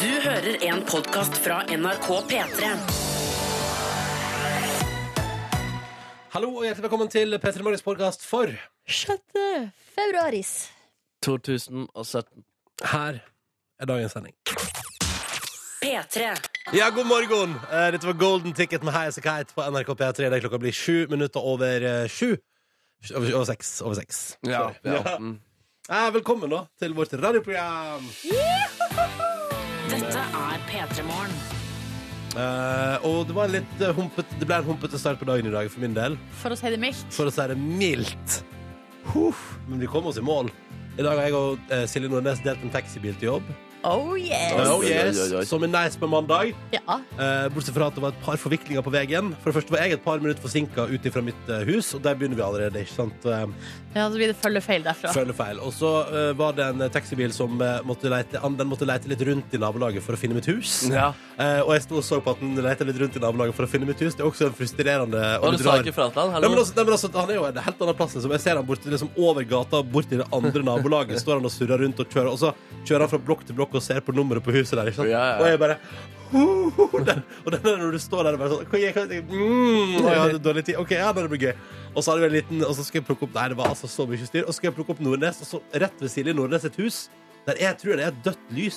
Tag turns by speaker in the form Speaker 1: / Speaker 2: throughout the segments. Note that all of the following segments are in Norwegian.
Speaker 1: Du hører en podcast fra NRK P3.
Speaker 2: Hallo og hjertelig velkommen til P3 Morgens podkast for
Speaker 3: 6. februaris.
Speaker 4: 2017.
Speaker 2: Her er dagens sending.
Speaker 1: P3.
Speaker 2: Ja, god morgen! Eh, Dette var Golden Ticket med Highas a Kite på NRK P3. Det er klokka blir sju minutter over eh, sju. Over, over seks. Over seks.
Speaker 4: Ja,
Speaker 2: Sorry. Ja. Eh, velkommen da til vårt radioprogram.
Speaker 1: Dette er P3 Morgen.
Speaker 2: Eh, og det var en litt eh, humpet, det ble en humpete start på dagen i dag for min del.
Speaker 3: For å si det mildt.
Speaker 2: For å si det mildt. Huff, men vi kom oss i mål. I dag har jeg og eh, Silje Nordnes delt en taxibil til jobb.
Speaker 3: Oh yes!
Speaker 2: Oh,
Speaker 4: oi,
Speaker 2: yes,
Speaker 4: oi, oi.
Speaker 2: Som er nice på mandag.
Speaker 3: Ja.
Speaker 2: Eh, bortsett fra at det var et par forviklinger på veien. For det første var jeg et par minutter forsinka ut fra mitt eh, hus, og der begynner vi allerede. ikke sant? Eh,
Speaker 3: ja, så blir det følgefeil derfra.
Speaker 2: Følgefeil. Og så eh, var det en eh, taxibil som eh, måtte leite, an- den måtte leite litt rundt i nabolaget for å finne mitt hus.
Speaker 4: Ja.
Speaker 2: Eh, og jeg sto og så på at den leita litt rundt i nabolaget for å finne mitt hus. Det er også en frustrerende og
Speaker 4: Og du
Speaker 2: litt
Speaker 4: sa
Speaker 2: rar-
Speaker 4: ikke fra til han?
Speaker 2: Nei, men
Speaker 4: Hallo?
Speaker 2: altså, også, nei, men også, han er jo en helt annen plass. Liksom. Jeg ser han borte, liksom, over gata, bort til det andre nabolaget. Står han og surrer rundt og kjører. Og så kjører han fra blokk til blokk og ser på nummeret på huset der. Ikke sant?
Speaker 4: Ja, ja, ja.
Speaker 2: Og jeg bare den, Og den der når du står der og bare sånn «Hva gjør jeg?» mm, og jeg hadde dårlig tid. OK, ja, det blir gøy. Og så hadde vi en liten Og så skal jeg plukke opp Nei, det var altså så mye styr. Og så skal jeg plukke opp Nordnes, og så rett ved Silje Nordnes et hus der jeg tror det er et dødt lys.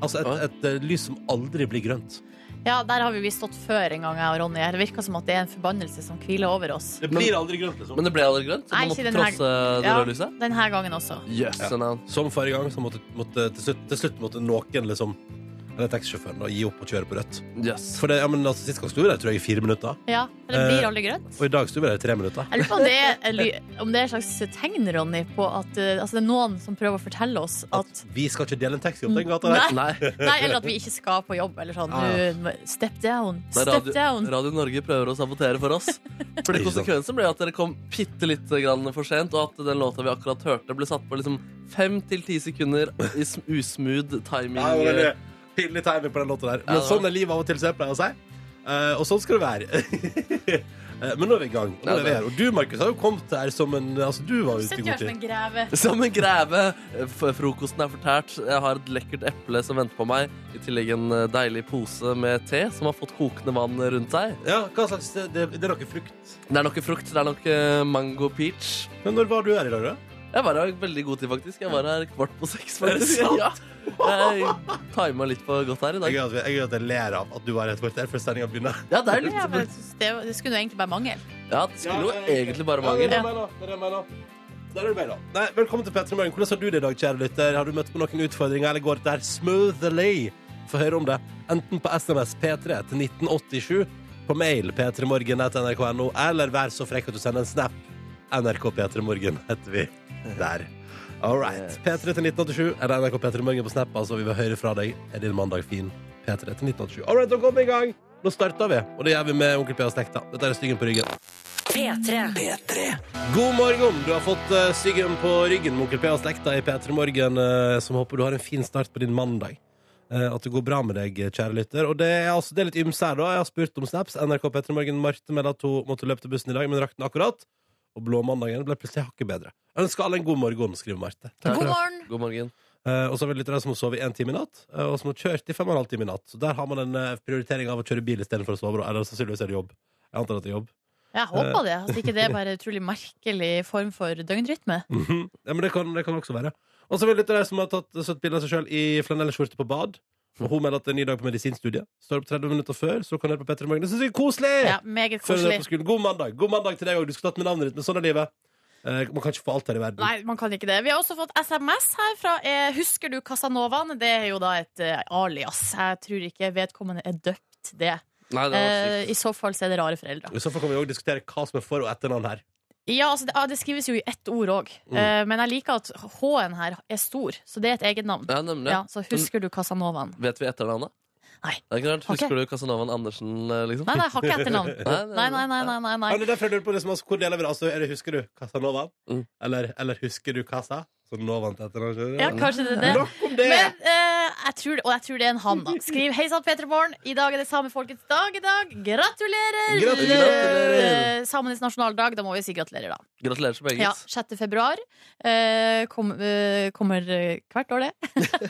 Speaker 2: Altså et,
Speaker 4: Oi.
Speaker 2: et, eh, lys som aldri blir grønt.
Speaker 3: Ja, Der har vi vi stått før en gang, jeg og Ronny. Det virker som at det er en forbannelse som hviler over oss.
Speaker 2: Det blir aldri grønt, liksom.
Speaker 4: Men det ble aldri grønt? Så
Speaker 3: Nei,
Speaker 4: du
Speaker 3: ikke
Speaker 4: måtte
Speaker 3: den her.
Speaker 4: trosse det
Speaker 3: Ja,
Speaker 4: røde lyset?
Speaker 3: denne gangen også.
Speaker 4: Yes, Sånn
Speaker 2: Ja.
Speaker 4: en annen.
Speaker 2: Som forrige gang, så måtte, måtte til, slutt, til slutt måtte noen liksom eller taxisjåføren da, gi opp og kjøre på rødt.
Speaker 4: yes.
Speaker 2: For det, ja, men altså, Sist gang sto vi der tror jeg i fire minutter, Eh,
Speaker 3: Ja, men det blir aldri grønt.
Speaker 2: og i dag sto vi der i tre minutter.
Speaker 3: Jeg lurer på om det er, en ly- om det er et slags tegn, Ronny, på at eh, altså det er noen som prøver å fortelle oss at
Speaker 2: Vi skal ikke dele en taxi opp den gata der.
Speaker 3: Nei,
Speaker 4: Nei.
Speaker 3: nei, eller at vi ikke skal på jobb, eller
Speaker 2: Ah,
Speaker 3: sånn. Du, step down.
Speaker 4: Det er
Speaker 3: Step
Speaker 4: radio,
Speaker 3: down.
Speaker 4: radio Norge prøver å sabotere for oss. Fordi
Speaker 2: Ikke sant.
Speaker 4: Konsekvensen ble at dere kom bitte litt grann for sent, og at den låta vi akkurat hørte, ble satt på liksom fem til ti sekunder i sm- usmooth timing.
Speaker 2: Nei, det var veldig Pinlig timing på den låta
Speaker 4: Ja,
Speaker 2: der. Men
Speaker 4: det var-
Speaker 2: sånn er livet av og til, som jeg pleier å si. Eh, og sånn skal det være. Eh, Men nå er vi i gang. Og, nå er vi her. og du, Markus, har jo kommet her som en Altså, du var ute i
Speaker 3: Sitter
Speaker 2: god
Speaker 3: her som
Speaker 2: tid.
Speaker 3: en greve.
Speaker 4: Som en greve. F- Frokosten er fortært. Jeg har et lekkert eple som venter på meg. I tillegg en eh, deilig pose med te som har fått kokende vann rundt seg.
Speaker 2: Ja, hva slags Det, det er noe frukt.
Speaker 4: Det er nok frukt. Det er nok eh, mango peach.
Speaker 2: Men når var du her i dag, da?
Speaker 4: Jeg var her veldig god tid, faktisk. Jeg var her kvart på seks.
Speaker 2: Er det
Speaker 4: faktisk. Ja. Jeg tima litt for godt her i dag.
Speaker 2: Jeg er glad at jeg- jeg er glad at jeg ler av at du var her et kvarter før sendinga begynner.
Speaker 4: Ja, det er
Speaker 3: Ja, men
Speaker 4: litt
Speaker 3: det, det skulle jo egentlig bare mangle.
Speaker 4: Ja, det skulle jo egentlig bare
Speaker 2: Ja, det
Speaker 4: mangle.
Speaker 2: er meg da, det er meg da. Der er du meg da. Nei, velkommen til Petter Morgen. Hvordan har du det i dag, kjære lytter? Har du møtt på noen utfordringer, eller går det der smoothly? Få høre om det. Enten på SMS P3 til 1987, på mail p3morgen.nrk.no, eller vær så frekk at du sender en snap. NRK P3morgen heter vi der. All right. P3 til 1987 eller NRK P3morgen på snap, altså. Vi vil høre fra deg. Er din mandag fin? P3 til 1987. All right, da går vi i gang. Nå starter vi, og det gjør vi med Onkel P og Slekta. Dette er Styggen på ryggen.
Speaker 1: P3.
Speaker 2: God morgen! Du har fått uh, styggen på ryggen med onkel P og slekta i P3 Morgen, eh, som håper du har en fin start på din mandag. Eh, at det går bra med deg, kjære lytter. Og det er, altså, det er litt ymse her, da. Jeg har spurt om snaps. NRK P3 Morgen Marte melder at hun måtte løpe til bussen i dag, men rakk den akkurat. Og blåmandagen ble plutselig hakket bedre. Ønsker alle en god morgen, skriver Marte.
Speaker 4: Takk.
Speaker 3: God morgen!
Speaker 4: God morgen.
Speaker 2: Eh, og så er det lyttere som har sovet én time i natt, eh, og som har kjørt i fem og en halv time i natt. Så der har man en eh, prioritering av å kjøre bil istedenfor å sove, da. Eller sannsynligvis er det jobb. Jeg antar at det er jobb. Eh.
Speaker 3: Jeg håper det. At ikke det er bare en utrolig merkelig form for døgnrytme.
Speaker 2: Mhm. Ja, men det kan, det kan også være. Og så vil det til deg som har tatt søtt bilde av seg sjøl i flanellskjorte på bad. Og hun melder at det er en ny dag på medisinstudiet. Står opp 30 minutter før, så kan du høre på Petter i morgen. Det syns jeg er koselig!
Speaker 3: Ja, meget
Speaker 2: Før du er på
Speaker 3: koselig.
Speaker 2: skolen. God mandag God mandag til deg òg. Du skulle tatt med navnet ditt, men sånn er livet. Eh, man kan ikke få alt her i verden.
Speaker 3: Nei, man kan ikke det. Vi har også fått SMS her fra eh, Husker du Casanovaen? Det er jo da et eh, alias. Jeg tror ikke vedkommende er døpt det.
Speaker 4: Nei, det var
Speaker 3: Eh, I så fall så er det rare foreldre.
Speaker 2: I så fall kan vi òg diskutere hva som er for- og etternavn her.
Speaker 3: Ja, altså, det, ah, det skrives jo i ett ord òg.
Speaker 2: Mm.
Speaker 3: Eh, men jeg liker at H-en her er stor, så det er et eget navn.
Speaker 4: Ja, nemlig.
Speaker 3: Ja, så husker du Casanovaen?
Speaker 4: Vet vi etternavnet?
Speaker 3: Nei.
Speaker 4: Det er ikke rart.
Speaker 3: Ok.
Speaker 4: Husker du Casanovaen Andersen, eh, liksom?
Speaker 3: Nei, nei, jeg har ikke etternavn. Nei, nei, nei. nei, nei, nei.
Speaker 2: Ja, det er derfor jeg lurer på liksom, altså, hvor deler vi det? Altså, er det husker du Casanovaen?
Speaker 4: Mm.
Speaker 2: Eller, eller husker du Casa? Så Novaen til etternavn. skjønner du?
Speaker 3: Ja, kanskje det er det.
Speaker 2: Nok om det!
Speaker 3: Men eh, jeg tror, det- og jeg tror det er en han, da. Skriv 'Hei sann, Peter Born. I dag er det samefolkets dag i dag. Gratulerer!
Speaker 2: Gratulerer!
Speaker 3: Eh, Samenes nasjonaldag. Da må vi si gratulerer, da.
Speaker 4: Gratulerer så meget.
Speaker 3: Ja, 6. februar. Eh, kom, eh, kommer eh, hvert år, det.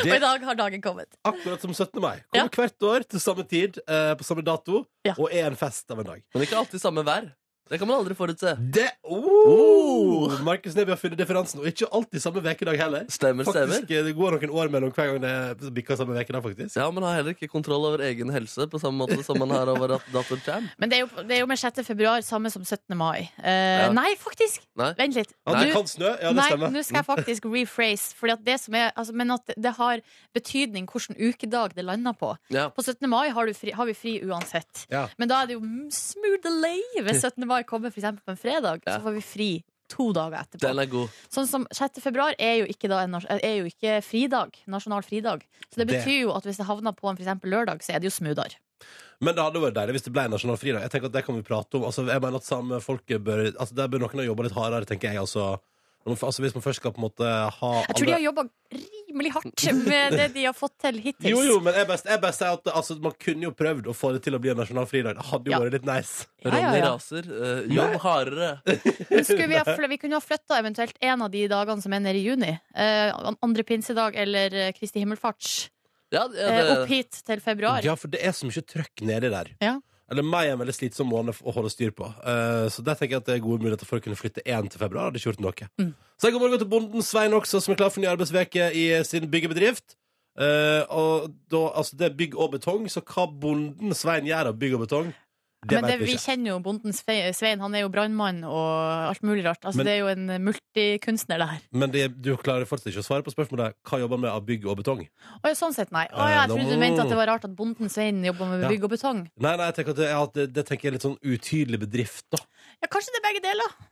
Speaker 3: Og i dag har dagen kommet.
Speaker 2: Akkurat som 17. mai.
Speaker 3: Ja.
Speaker 2: Kommer hvert år til samme tid, eh, på samme dato,
Speaker 3: Ja.
Speaker 2: og er en fest av en dag.
Speaker 4: Men ikke alltid samme vær. Det kan man aldri forutse. Oh!
Speaker 2: Det oh! Markus Neby har funnet differansen, og ikke alltid samme ukedag heller.
Speaker 4: Stemmer, stemmer.
Speaker 2: Faktisk, eh, Det går noen år mellom hver gang det bikker samme ukedag, faktisk.
Speaker 4: Ja, Man har heller ikke kontroll over egen helse på samme måte som man har over at datteren kommer.
Speaker 3: Men det er jo, det er jo med 6. februar samme som 17. mai. Eh,
Speaker 4: Ja.
Speaker 3: Nei, faktisk!
Speaker 4: Nei.
Speaker 3: Vent litt.
Speaker 2: At
Speaker 3: Du-
Speaker 2: det kan snø, ja, det
Speaker 3: Nei,
Speaker 2: stemmer.
Speaker 3: nå skal jeg faktisk rephrase. Fordi at det som er, altså, men at det har betydning hvilken ukedag det lander på.
Speaker 4: Ja.
Speaker 3: På 17. mai har, du fri, har vi fri uansett.
Speaker 2: Ja.
Speaker 3: Men da er det jo mm, smooth delay hvis 17. mai kommer for eksempel på en fredag.
Speaker 4: Ja.
Speaker 3: Så får vi fri to dager etterpå.
Speaker 4: Den er god.
Speaker 3: Sånn som 6. februar er jo ikke, da en, nas- er jo ikke fridag, nasjonal fridag. Så det
Speaker 2: Det-
Speaker 3: betyr jo at hvis det havner på en for eksempel lørdag, så er det jo smoothere.
Speaker 2: Men det hadde vært deilig hvis det ble en nasjonal fridag. Jeg tenker at det kan vi prate om altså, Jeg mener at samefolket bør altså, Der bør noen ha jobba litt hardere, tenker jeg. Altså. Når man- altså, hvis man først skal på en måte ha
Speaker 3: Jeg tror de har jobba rimelig hardt med det de har fått til hittil.
Speaker 2: Jo, jo, men jeg best, jeg best sier at altså, man kunne jo prøvd å få det til å bli en nasjonal fridag. Det hadde jo
Speaker 3: Ja.
Speaker 2: vært litt nice.
Speaker 3: Ja, ja,
Speaker 4: Ronny
Speaker 3: ja.
Speaker 4: raser. eh, jobb hardere.
Speaker 3: Men skulle vi, ha fl- vi kunne ha flytta eventuelt en av de dagene som er nede i juni. Eh, an- andre pinsedag eller eh, Kristi himmelfarts.
Speaker 4: Ja, det-
Speaker 3: Eh, opp
Speaker 4: det,
Speaker 3: hit til februar.
Speaker 2: Ja, for det er så mye trøkk nedi der.
Speaker 3: Ja.
Speaker 2: Eller meg er en veldig slitsom måned å holde styr på. Eh, så der tenker jeg at det er gode muligheter for å kunne flytte én til februar. Hadde ikke gjort noe.
Speaker 3: Mm.
Speaker 2: Så jeg god morgen til bonden Svein også, som er klar for ny arbeidsveke i sin byggebedrift. Eh, og da, altså det er bygg og betong, så hva bonden Svein gjør av bygg og betong, det
Speaker 3: Men det,
Speaker 2: vet vi
Speaker 3: vi
Speaker 2: ikke.
Speaker 3: kjenner jo bonden Sve- Svein. Han er jo brannmann og alt mulig rart. Altså,
Speaker 2: Men-
Speaker 3: det er jo en multikunstner, det her.
Speaker 2: Men det, du klarer fortsatt ikke å svare på spørsmålet hva jobber han med av bygg og betong.
Speaker 3: Å ja, sånn sett, nei. Å, ja, jeg
Speaker 2: Eh, da
Speaker 3: trodde du
Speaker 2: må-
Speaker 3: mente at det var rart at bonden Svein jobber med
Speaker 2: Ja.
Speaker 3: bygg og betong.
Speaker 2: Nei, nei, jeg tenker at det, er at det, det tenker jeg er litt sånn utydelig bedrift, da.
Speaker 3: Ja, kanskje det er begge deler.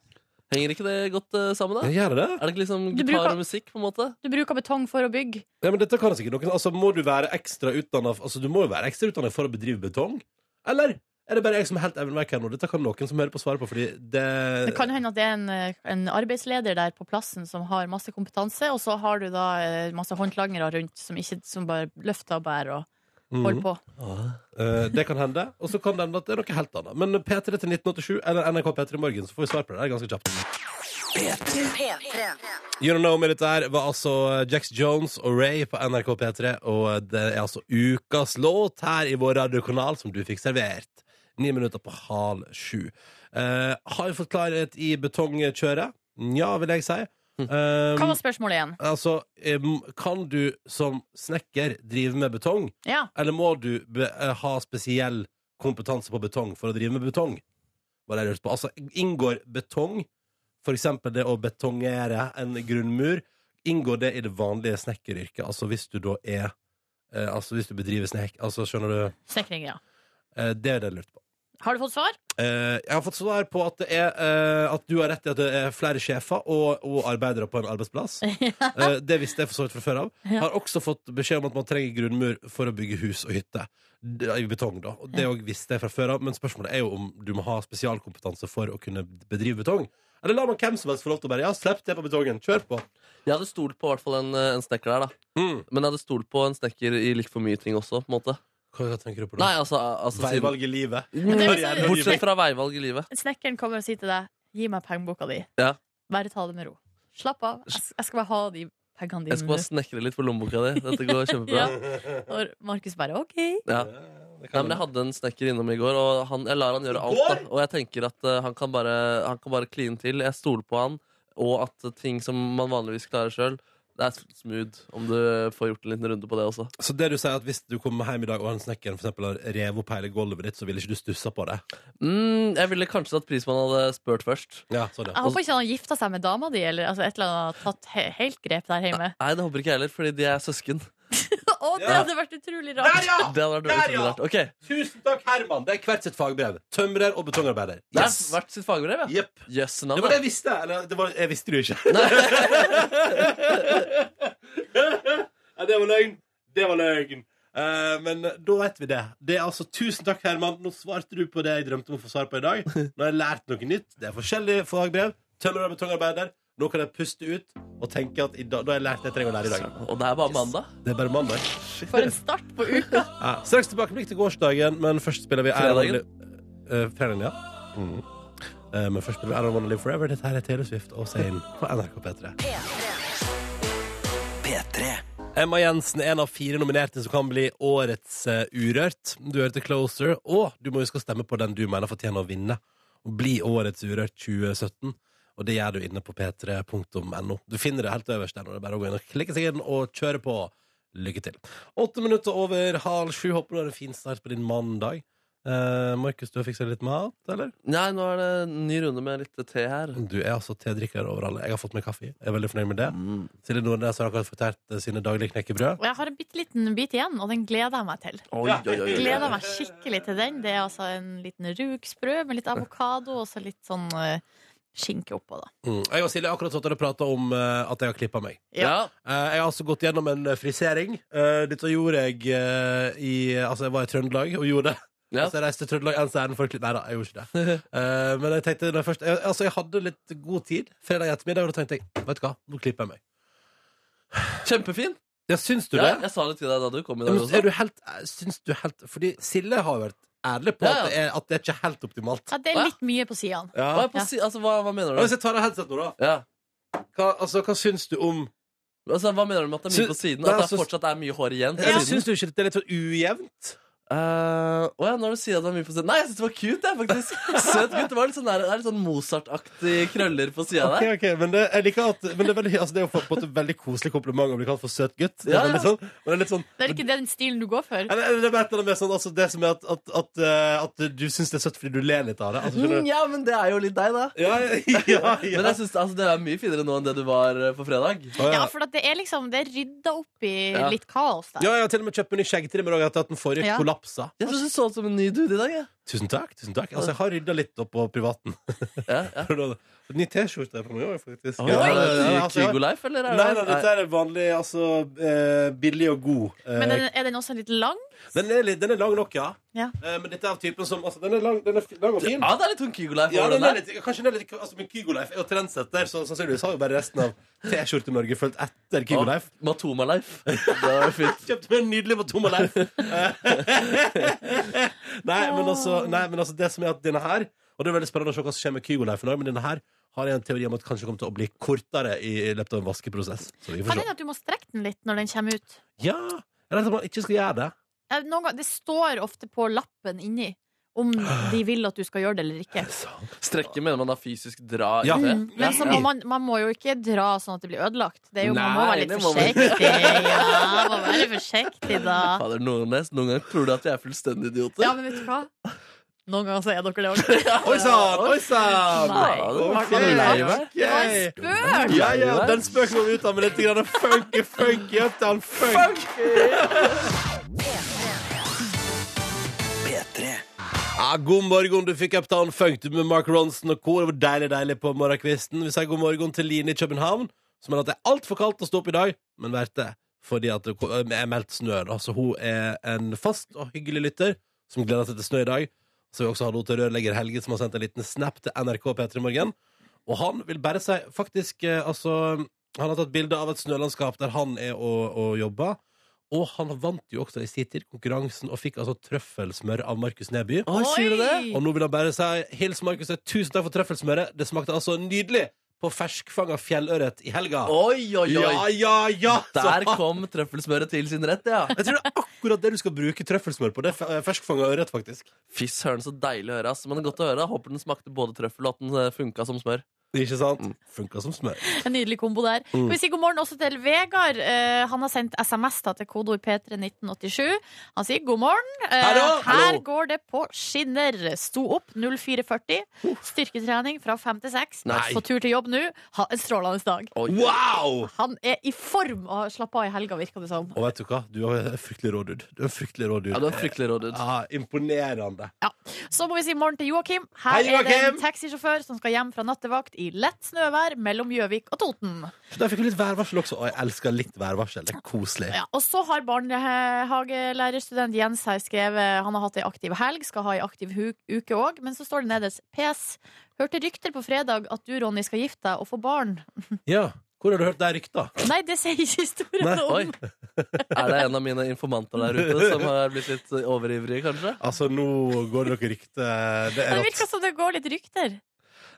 Speaker 4: henger ikke det godt eh, sammen, da?
Speaker 2: Jeg gjør det.
Speaker 4: Er det ikke liksom
Speaker 3: Du
Speaker 4: gitar
Speaker 3: bruker-
Speaker 4: og musikk, på en måte?
Speaker 3: Du bruker betong for å bygge.
Speaker 2: Ja, men dette kan sikkert noen Altså, må du være ekstra utdannet Altså, du må jo være ekstra utdannet for å bedrive betong Eller er det bare jeg som er helt evneverk her nå? Dette kan noen som hører på svare på Fordi det
Speaker 3: Det kan hende at det er en, eh, en arbeidsleder der på plassen som har masse kompetanse, og så har du da eh, masse håndlangere rundt som, ikke, som bare løfter og bærer og holder
Speaker 4: Mm.
Speaker 2: Mhm.
Speaker 3: på.
Speaker 2: Eh, Det kan hende Og så kan det hende at det er noe helt annet Men P3 til 1987 Eller NRK P3 i morgen Så får vi svar på det Det er ganske kjapt
Speaker 1: P3.
Speaker 2: You Don't Know Me dette her Var altså Jax Jones og Ray på NRK P3 Og det er altså ukas låt Her i vår radiokanal Som du fikk servert Ni minutter på halv sju. Eh, har vi fått klarhet i betongkjøret? Nja, vil jeg si. Eh,
Speaker 3: Hva var spørsmålet igjen?
Speaker 2: altså, em, kan du som snekker drive med betong,
Speaker 3: Ja.
Speaker 2: eller må du be, eh, ha spesiell kompetanse på betong for å drive med betong? Var det jeg lurte på. Altså, inngår betong, for eksempel det å betongere en grunnmur, inngår det i det vanlige snekkeryrket? Altså hvis du da er eh, Altså hvis du bedriver snek... Altså, skjønner du?
Speaker 3: Snekring, ja.
Speaker 2: Eh, det er det jeg lurte på.
Speaker 3: Har du fått svar?
Speaker 2: Eh, jeg har fått svar på at, det er, eh, at du har rett i at det er flere sjefer og, og arbeidere på en arbeidsplass. Eh, det visste jeg for så vidt fra før av.
Speaker 3: Ja.
Speaker 2: Har også fått beskjed om at man trenger grunnmur for å bygge hus og hytte. D- I betong, da. Og det òg visste jeg fra før av, men spørsmålet er jo om du må ha spesialkompetanse for å kunne bedrive betong. Eller lar man hvem som helst få lov til å bare Ja, slipp det på betongen. Kjør på.
Speaker 4: Jeg hadde stolt på i hvert fall en, eh, en snekker der, da.
Speaker 2: Mm.
Speaker 4: Men jeg hadde stolt på en snekker i litt for mye ting også, på en måte.
Speaker 2: Hva, hva tenker du på da?
Speaker 4: Nei, altså, altså siden-
Speaker 2: Veivalg i livet.
Speaker 3: det er
Speaker 2: Karriere
Speaker 3: liksom-
Speaker 2: og livet.
Speaker 4: Bortsett fra veivalg i livet.
Speaker 3: Snekkeren kommer og sier til deg Gi meg pengeboka di.
Speaker 4: Ja.
Speaker 3: Bare ta det med ro. Slapp av. Jeg s- jeg skal bare ha de pengene
Speaker 4: Jeg
Speaker 3: dine
Speaker 4: skal bare
Speaker 3: nå.
Speaker 4: snekre litt for lommeboka di. Dette går kjempebra.
Speaker 3: Ja. Og Markus bare OK.
Speaker 4: Ja.
Speaker 2: Det
Speaker 4: Nei,
Speaker 2: kan
Speaker 4: men jeg hadde en snekker innom i går, og han, jeg lar han gjøre alt. da Og jeg tenker at eh, han kan bare Han kan bare kline til. Jeg stoler på han, og at ting som man vanligvis klarer sjøl, det er smooth om du får gjort en liten runde på det også.
Speaker 2: Så det du sier at hvis du kommer hjem i dag og han snekkeren for eksempel har revet opp hele gulvet ditt, så ville ikke du stussa på det?
Speaker 4: Mm, jeg ville kanskje satt pris på han hadde spurt først.
Speaker 2: Ja, sånn ja.
Speaker 3: Jeg håper ikke han har gifta seg med dama di, eller altså, et eller annet har tatt he helt grep der hjemme.
Speaker 4: Nei, det håper ikke jeg heller, fordi de er søsken.
Speaker 3: Å, det
Speaker 2: Ja.
Speaker 3: hadde vært utrolig rart!
Speaker 4: Det hadde vært dårlig
Speaker 2: Der, ja!
Speaker 4: standard. Ok,
Speaker 2: Tusen takk, Herman! Det er hvert sitt fagbrev. Tømrer og betongarbeider.
Speaker 4: Det har
Speaker 2: Yes.
Speaker 4: vært sitt fagbrev, ja.
Speaker 2: Jepp.
Speaker 4: Jøss,
Speaker 2: Det var det jeg visste. Eller, det var, jeg visste det jo ikke.
Speaker 4: navnet.
Speaker 2: Ja, det var løgn. Det var løgn. Eh, men da vet vi det. Det er altså Tusen takk, Herman. Nå svarte du på det jeg drømte om å få svar på i dag. Nå har jeg lært noe nytt. Det er forskjellige fagbrev. Tømrer og betongarbeider. Nå kan jeg puste ut og tenke at i dag, da har jeg lært det jeg trenger å lære i dag.
Speaker 4: Og det er bare mandag.
Speaker 2: Det er bare mandag.
Speaker 3: For en start på uka!
Speaker 2: Ja. Straks tilbakeblikk til gårsdagen, men først spiller vi Iron Man
Speaker 4: Fredagen.
Speaker 2: Live- Eh, fredagen, ja. Mhm. Eh, men først spiller vi Iron Man Live Forever. Dette her er Taylor Swift og Zain på NRK P3.
Speaker 1: P3.
Speaker 2: Emma Jensen er en av fire nominerte som kan bli årets eh, Urørt. Du hørte Closer, og du må huske å stemme på den du mener fortjener å vinne. Og bli årets Urørt 2017. Og det gjør du inne på p3.no. Du finner det helt øverst der. når Det er bare å gå inn og klikke seg inn og kjøre på. Lykke til. Åtte minutter over halv sju. Håper du har en fin start på din mandag. Eh, Markus, du har fiksa litt mat, eller?
Speaker 4: Nei, nå er det en ny runde med litt te her.
Speaker 2: Du er altså tedrikker over alle. Jeg har fått meg kaffe. Jeg er veldig fornøyd med det. Silje Nordnes har akkurat fortært eh, sine daglige knekkebrød.
Speaker 3: Og jeg har en bitte liten bit igjen, og den gleder jeg meg til.
Speaker 4: Oi, oi, oi, oi.
Speaker 3: Gleder meg skikkelig til den. Det er altså en liten rugsprø med litt avokado og så litt sånn eh, skinke oppå, da.
Speaker 2: Mm. Jeg og Silje har akkurat stått og prata om eh, at jeg har klippa meg.
Speaker 4: Ja.
Speaker 2: Eh, jeg har altså gått gjennom en eh, frisering. Eh, dette gjorde jeg eh, i Altså, jeg var i Trøndelag og gjorde det.
Speaker 4: Ja.
Speaker 2: Altså, jeg reiste til Trøndelag ens ærend for å klippe Nei da, jeg gjorde ikke det. Eh, men jeg tenkte når jeg først jeg, Altså, jeg hadde litt god tid fredag ettermiddag, og da tenkte jeg vet du hva, nå klipper jeg meg.
Speaker 4: Kjempefin.
Speaker 2: Ja, syns du
Speaker 4: Ja,
Speaker 2: det?
Speaker 4: jeg sa det til deg da du kom i
Speaker 2: Ja,
Speaker 4: dag
Speaker 2: men
Speaker 4: også.
Speaker 2: er du helt, eh, syns du helt Fordi Silje har jo vært ærlig på
Speaker 4: Ja,
Speaker 2: At,
Speaker 4: ja.
Speaker 2: det er, at det er ikke er helt optimalt.
Speaker 3: Ja, det er litt mye på sidene.
Speaker 2: Ja.
Speaker 4: Hva, er på si altså, hva, hva mener
Speaker 2: Hvis
Speaker 4: du?
Speaker 2: jeg tar av headset nå, da.
Speaker 4: Ja.
Speaker 2: Hva, altså, hva syns du om
Speaker 4: Altså, hva mener du med at det er
Speaker 2: Sy-
Speaker 4: mye på siden?
Speaker 2: Nei,
Speaker 4: At det
Speaker 2: altså-
Speaker 4: fortsatt er mye hår igjen? på
Speaker 2: Eller
Speaker 4: siden?
Speaker 2: Syns du ikke det er litt sånn ujevnt?
Speaker 4: Eh, Å ja, når du sier at det var mye på siden Nei, jeg synes det var cute, jeg, faktisk. Søt gutt. Det var litt sånn, der- det er litt sånn Mozart-aktig krøller på sida
Speaker 2: Ok,
Speaker 4: der.
Speaker 2: ok, men det, jeg liker at men det, er veldig, altså, det er jo på på en måte veldig koselig kompliment å bli kalt for søt gutt. Det
Speaker 4: Ja,
Speaker 2: er
Speaker 4: ja.
Speaker 2: veldig sånn, men det er litt sånn
Speaker 3: Det er ikke den stilen du går for.
Speaker 2: eller, eller det er bare et eller annet mer sånn altså, Det som er at, at, at, eh, at du syns det er søtt fordi du ler litt av det. Altså, skjønner
Speaker 4: Mm,
Speaker 2: du?
Speaker 4: ja, men det er jo litt deg, da.
Speaker 2: Ja, ja, ja, ja.
Speaker 4: Men jeg synes, altså, det er mye finere nå enn det du var eh, på fredag.
Speaker 2: Å,
Speaker 3: Ja,
Speaker 2: ja.
Speaker 3: for at det er liksom Det er rydda opp i
Speaker 4: Ja.
Speaker 3: litt kaos der.
Speaker 2: ja, jeg har til og med kjøpt meg ny skjeggtrimmer òg etter at den forrige
Speaker 3: Ja.
Speaker 2: kollapsa.
Speaker 4: Jeg synes du så ut som en ny dude i dag. jeg.
Speaker 2: Tusen takk. tusen takk Altså, Jeg har rydda litt opp på privaten.
Speaker 4: Ja, ja.
Speaker 2: Ny T-skjorte på meg òg, faktisk.
Speaker 4: Oi,
Speaker 2: Ja,
Speaker 4: er
Speaker 2: ja,
Speaker 4: det
Speaker 2: ja,
Speaker 4: ny
Speaker 2: altså, ja.
Speaker 4: Kygo Life, eller? er det-
Speaker 2: Nei, nei, dette er vanlig, altså eh, billig og god. eh,
Speaker 3: Men den, er den også litt lang?
Speaker 2: Den er, litt, den er lang nok, ja.
Speaker 3: Ja.
Speaker 2: Eh, men dette er av typen som altså, Den er lang, den er fi- lang og fin.
Speaker 4: Ja, det er litt sånn Kygo Life.
Speaker 2: Ja,
Speaker 4: over
Speaker 2: den
Speaker 4: den
Speaker 2: er
Speaker 4: der.
Speaker 2: litt, kanskje den er litt altså, Men Kygoleif er jo trendsetter, så sannsynligvis har jo bare resten av T-skjorte-Norge fulgt etter Kygoleif.
Speaker 4: Og Matoma Life. Det var fint.
Speaker 2: Kjøpte meg en nydelig Matoma Leif. Eh, nei, men altså, nei, men altså det som er at denne her Og det er veldig spennende å se hva som skjer med Kygoleifen òg, men denne her har jeg en teori om at kanskje kommer til å bli kortere i løpet av en vaskeprosess. Så vi
Speaker 3: Kan
Speaker 2: får se.
Speaker 3: hende at du må strekke den litt når den kommer ut.
Speaker 2: Ja, eller at man ikke skal gjøre det.
Speaker 3: Eh, Noen gang, det står ofte på lappen inni om de vil at du skal gjøre det eller ikke.
Speaker 4: Strekke mener man da fysisk dra
Speaker 2: Ja.
Speaker 4: i det?
Speaker 2: Mm.
Speaker 3: Men så må man, man må jo ikke dra sånn at det blir ødelagt. Det er jo, man må
Speaker 4: Nei,
Speaker 3: være litt
Speaker 4: det må man ikke.
Speaker 3: forsiktig. Ja, må være forsiktig, da.
Speaker 4: Fader, Nordnes, noen ganger tror du at vi er fullstendig idioter.
Speaker 3: Ja, men vet du hva? Noen ganger så er dere det òg.
Speaker 2: Oi sann! Oi sann!
Speaker 3: Nei.
Speaker 2: Ok,
Speaker 4: Var du lei
Speaker 2: ok.
Speaker 4: deg?
Speaker 3: Det var en spøk!
Speaker 2: Ja, ja, den spøken må vi ut av med litt grann funky, funky uptown funk.
Speaker 1: P3.
Speaker 2: Ja, god morgen, du fikk uptown funk med Mark Ronson og kor. Det var deilig, deilig på morgenkvisten. Vi sier god morgen til Line i København, som mener at det er altfor kaldt å stå opp i dag, men verdt det. Fordi at det ko- er meldt snø. da. Så hun er en fast og hyggelig lytter som gleder seg til snø i dag. Så vi også har noe til rørlegger Helge, som har sendt en liten snap til NRK P3 Morgen. Og han vil bare si Faktisk, eh, altså Han har tatt bilde av et snølandskap der han er og, og jobber. Og han vant jo også i sin tid konkurransen og fikk altså trøffelsmør av Markus Neby.
Speaker 4: Oi, sier du det?
Speaker 2: Og nå vil han bare si hils Markus og tusen takk for trøffelsmøret. Det smakte altså nydelig på ferskfanga fjellørret i helga.
Speaker 4: Oi, oi, oi.
Speaker 2: ja, ja, ja! Så
Speaker 4: Der
Speaker 2: han-
Speaker 4: kom trøffelsmøret til sin rett, ja.
Speaker 2: Jeg tror det er akkurat det du skal bruke trøffelsmør på. Det er fe- ferskfanga ørret, faktisk.
Speaker 4: Fy søren, så deilig å høre. ass. Men det er godt å høre. Håper den smakte både trøffel og at den eh, funka som smør. Mm.
Speaker 2: Ikke sant? Funka som smør.
Speaker 3: En nydelig kombo der. Skal Vi sier god morgen også til Vegard. Eh, han har sendt SMS da til kodeord P31987. Han sier god morgen. Eh,
Speaker 2: Hallo!
Speaker 3: her
Speaker 2: Hallo.
Speaker 3: går det på skinner. Sto opp 0440. Styrketrening fra fem til seks.
Speaker 4: Nei.
Speaker 3: På tur til jobb nå. Ha en strålende dag.
Speaker 2: Wow!
Speaker 3: Han er i form og har slappa av i helga, virker det som.
Speaker 2: Og vet du hva? Du er en fryktelig rå dude. Du er en fryktelig rå dude.
Speaker 4: Ja, du er fryktelig rå, dude.
Speaker 2: Ja, imponerende.
Speaker 3: Så må vi si morgen til Joakim. Her
Speaker 2: Hei,
Speaker 3: er det
Speaker 2: Joakim!
Speaker 3: en taxisjåfør som skal hjem fra nattevakt i lett snøvær mellom Gjøvik og Toten.
Speaker 2: Så Der fikk vi litt værvarsel også. Og jeg elsker litt værvarsel. Det er koselig.
Speaker 3: Ja, og så har barnehagelærerstudent Jens her skrevet Han har hatt ei aktiv helg, skal ha ei aktiv hu- uke òg. Men så står det nederst PS. Hørte rykter på fredag at du, Ronny, skal gifte deg og få barn.
Speaker 2: Ja. Hvor har du hørt det rykta?
Speaker 3: Nei, det sier ikke historien
Speaker 2: Nei,
Speaker 4: Oi.
Speaker 3: om.
Speaker 4: Er det en av mine informanter der ute som har blitt litt eh, overivrig, kanskje?
Speaker 2: Altså, nå går det noe rykte. Det er
Speaker 3: Det
Speaker 2: rått.
Speaker 3: virker som det går litt rykter.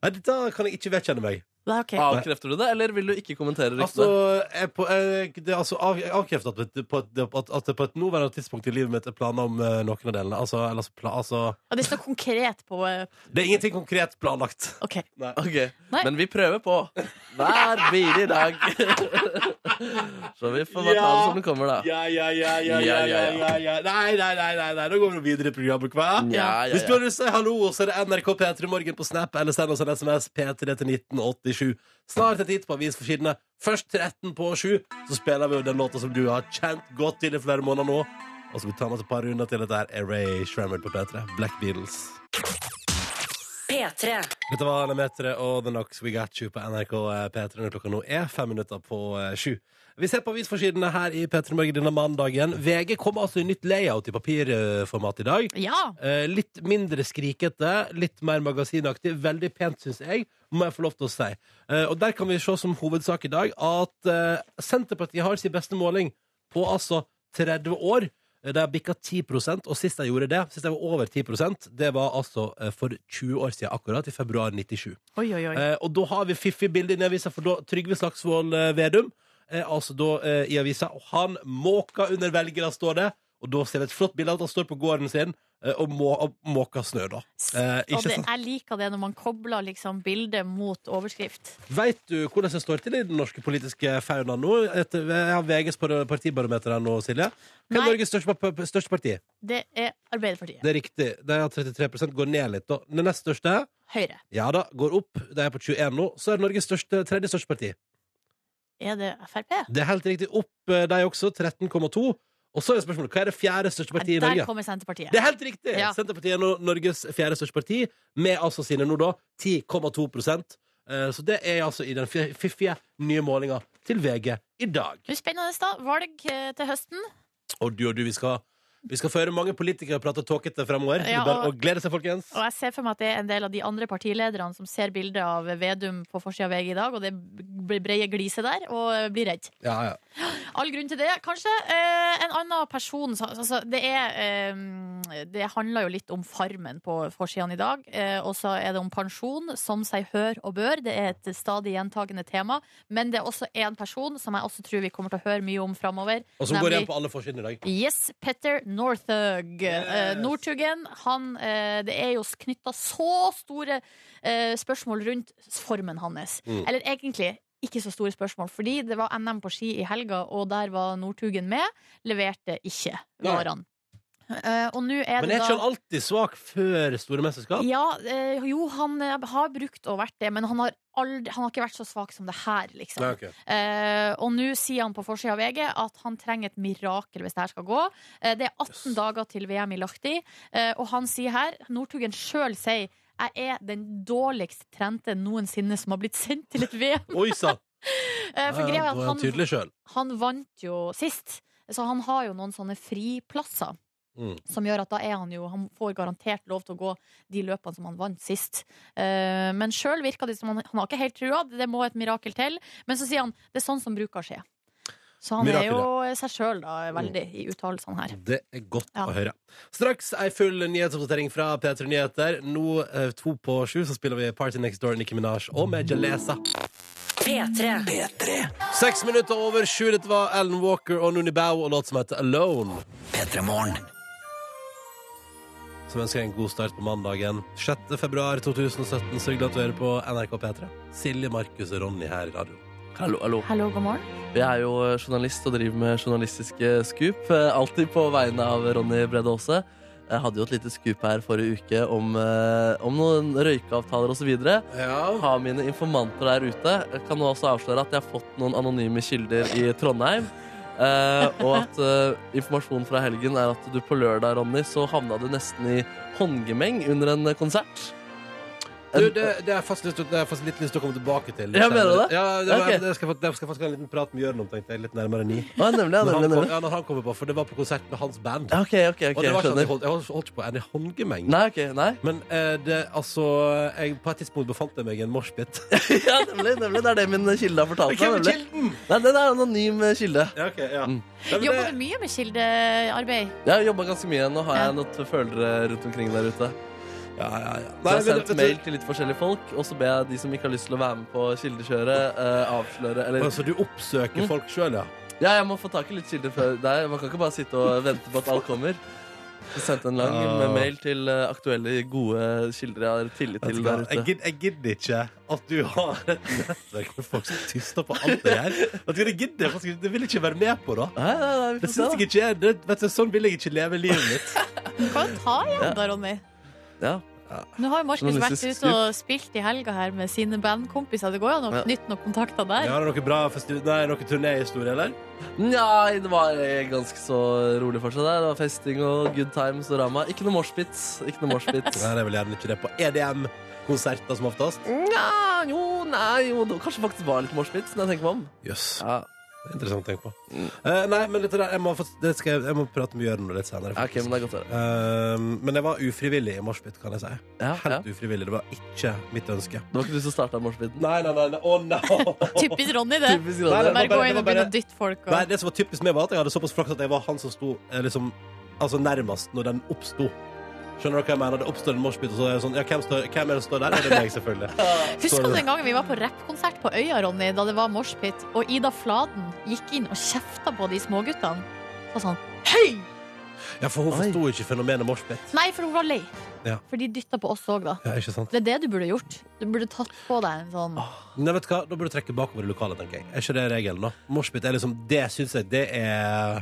Speaker 2: Nei, da kan jeg ikke vedkjenne meg.
Speaker 3: Det er ok.
Speaker 4: Avkrefter du det, eller vil du ikke kommentere ryktene?
Speaker 2: Altså, jeg på, jeg, det er altså av, jeg avkrefter at, det- på et- det- at, at det på et nåværende tidspunkt i livet mitt er planer om eh, noen av delene. Altså, eller, altså, pla, altså,
Speaker 3: Ja, det står konkret på eh,
Speaker 2: det er ingenting konkret planlagt.
Speaker 3: OK.
Speaker 4: Ok,
Speaker 3: Nei.
Speaker 4: Men vi prøver på hver bil i dag. Så vi får bare ta det som det kommer, da.
Speaker 2: Ja, ja, ja, ja, ja,
Speaker 4: Ja,
Speaker 2: ja,
Speaker 4: ja,
Speaker 2: ja,
Speaker 4: ja.
Speaker 2: ja. Nei, nei, nei, nei, nei. Nå går vi videre i programmet, hva?
Speaker 4: Ja, ja,
Speaker 2: Hvis du har
Speaker 4: ja.
Speaker 2: lyst til å si hallo, så er det NRK P3 Morgen på Snap, eller send oss en SMS P3 til 1987. Snart et hit på avis for sidene. Først 13 på 7, så spiller vi jo den låta som du har kjent godt til i flere måneder nå. Og så skal vi ta med oss et par runder til. Dette her er Ray Shrammer på P3. Black Beatles.
Speaker 1: P3.
Speaker 2: Dette var Lemetere og The Knox We Got You på NRK eh, P3 når klokka nå er fem minutter på eh, sju. Vi ser på avisforsidene her i P3 Morgen denne mandagen. VG kom altså i nytt layout i papirformat i dag.
Speaker 3: Ja.
Speaker 2: Eh, litt mindre skrikete, litt mer magasinaktig. Veldig pent, syns jeg, må jeg få lov til å si. Eh, og der kan vi se som hovedsak i dag at eh, Senterpartiet har sin beste måling på altså 30 år. Eh, De har bikka 10 og sist de gjorde det, sist de var over 10 det var altså eh, for 20 år siden akkurat, i februar 97.
Speaker 3: Oi, oi, oi.
Speaker 2: Eh, og da har vi fiffig bilde inne i avisa for da Trygve Slagsvold eh, Vedum. Eh, altså da eh, i avisa. Og han måker under velgere, står det. Og da ser vi et flott bilde av at han står på gården sin eh, og, må, og måker snø, da. Eh,
Speaker 3: Og
Speaker 2: ikke
Speaker 3: det,
Speaker 2: sant?
Speaker 3: jeg liker det når man kobler liksom bildet mot overskrift.
Speaker 2: Veit du hvordan det står til i den norske politiske faunaen nå? Etter, jeg har VGs på det- partibarometer her nå, Silje. Hvem
Speaker 3: Nei.
Speaker 2: er Norges største, pa- pa- største parti?
Speaker 3: Det er Arbeiderpartiet.
Speaker 2: Det er riktig. De har 33 går ned litt. da. Det nest største
Speaker 3: Høyre.
Speaker 2: ja da, går opp. De er på 21 nå. Så er det Norges største, tredje største parti.
Speaker 3: Er det Frp?
Speaker 2: Det er helt riktig. Opp eh, de også. 13,2. Og så er spørsmålet hva er det fjerde største
Speaker 3: Nei,
Speaker 2: partiet i
Speaker 3: der
Speaker 2: Norge?
Speaker 3: kommer Senterpartiet.
Speaker 2: Det er helt riktig!
Speaker 3: Ja.
Speaker 2: Senterpartiet er nå Norges fjerde største parti, med altså sine nå da 10,2 Eh, Så det er altså i den fi- fiffige nye målinga til VG i dag.
Speaker 3: Det er Spennende, da. Valg eh, til høsten.
Speaker 2: Og du og du, vi skal, vi skal få høre mange politikere prate tåkete fremover.
Speaker 3: Ja,
Speaker 2: Bare
Speaker 3: og-
Speaker 2: å glede seg, folkens.
Speaker 3: Og jeg ser for meg at det er en del av de andre partilederne som ser bildet av Vedum på forsida av VG i dag, og det blir brede gliset der, og eh, blir redd.
Speaker 2: Ja, ja.
Speaker 3: All grunn til det, kanskje. Eh, en annen person sa- altså, det, er, eh, det handler jo litt om farmen på forsiden i dag. Eh, og så er det om pensjon, som seg hør og bør. Det er et stadig gjentagende tema. Men det er også en person som jeg også tror vi kommer til å høre mye om framover.
Speaker 2: Og som går igjen på alle forsidene i dag.
Speaker 3: Yes, Petter Northug. Eh,
Speaker 2: Yes.
Speaker 3: Northugen. Han, eh, det er jo knytta så store eh, spørsmål rundt formen hans.
Speaker 2: Mm.
Speaker 3: Eller egentlig ikke så store spørsmål, fordi det var NM på ski i helga, og der var Northugen med. Leverte ikke
Speaker 2: Nei.
Speaker 3: varene. Eh, og nå er
Speaker 2: Men
Speaker 3: det
Speaker 2: er ikke
Speaker 3: da
Speaker 2: han alltid svak før store mesterskap?
Speaker 3: ja, eh, jo, han eh, har brukt og vært det, men han har, aldri, han har ikke vært så svak som det her, liksom.
Speaker 2: Nei, ok.
Speaker 3: Eh, og nå sier han på forsida av VG at han trenger et mirakel hvis det her skal gå. Eh, det er 18 dager til VM i Lahti, eh, og han sier her Northugen sjøl sier jeg er den dårligst trente noensinne som har blitt sendt til et VM.
Speaker 2: Oi sann!
Speaker 3: Eh, for greia er
Speaker 2: Ja, ja, da er
Speaker 3: at
Speaker 2: han
Speaker 3: han,
Speaker 2: tydelig sjøl.
Speaker 3: han vant jo sist, så han har jo noen sånne friplasser.
Speaker 2: Mm.
Speaker 3: Som gjør at da er han jo Han får garantert lov til å gå de løpene som han vant sist. Eh, men sjøl virker det som han, han har ikke helt trua. Det må et mirakel til. Men så sier han det er sånn som bruker å skje. Så han
Speaker 2: Mirakel, Mm.
Speaker 3: er jo seg sjøl, da, veldig, i uttalelsene her.
Speaker 2: Det er godt
Speaker 3: Ja.
Speaker 2: å høre. Straks ei full nyhetsoppdatering fra P3 Nyheter. Nå eh, to på sju så spiller vi Party Next Door, Nicki Minaj og Majalesa.
Speaker 1: P3.
Speaker 2: Seks minutter over sju. Dette var Alan Walker og Nuni Bao og låt som heter Alone. Som ønsker en god start på mandagen. 6. februar 2017. Så hyggelig at du hører på NRK P3. Silje, Markus og Ronny her i radio.
Speaker 4: Hallo, hallo.
Speaker 3: Hallo, god morgen.
Speaker 4: Jeg er jo eh, journalist og driver med journalistiske skup. eh, Alltid på vegne av Ronny Brede Aase. Jeg hadde jo et lite skup her forrige uke om, eh, om noen røykeavtaler osv.
Speaker 2: Ja.
Speaker 4: Har mine informanter der ute. Jeg kan nå også avsløre at jeg har fått noen anonyme kilder i Trondheim. Eh, og at eh, informasjonen fra helgen er at du på lørdag, Ronny, så havna du nesten i håndgemeng under en eh, konsert.
Speaker 2: Du, det, det er fast lyst til- det er fast litt lyst til å komme tilbake til.
Speaker 4: Ja, mener du det?
Speaker 2: Ja, det, var-
Speaker 4: Ok.
Speaker 2: det skal, jeg- det skal jeg faktisk ha en liten prat med Jørn om, tenkte jeg. Litt nærmere ni.
Speaker 4: Å, nemlig, ja,
Speaker 2: Når han,
Speaker 4: nemlig,
Speaker 2: kom,
Speaker 4: nemlig.
Speaker 2: ja, når han kommer på, for det var på konsert med hans band.
Speaker 4: Ja, OK, OK. ok,
Speaker 2: og det var ikke at jeg
Speaker 4: skjønner.
Speaker 2: holdt, jeg holdt, holdt ikke på en håndgemeng.
Speaker 4: Nei, ok, nei.
Speaker 2: Men eh, det, altså jeg, På et tidspunkt befant jeg meg i en moshpit.
Speaker 4: Ja, nemlig, nemlig. Det er det min kilde har fortalt meg. nemlig.
Speaker 2: kilden?
Speaker 4: Nei, det er en anonym eh, kilde.
Speaker 2: Ja, ok, ja.
Speaker 4: Mm.
Speaker 2: Ja, men
Speaker 3: Jobber
Speaker 2: det-
Speaker 3: du mye med kildearbeid?
Speaker 4: Jeg har jobba ganske mye. Nå har
Speaker 3: Ja.
Speaker 4: jeg noen følgere rundt omkring der ute.
Speaker 2: Ja, ja, ja.
Speaker 4: Så
Speaker 2: Nei,
Speaker 4: jeg har
Speaker 2: men
Speaker 4: sendt
Speaker 2: vet du-
Speaker 4: mail til litt forskjellige folk, og så ber jeg de som ikke har lyst til å være med på kildekjøret, eh, avsløre Eller
Speaker 2: Altså, du oppsøker
Speaker 4: Mm.
Speaker 2: folk sjøl, ja.
Speaker 4: ja, jeg må få tak i litt kilder før deg. Man kan ikke bare sitte og vente på at alt kommer. Så sendte en lang
Speaker 2: Ah.
Speaker 4: med mail til eh, aktuelle, gode kilder jeg har tillit
Speaker 2: Vet
Speaker 4: til
Speaker 2: du hva?
Speaker 4: der
Speaker 2: Jeg
Speaker 4: ute.
Speaker 2: gidder, jeg gidder ikke at du har et nettverk med folk som tyster på alt det her. Vet du hva, Det gidder jeg faktisk ikke. Det vil jeg ikke være med på, da.
Speaker 4: Nei, nei, nei, vi får
Speaker 2: Det synes
Speaker 4: se,
Speaker 2: jeg ikke er det, vet du, Sånn vil jeg ikke leve livet mitt.
Speaker 3: Du kan jo ta igjen da, Ronny.
Speaker 4: da. Ja.
Speaker 3: Nå har jo Markus vært
Speaker 4: Journalistisk
Speaker 3: ute og spilt i helga her med sine bandkompiser. Det går jo an å
Speaker 4: Ja.
Speaker 3: knytte noen kontakter der.
Speaker 2: Har du noe bra for stud- Nei, noe turnéhistorie, eller?
Speaker 4: Nei, det var eh, ganske så rolig fortsatt der. Det var festing og good times og rama. Ikke noe moshpit. Ikke noe moshpit.
Speaker 2: Nei, det er vel gjerne ikke det på E EDM-konserter som oftest.
Speaker 4: Nja, jo, nei, jo. det Kanskje faktisk var litt moshpit, når jeg tenker meg om.
Speaker 2: Jøss.
Speaker 4: Ja, Mm.
Speaker 2: Det er Interessant å tenke på. Eh, nei, men dette der, jeg må, få, det skal jeg, jeg må prate med Jørn om litt senere.
Speaker 4: ok,
Speaker 2: faktisk.
Speaker 4: men det er godt å høre.
Speaker 2: Eh, men jeg var ufrivillig i moshpit, kan jeg si.
Speaker 4: Ja, ja.
Speaker 2: Helt ufrivillig. Det var ikke mitt ønske.
Speaker 4: Det var ikke du som starta moshpiten?
Speaker 2: Nei, nei, nei. nei. Å, nei.
Speaker 3: Typisk Ronny, det.
Speaker 4: Typisk
Speaker 2: Nei,
Speaker 4: Ronny.
Speaker 2: var
Speaker 3: Bare gå
Speaker 2: bare- det
Speaker 3: inn
Speaker 2: var
Speaker 3: og begynne
Speaker 2: bare-
Speaker 3: å dytte folk.
Speaker 2: Nei,
Speaker 3: Og...
Speaker 2: det som var typisk meg, var at jeg hadde såpass flaks at jeg var han som sto eh, liksom, altså nærmest når den oppsto. Skjønner dere hva jeg mener? Det oppstår en moshpit, og så er det sånn Ja, hvem, står, hvem er det som står der? Ja, det er meg, selvfølgelig.
Speaker 3: Husker du den gangen vi var på rappkonsert på Øya, Ronny, da det var moshpit, og Ida Fladen gikk inn og kjefta på de småguttene? Så var sånn Hei!
Speaker 2: Ja, for hun forsto ikke fenomenet moshpit.
Speaker 3: Nei, for hun var lei.
Speaker 2: Ja.
Speaker 3: For de dytta på oss òg, da.
Speaker 2: Ja, ikke sant?
Speaker 3: Det er det du burde gjort. Du burde tatt på deg en sånn
Speaker 2: Nei, vet du hva? Da burde du trekke bakover i lokalet, tenker jeg. Er ikke det regelen, da? Moshpit er liksom Det syns jeg det er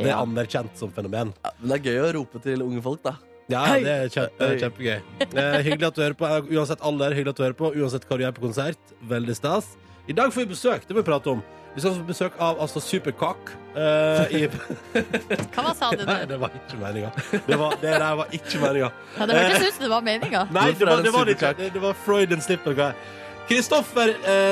Speaker 2: Det er
Speaker 3: Ja.
Speaker 2: anerkjent som fenomen.
Speaker 4: Ja, men det er gøy å rope til unge folk, da.
Speaker 2: Ja,
Speaker 4: Hei!
Speaker 2: det er kjempe, det er kjempegøy. Eh, hyggelig at du hører på. eh, Uansett alder, hyggelig at du hører på. Uansett hva du gjør på konsert. Veldig stas. I dag får vi besøk. Det må vi prate om. Vi skal få besøk av altså, Superkakk. eh, i,
Speaker 3: Hva sa du
Speaker 2: nei,
Speaker 3: nå?
Speaker 2: det var ikke meninga. Det, var, det der var ikke meninga.
Speaker 3: Ja, det hørtes ut som det var meninga.
Speaker 2: Nei, det
Speaker 4: Hvorfor er
Speaker 2: var,
Speaker 4: det
Speaker 2: det var, det ikke,
Speaker 4: Superkakk?
Speaker 2: det, det var Freud and Slip noe. Kristoffer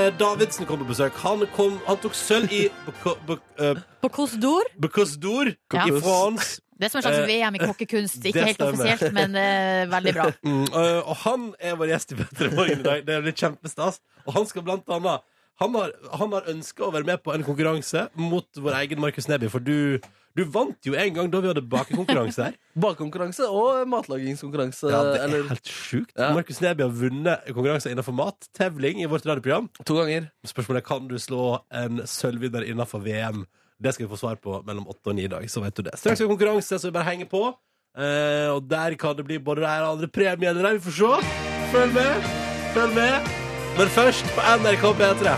Speaker 2: eh, Davidsen kom på besøk. Han, kom, han tok sølv i Beco- Be- eh,
Speaker 3: På Kos d'Or.
Speaker 2: Because d'Or
Speaker 3: Ja.
Speaker 2: i France.
Speaker 3: Det er som en slags
Speaker 2: Eh,
Speaker 3: VM i kokkekunst.
Speaker 2: det
Speaker 3: Ikke helt
Speaker 2: stemmer.
Speaker 3: offisielt, men eh, veldig bra.
Speaker 2: Mm, øh, og han er vår gjest i Petter i morgen i dag. Det blir kjempestas. Og han skal blant annet Han har, han har ønska å være med på en konkurranse mot vår egen Markus Neby, for du, du vant jo en gang da vi hadde bakekonkurranse her.
Speaker 4: Bakkonkurranse og matlagingskonkurranse.
Speaker 2: Ja, det er
Speaker 4: eller
Speaker 2: helt sjukt.
Speaker 4: Ja.
Speaker 2: Markus Neby har vunnet konkurranser innenfor mat. Tevling i vårt radioprogram.
Speaker 4: to ganger.
Speaker 2: Spørsmålet er kan du slå en sølvvinner innenfor VM. Det skal vi få svar på mellom åtte og ni i dag. Så vet du det. Straks er det konkurranse, så vi bare henger på. Eh, og der kan det bli både det ene og andre premier. Vi får se. Følg med. Følg med. Men først på NRK P3.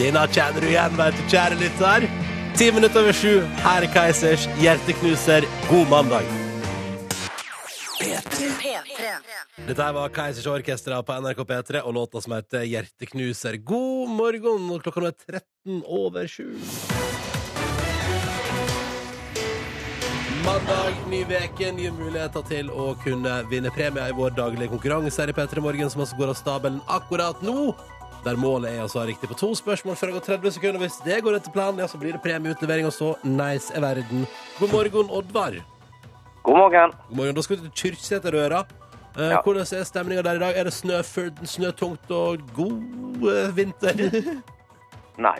Speaker 2: Dina kjenner du igjen, vet du, kjære lytter. Ti minutter over sju. Her er Keisers hjerteknuser. God mandag.
Speaker 1: P3.
Speaker 2: Dette her var Keisers Orkestra på NRK P3 og låta som heter Hjerteknuser. God morgen, og klokka nå er 13 over 7. Mandag, ny veke, nye muligheter til å kunne vinne premie i vår daglige konkurranse her i P3 Morgen, som altså går av stabelen akkurat nå. Der målet er altså å ha riktig på to spørsmål før det går 30 sekunder. Hvis det går etter planen, ja, så blir det premieutlevering, og så nice er verden. God morgen, Oddvar.
Speaker 5: God morgen.
Speaker 2: God morgen. Da skal vi til Kyrksæterøra. Eh,
Speaker 5: Ja.
Speaker 2: Hvordan er stemninga der i dag? Er det snøfullt, snøtungt og god eh, vinter?
Speaker 5: Nei,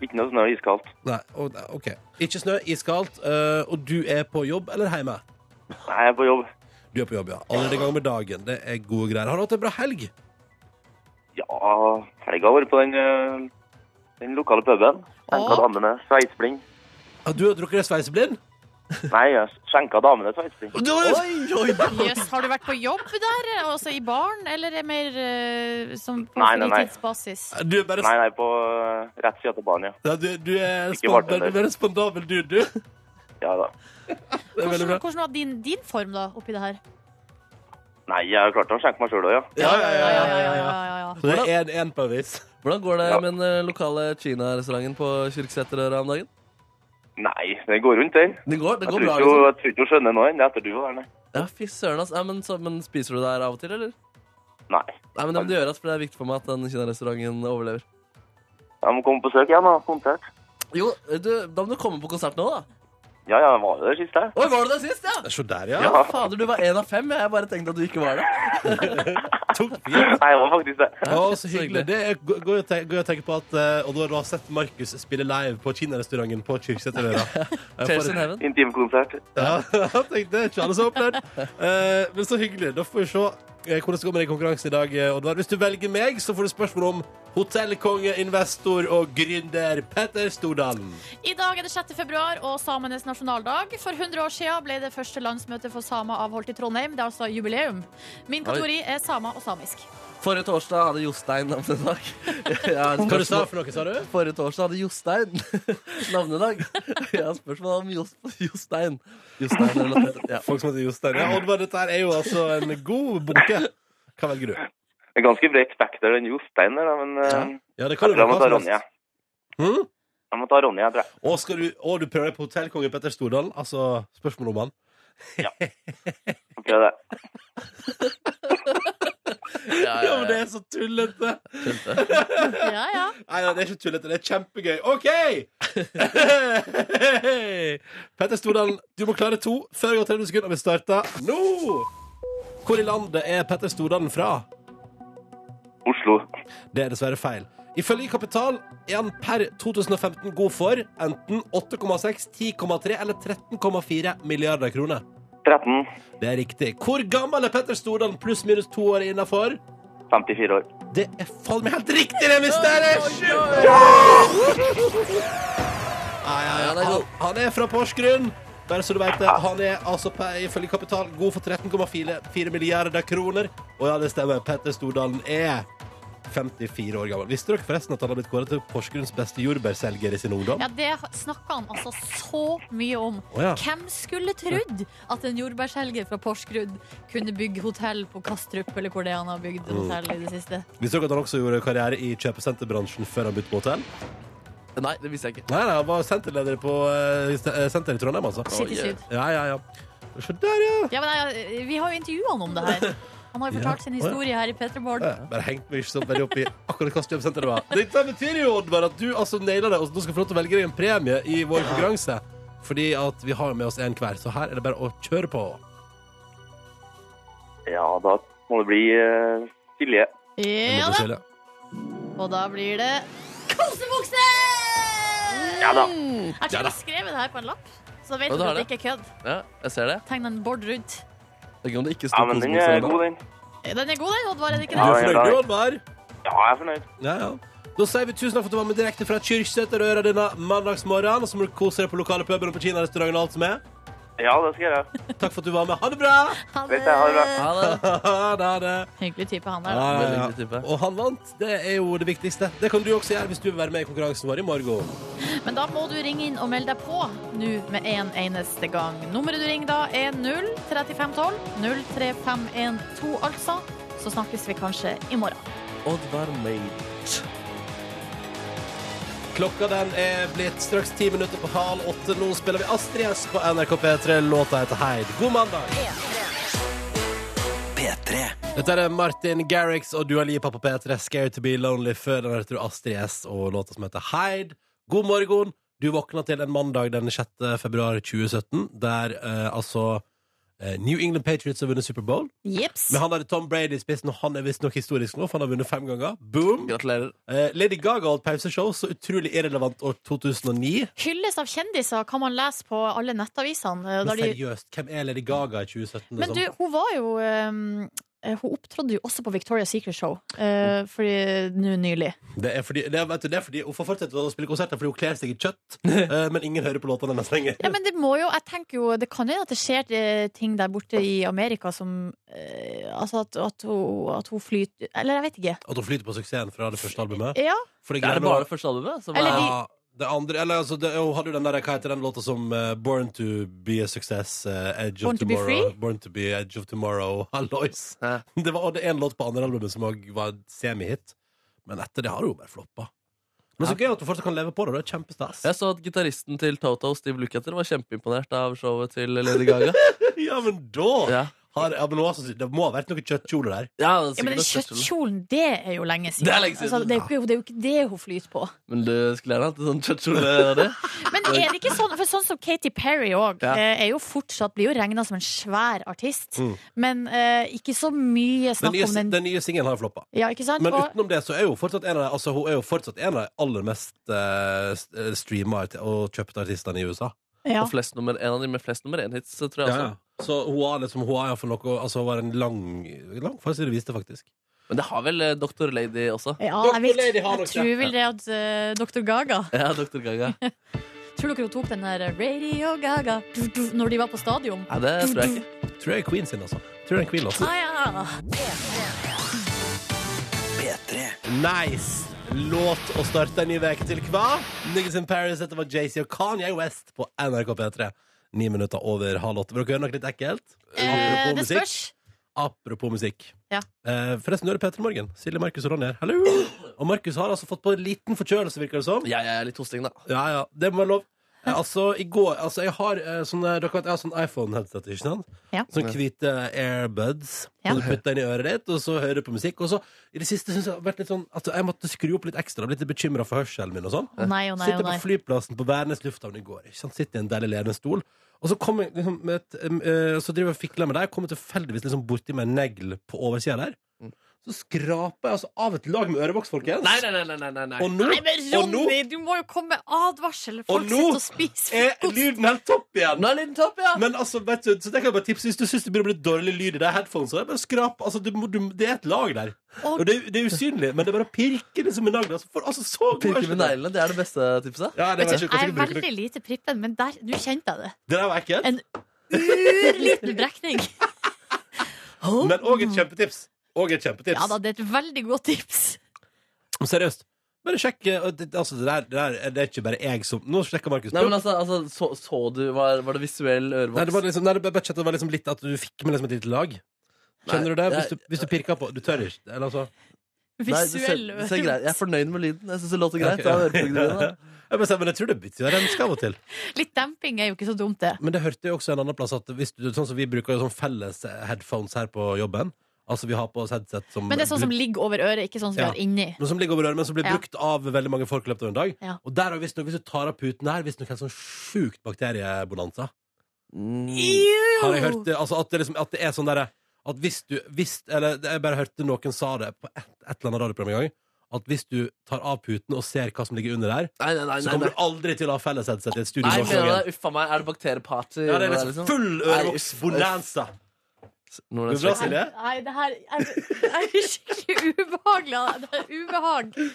Speaker 5: ikke noe snø iskaldt.
Speaker 2: Nei, å, nei, OK. Ikke snø, iskaldt. eh, og du er på jobb eller hjemme?
Speaker 5: Nei, jeg er på jobb.
Speaker 2: Du er på jobb, ja. Allerede i gang med dagen. Det er gode greier. Har du hatt en bra helg?
Speaker 5: Ja, helga har vært på den, eh, den lokale puben. Skjenka
Speaker 3: Åh.
Speaker 5: damene sveisblind.
Speaker 2: Har du drukket deg sveiseblind?
Speaker 5: Nei, jeg skjenka damene sveisblind.
Speaker 2: Du,
Speaker 4: oi,
Speaker 3: Jøss, har du vært på jobb der? Altså i baren, eller er det mer eh, som på
Speaker 5: Nei, nei, nei.
Speaker 3: fritidsbasis?
Speaker 2: du er bare
Speaker 5: Nei, nei, på eh, rett side av banen, ja.
Speaker 2: ja, du, du er
Speaker 5: Ikke vært
Speaker 2: spandabel, du
Speaker 5: under.
Speaker 2: er bare spandabel dude, du.
Speaker 5: Ja da.
Speaker 2: Det er veldig
Speaker 3: Hvordan,
Speaker 2: bra.
Speaker 3: hvordan var din, din form da oppi det her?
Speaker 5: Nei, jeg har klart å skjenke meg sjøl òg, ja.
Speaker 2: Ja, ja, ja. ja, ja, ja.
Speaker 3: ja,
Speaker 2: Så det er 1-1 på en vis.
Speaker 4: Hvordan går det
Speaker 5: Ja.
Speaker 4: med den eh, lokale Kina-restauranten på Kyrksæterøra om dagen?
Speaker 5: Nei, den går rundt, den.
Speaker 4: Det går, det
Speaker 5: Jeg
Speaker 4: går
Speaker 5: tror ikke
Speaker 4: bra, liksom.
Speaker 5: hun- jeg tror ikke hun skjønner noe ennå etter du var der, nei.
Speaker 4: Ja, fy søren, ass. Ja, men, så, men spiser du der av og til, eller?
Speaker 5: Nei.
Speaker 4: Nei, men Det må du gjøre, ass, for det er viktig for meg at den kinarestauranten overlever.
Speaker 5: Jeg må komme på besøk igjen og ha konsert.
Speaker 4: Jo, du, Da må du komme på konsert nå, da.
Speaker 5: Ja, ja, jeg var jo der sist, jeg.
Speaker 4: Oi, var du der sist, ja?
Speaker 2: Se der, ja.
Speaker 4: Ja, fader, du var én av fem. ja. Jeg bare tenkte at du ikke var det.
Speaker 2: tok det for gitt.
Speaker 5: Nei, det var faktisk det.
Speaker 2: Ja, så hyggelig. Det er go- gøy å te- gøy å tenke på at eh, Og da har du sett Markus spille live på kinarestauranten på Eh, Kyrksæterøra.
Speaker 4: Cheers in heaven.
Speaker 5: Intimkonsert.
Speaker 2: Ja, tenk, det er ikke alle som har opplevd. Eh, men så hyggelig. Da får vi se eh, hvordan det går med deg i konkurransen i dag, eh, Oddvar. Hvis du velger meg, så får du spørsmål om hotellkonge, investor og gründer Petter Stordalen.
Speaker 3: I dag er det 6. februar og samenes nasjonaldag. For 100 år siden ble det første landsmøtet for samer avholdt i Trondheim. Det er altså jubileum. Min kategori er samer og samisk.
Speaker 4: Forrige torsdag hadde Jostein navnedag. Jeg har et
Speaker 2: Hva du sa
Speaker 4: spørsmål-
Speaker 2: for noe, sa du?
Speaker 4: Forrige torsdag hadde Jostein navnedag. Jeg har spørsmål om Jos- Jostein. Jostein relatert. ja.
Speaker 2: Folk som heter Jostein. Ja, Oddvar, dette her er jo altså en god bunke. Hva velger du?
Speaker 5: Det er ganske bredt spekter, den Jostein der, da, men eh,
Speaker 2: Ja, det
Speaker 5: jeg
Speaker 2: kan
Speaker 5: tror jeg må ta
Speaker 2: være hva som
Speaker 5: Ronja.
Speaker 2: helst. Hm?
Speaker 5: Jeg må ta Ronja, jeg tror jeg.
Speaker 2: Og, skal du, og du prøver deg på hotellkonge Petter Stordalen? Altså spørsmål om han.
Speaker 5: Får prøve det.
Speaker 4: Ja,
Speaker 2: Ja, men det er så tullete!
Speaker 4: Skjønte.
Speaker 3: Ja, ja.
Speaker 2: Nei, nei, det er ikke tullete. Det er kjempegøy. OK! Petter Stordalen, du må klare to før det går 30 sekunder. og Vi starter nå! Hvor i landet er Petter Stordalen fra?
Speaker 5: Oslo.
Speaker 2: Det er dessverre feil. Ifølge Kapital er han per 2015 god for enten 8,6, 10,3 eller 13,4 milliarder kroner.
Speaker 5: 13.
Speaker 2: Det er riktig. Hvor gammel er Petter Stordalen pluss minus to år innafor?
Speaker 5: 54 år.
Speaker 2: Det er faen meg helt riktig, det, mysteriet!
Speaker 6: Oh,
Speaker 2: Nei, ja, ja.
Speaker 4: Ja, det er
Speaker 2: Han,
Speaker 4: god.
Speaker 2: han er fra Porsgrunn. Bare så du vet det. Han er altså pe- ifølge Kapital god for 13,4 milliarder kroner. Og ja, det stemmer. Petter Stordalen er 54 år gammel. Visste dere forresten at han har blitt kåret til Porsgrunns beste jordbærselger i sin ungdom?
Speaker 3: ja det snakka han altså så mye om.
Speaker 2: Å, ja.
Speaker 3: Hvem skulle trodd at en jordbærselger fra Porsgrunn kunne bygge hotell på Kastrup, eller hvor det er han har bygd
Speaker 2: Mm.
Speaker 3: hotell i det siste?
Speaker 2: Visste dere at han også gjorde karriere i kjøpesenterbransjen før han begynte på hotell?
Speaker 4: Nei, det visste jeg ikke.
Speaker 2: Nei, nei, han var senterleder på eh, st- eh, senter i Trondheim, altså.
Speaker 3: City
Speaker 4: yeah.
Speaker 3: Syd.
Speaker 2: Ja, ja, ja. Se der, ja!
Speaker 3: Ja, men jeg, vi har jo intervjua han om det her. Han har jo fortalt sin
Speaker 2: Ja. Å, ja.
Speaker 3: historie her i P3 Morgen.
Speaker 2: Ja, Bare hengt meg ikke så veldig opp i akkurat hva jobbsenter det var. Dette betyr jo, Oddvar, at du altså nailer det, og nå skal du få lov til å velge deg en premie i vår konkurranse. Fordi at vi har med oss en hver, så her er det bare å kjøre på.
Speaker 5: Ja, da må det bli uh, Silje.
Speaker 3: Ja da! Og da blir det kosebukse!
Speaker 5: Ja da.
Speaker 3: Jeg
Speaker 4: Mm.
Speaker 2: Ja
Speaker 3: tror
Speaker 2: da.
Speaker 3: jeg skrev det her på en lapp, så vet
Speaker 4: Ja,
Speaker 3: du
Speaker 4: det har
Speaker 3: at det ikke er kødd.
Speaker 4: Ja, jeg ser det.
Speaker 3: Tegn en bord rundt. Eh,
Speaker 4: Det er Ikke om det ikke
Speaker 5: Ja,
Speaker 4: står
Speaker 5: men den
Speaker 4: kosmos
Speaker 5: er
Speaker 4: eller noe.
Speaker 5: god, den.
Speaker 3: Den er god, den, Oddvar. Er det ikke
Speaker 2: Du
Speaker 5: Ja,
Speaker 3: det?
Speaker 2: er
Speaker 5: ja,
Speaker 2: fornøyd,
Speaker 5: ja.
Speaker 2: du, Oddvar?
Speaker 5: Ja, jeg er fornøyd.
Speaker 2: Ja, ja. Da sier vi tusen takk for at du var med direkte fra Kyrksæterøra denne mandagsmorgenen. Og så må du kose deg på lokale puben og på kinarestauranten og alt som er.
Speaker 5: Ja, det skal jeg gjøre.
Speaker 2: Takk for at du var med. Ha det bra!
Speaker 3: Ha
Speaker 5: Vet jeg, ha det bra.
Speaker 4: Ha det.
Speaker 2: Ha det.
Speaker 3: Hyggelig type, han der. da.
Speaker 2: Ja, ja,
Speaker 4: Veldig hyggelig
Speaker 2: ja.
Speaker 4: type.
Speaker 2: Og han vant. Det er jo det viktigste. Det kan du også gjøre hvis du vil være med i konkurransen vår i morgen.
Speaker 3: Men da må du ringe inn og melde deg på nå med en eneste gang. Nummeret du ringer da er 03512 03512, altså. Så snakkes vi kanskje i morgen.
Speaker 4: Oddvar Maid.
Speaker 2: Klokka den er blitt straks ti minutter på halv åtte. Nå spiller vi Astrid S på NRK P3. Låta heter Heid. God mandag! Dette er Martin Garrix og Dua Lipa på P3. Scared to be lonely. Før den hørte du Astrid S og låta som heter Heid. God morgen. Du våkna til en mandag den 6. februar 2017, der eh, altså eh, New England Patriots har vunnet Superbowl.
Speaker 3: Jips.
Speaker 2: Med han der Tom Brady i spissen, og han er visstnok historisk nå, for han har vunnet fem ganger. Boom!
Speaker 4: Gratulerer.
Speaker 2: Eh, Lady Gaga holdt pauseshow, så utrolig irrelevant år 2009.
Speaker 3: Hylles av kjendiser kan man lese på alle nettavisene. Da
Speaker 2: Men
Speaker 3: de...
Speaker 2: seriøst, hvem er Lady Gaga i 2017?
Speaker 3: Men du,
Speaker 2: liksom?
Speaker 3: hun var jo ehm, eh, Hun opptrådte jo også på Victoria's Secret Show eh,
Speaker 4: Mm.
Speaker 3: fordi, nå nylig.
Speaker 2: det, er fordi, det, er- vet du, det er fordi hun får fortsette å spille konserter fordi hun kler seg i kjøtt, eh, men ingen hører på låtene hennes lenger.
Speaker 3: Ja, men det må jo, jeg tenker jo Det kan jo at det skjer eh, ting der borte i Amerika som eh, Altså at, at, hun, at hun flyter Eller jeg vet ikke.
Speaker 2: At hun flyter på suksessen fra det første albumet.
Speaker 3: Ja,
Speaker 2: For det
Speaker 4: Er
Speaker 2: greier
Speaker 4: det bare det første albumet? Som
Speaker 3: Eller
Speaker 4: er,
Speaker 3: de-
Speaker 2: ja, det andre Eller altså, det, hun hadde jo den der, hva heter den låta som eh, Born to be a success, eh, Edge
Speaker 3: Born
Speaker 2: of
Speaker 3: to be
Speaker 2: tomorrow
Speaker 3: free?
Speaker 2: Born to be Edge of tomorrow, hallois.
Speaker 4: Hæ?
Speaker 2: Det var og det er en låt på andre albumet som også var en semihit, men etter det har hun bare floppa. Men så gøy at hun fortsatt kan leve på det. Det er kjempestas.
Speaker 4: Jeg så at gitaristen til Toto, Steve Lukather, var kjempeimponert av showet til Lady Gaga.
Speaker 2: Ja, men da!
Speaker 4: Ja.
Speaker 2: Har, ja, men også, det må ha vært noen kjøttkjoler der.
Speaker 4: Ja, det er
Speaker 3: Ja, men
Speaker 4: sikkert
Speaker 3: den
Speaker 4: det største.
Speaker 3: kjøttkjolen, det er jo lenge siden.
Speaker 4: Det er lenge siden.
Speaker 3: Altså, det, er jo ikke, det er jo ikke det hun flyter på.
Speaker 4: Men du skulle gjerne hatt en sånn kjøttkjole. det.
Speaker 3: Men er det ikke sånn, for sånn som Katy Perry òg,
Speaker 4: Ja.
Speaker 3: er jo fortsatt blir jo regna som en svær artist.
Speaker 2: Mm.
Speaker 3: Men eh, ikke så mye
Speaker 2: Den
Speaker 3: snakk
Speaker 2: nye,
Speaker 3: om den.
Speaker 2: den nye singelen har floppa.
Speaker 3: Ja, ikke sant?
Speaker 2: Men
Speaker 3: Og,
Speaker 2: utenom det så er jo fortsatt en av de, altså, hun er jo fortsatt en av de aller mest eh, s- eh, streama arti- og kjøpte artistene i USA.
Speaker 3: ja.
Speaker 4: Og flest nummer, en av de med flest nummer én-hits, tror jeg.
Speaker 2: Ja,
Speaker 4: også
Speaker 2: ja. Så hun har liksom, hun har iallfall noe Altså, hun var en lang, lang fase det viste, faktisk.
Speaker 4: Men det har vel eh, Dr. Lady også.
Speaker 3: Ja,
Speaker 2: Dr.
Speaker 3: jeg, vet,
Speaker 2: Lady
Speaker 3: jeg
Speaker 2: har nok det.
Speaker 3: tror vel det at eh, Dr. Gaga
Speaker 4: Ja, Dr. Gaga.
Speaker 3: Tror dere hun tok den der eh, Radio Gaga du, du, når de var på stadion?
Speaker 4: Nei, det tror jeg ikke.
Speaker 2: Tror jeg er Queen sin, altså. Tror jeg er en Queen, altså.
Speaker 3: Ah, ja.
Speaker 2: Nice låt å starte en ny veke til hva? Niggas in Paris, dette var JC og Kanye West på NRK P3. Ni minutter over halv åtte. Vil dere høre noe litt ekkelt?
Speaker 3: Eh, det
Speaker 2: musikk.
Speaker 3: spørs.
Speaker 2: Apropos musikk.
Speaker 3: Ja.
Speaker 2: Eh, forresten, du er Peter Morgen. Silje, Markus og Ronny her. Hallo! Og Markus har altså fått på en liten forkjølelse, virker det som.
Speaker 4: Jeg er litt hosting, da.
Speaker 2: Ja, ja, det må være lov. Eh, altså, i går Altså, jeg har eh, sånne Dere vet, jeg har sånn iPhone-headset, ikke sant?
Speaker 3: Ja.
Speaker 2: Sånn hvite airbuds.
Speaker 3: Ja.
Speaker 2: Som du putter inn i øret ditt, og så hører du på musikk. Og så, i det siste, syns jeg det har vært litt sånn at jeg måtte skru opp litt ekstra. Blitt litt bekymra for hørselen min og sånn.
Speaker 3: Å nei, å nei, å
Speaker 2: Sitter
Speaker 3: nei.
Speaker 2: på flyplassen på Værnes lufthavn i går. Ikke sant? Sitter i en deilig ledig stol. Og så, kom jeg, liksom, med et, em, eh, så driver jeg og fikler med deg, kommer tilfeldigvis liksom borti med en negl på oversida der. Så skraper jeg altså av et lag med ørevoks, folkens.
Speaker 4: Nei, nei, nei. nei, nei, nei.
Speaker 2: Og nå,
Speaker 3: Nei, men
Speaker 2: og nå
Speaker 3: Ronny, du må jo komme med advarsel!
Speaker 2: Og
Speaker 3: Folk
Speaker 2: nå
Speaker 3: sitter og spiser.
Speaker 2: er lyden helt topp igjen.
Speaker 4: Nå er lyden topp, ja!
Speaker 2: Men altså, vet du, så det kan jeg bare tipse Hvis du syns det begynner å bli dårlig lyd i de headphonesene, bare skrap. Altså, du, må- du, det er et lag der.
Speaker 3: Og-
Speaker 2: Og det, er- det er usynlig, men det er bare å pirke det som en nagel. Altså, for, altså, så god
Speaker 4: Pirke med
Speaker 2: er det.
Speaker 4: neglene, det er det beste tipset.
Speaker 2: Ja,
Speaker 3: Vet
Speaker 2: det vet
Speaker 3: du,
Speaker 2: ikke, kanskje
Speaker 3: jeg er
Speaker 2: jeg bruker
Speaker 3: veldig
Speaker 2: det.
Speaker 3: lite prippen, men der, nå kjente jeg det.
Speaker 2: Det der var ekkelt.
Speaker 3: En Liten brekning.
Speaker 2: Men òg
Speaker 4: Mm.
Speaker 2: et kjempetips. Og et kjempetips.
Speaker 3: Ja da, det er et veldig godt tips.
Speaker 2: Seriøst. Bare sjekk. eh, og Det, altså, det, der, det der er- det er ikke bare jeg som Nå sjekker Markus.
Speaker 4: Nei, men altså, altså så, så du Var, var det visuell
Speaker 2: Nei, det
Speaker 4: ørevoks?
Speaker 2: var liksom, nei, det var bare chat, det var liksom litt at du fikk med liksom et lite lag. Skjønner du det? Hvis du, hvis du pirker på Du tør ikke. Eller altså
Speaker 4: Nei, det ser,
Speaker 3: Visuell
Speaker 4: det ser greit. Jeg er fornøyd med lyden. Jeg syns det låter greit.
Speaker 2: Ja, ok,
Speaker 4: da, øreprogrammene.
Speaker 2: ja. Jeg bare sier, men jeg tror det betyr å renske av og til.
Speaker 3: Litt demping er jo ikke så dumt, det.
Speaker 2: Men det hørte jeg også en annen plass at hvis du, sånn som vi bruker jo sånn felles headphones her på jobben. Altså vi har på oss headset som
Speaker 3: Men det er sånn som ligger over øret, ikke sånn som
Speaker 2: Ja.
Speaker 3: vi har inni.
Speaker 2: men som ligger over øret, men som blir
Speaker 3: Ja.
Speaker 2: brukt av veldig mange folk i løpet av en dag.
Speaker 3: Ja.
Speaker 2: Og der har visstnok, hvis du tar av puten her, visstnok en sånn sjukt bakteriebonanza.
Speaker 4: Mm.
Speaker 2: Har jeg hørt det, altså at det, liksom, at det er sånn derre At hvis du hvis, Eller det- jeg bare hørte noen sa det på et, et eller annet radioprogram en gang. At hvis du tar av puten og ser hva som ligger under der,
Speaker 4: Nei, nei, nei.
Speaker 2: så
Speaker 4: nei,
Speaker 2: kommer
Speaker 4: nei.
Speaker 2: du aldri til å ha felles headset i et studio.
Speaker 4: Nei,
Speaker 2: i
Speaker 4: mener du
Speaker 2: Norge.
Speaker 4: det? Uffa meg, er det bakterieparty?
Speaker 2: Ja, det
Speaker 4: Hva
Speaker 2: er liksom full ørevoksbonanza.
Speaker 4: Noe av
Speaker 2: Det er
Speaker 4: den
Speaker 2: bra,
Speaker 4: slags.
Speaker 2: Silje.
Speaker 3: Nei, det her er, er skikkelig ubehagelig. Det er ubehag.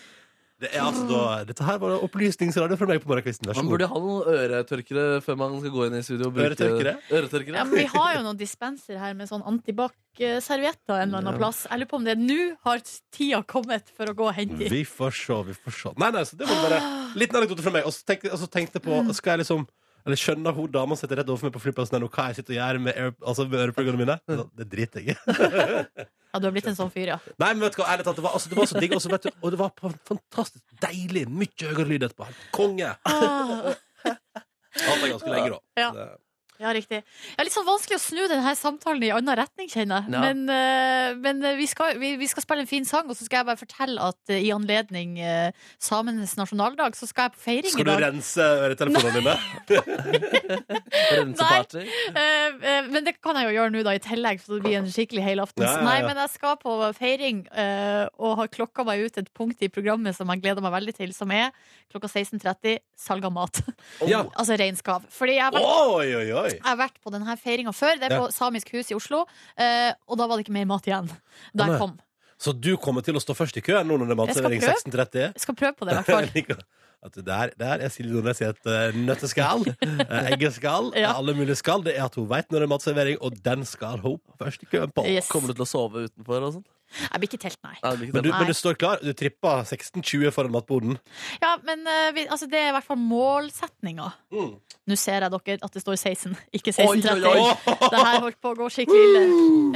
Speaker 2: Det er altså da, dette her var opplysningsradio fra meg på morgenkvisten. Vær så
Speaker 4: Man
Speaker 2: god.
Speaker 4: burde ha noen øretørkere før man skal gå inn i studio. Og bruke
Speaker 2: Øretørkere?
Speaker 4: Øretørkere.
Speaker 3: Ja, men vi har jo noen dispenser her med sånn antibac-servietter en eller annen
Speaker 4: Ja.
Speaker 3: plass. Jeg lurer på om det er nå har tida kommet for å gå og hente de.
Speaker 2: Vi får se, vi får se. Nei, nei, så det var bare liten anekdote fra meg. Og så tenkte, og så tenkte jeg på
Speaker 3: Mm.
Speaker 2: Skal jeg liksom eller skjønner hun dama sitter rett overfor meg på flyplassen her nå, hva jeg sitter og gjør med, air, altså med øreprogrammene mine?
Speaker 3: Mm.
Speaker 2: Da- Det driter jeg i.
Speaker 3: Ja, du har blitt en sånn fyr, ja.
Speaker 2: Nei, men vet du hva, ærlig talt, det var, altså, det var så digg, og så vet du, og det var på en fantastisk deilig, mye høyere lyd etterpå. Helt Konge!
Speaker 3: Ah.
Speaker 2: Alt er ganske lenge, da.
Speaker 3: Ja.
Speaker 2: Det-
Speaker 3: Ja, riktig. Det er litt sånn vanskelig å snu denne samtalen i annen retning, kjenner jeg.
Speaker 4: Ja.
Speaker 3: Men, eh, men eh, vi, skal, vi, vi skal spille en fin sang, og så skal jeg bare fortelle at eh, i anledning eh, samenes nasjonaldag, så skal jeg på feiring
Speaker 2: Skal
Speaker 3: i
Speaker 2: du
Speaker 3: dag.
Speaker 2: rense øretelefonene dine?
Speaker 4: Renseparty.
Speaker 3: Eh, eh, men det kan jeg jo gjøre nå, da, i tillegg, så det blir en skikkelig helaftens.
Speaker 2: Ja, ja, ja.
Speaker 3: Nei, men jeg skal på feiring, eh, og har klokka meg ut et punkt i programmet som jeg gleder meg veldig til, som er klokka 16.30 salg av mat.
Speaker 2: Ja.
Speaker 3: altså reinskav. Fordi jeg har vært
Speaker 2: Oi, oi, oi!
Speaker 3: Jeg har vært på denne feiringa før. Det er på Samisk hus i Oslo. eh, og da var det ikke mer mat igjen. Da
Speaker 2: Nei.
Speaker 3: jeg kom.
Speaker 2: Så du kommer til å stå først i køen nå når det er
Speaker 3: Jeg skal
Speaker 2: matservering
Speaker 3: prøve.
Speaker 2: 16.30?
Speaker 3: Jeg skal prøve på det, i hvert fall.
Speaker 2: Jeg liker At det der, der er Silje Nordnes i et eh, nøtteskall, eh, eggeskall,
Speaker 3: Ja.
Speaker 2: eh, alle mulige skall. Det er at hun veit når det er matservering, og den skal hun først i køen på.
Speaker 3: Yes.
Speaker 4: Kommer du til å sove utenfor og sånn?
Speaker 3: Jeg blir ikke telt, nei.
Speaker 4: Nei, det blir ikke
Speaker 2: Men du,
Speaker 4: det.
Speaker 2: men du står klar? Du trippa 16-20 foran matboden.
Speaker 3: Ja, men eh, vi, altså, det er i hvert fall målsetninga.
Speaker 2: Mm.
Speaker 3: Nå ser jeg dere at det står 16, ikke
Speaker 4: Oi,
Speaker 3: 16.30.
Speaker 4: oi,
Speaker 3: Det her holdt på å gå skikkelig ille.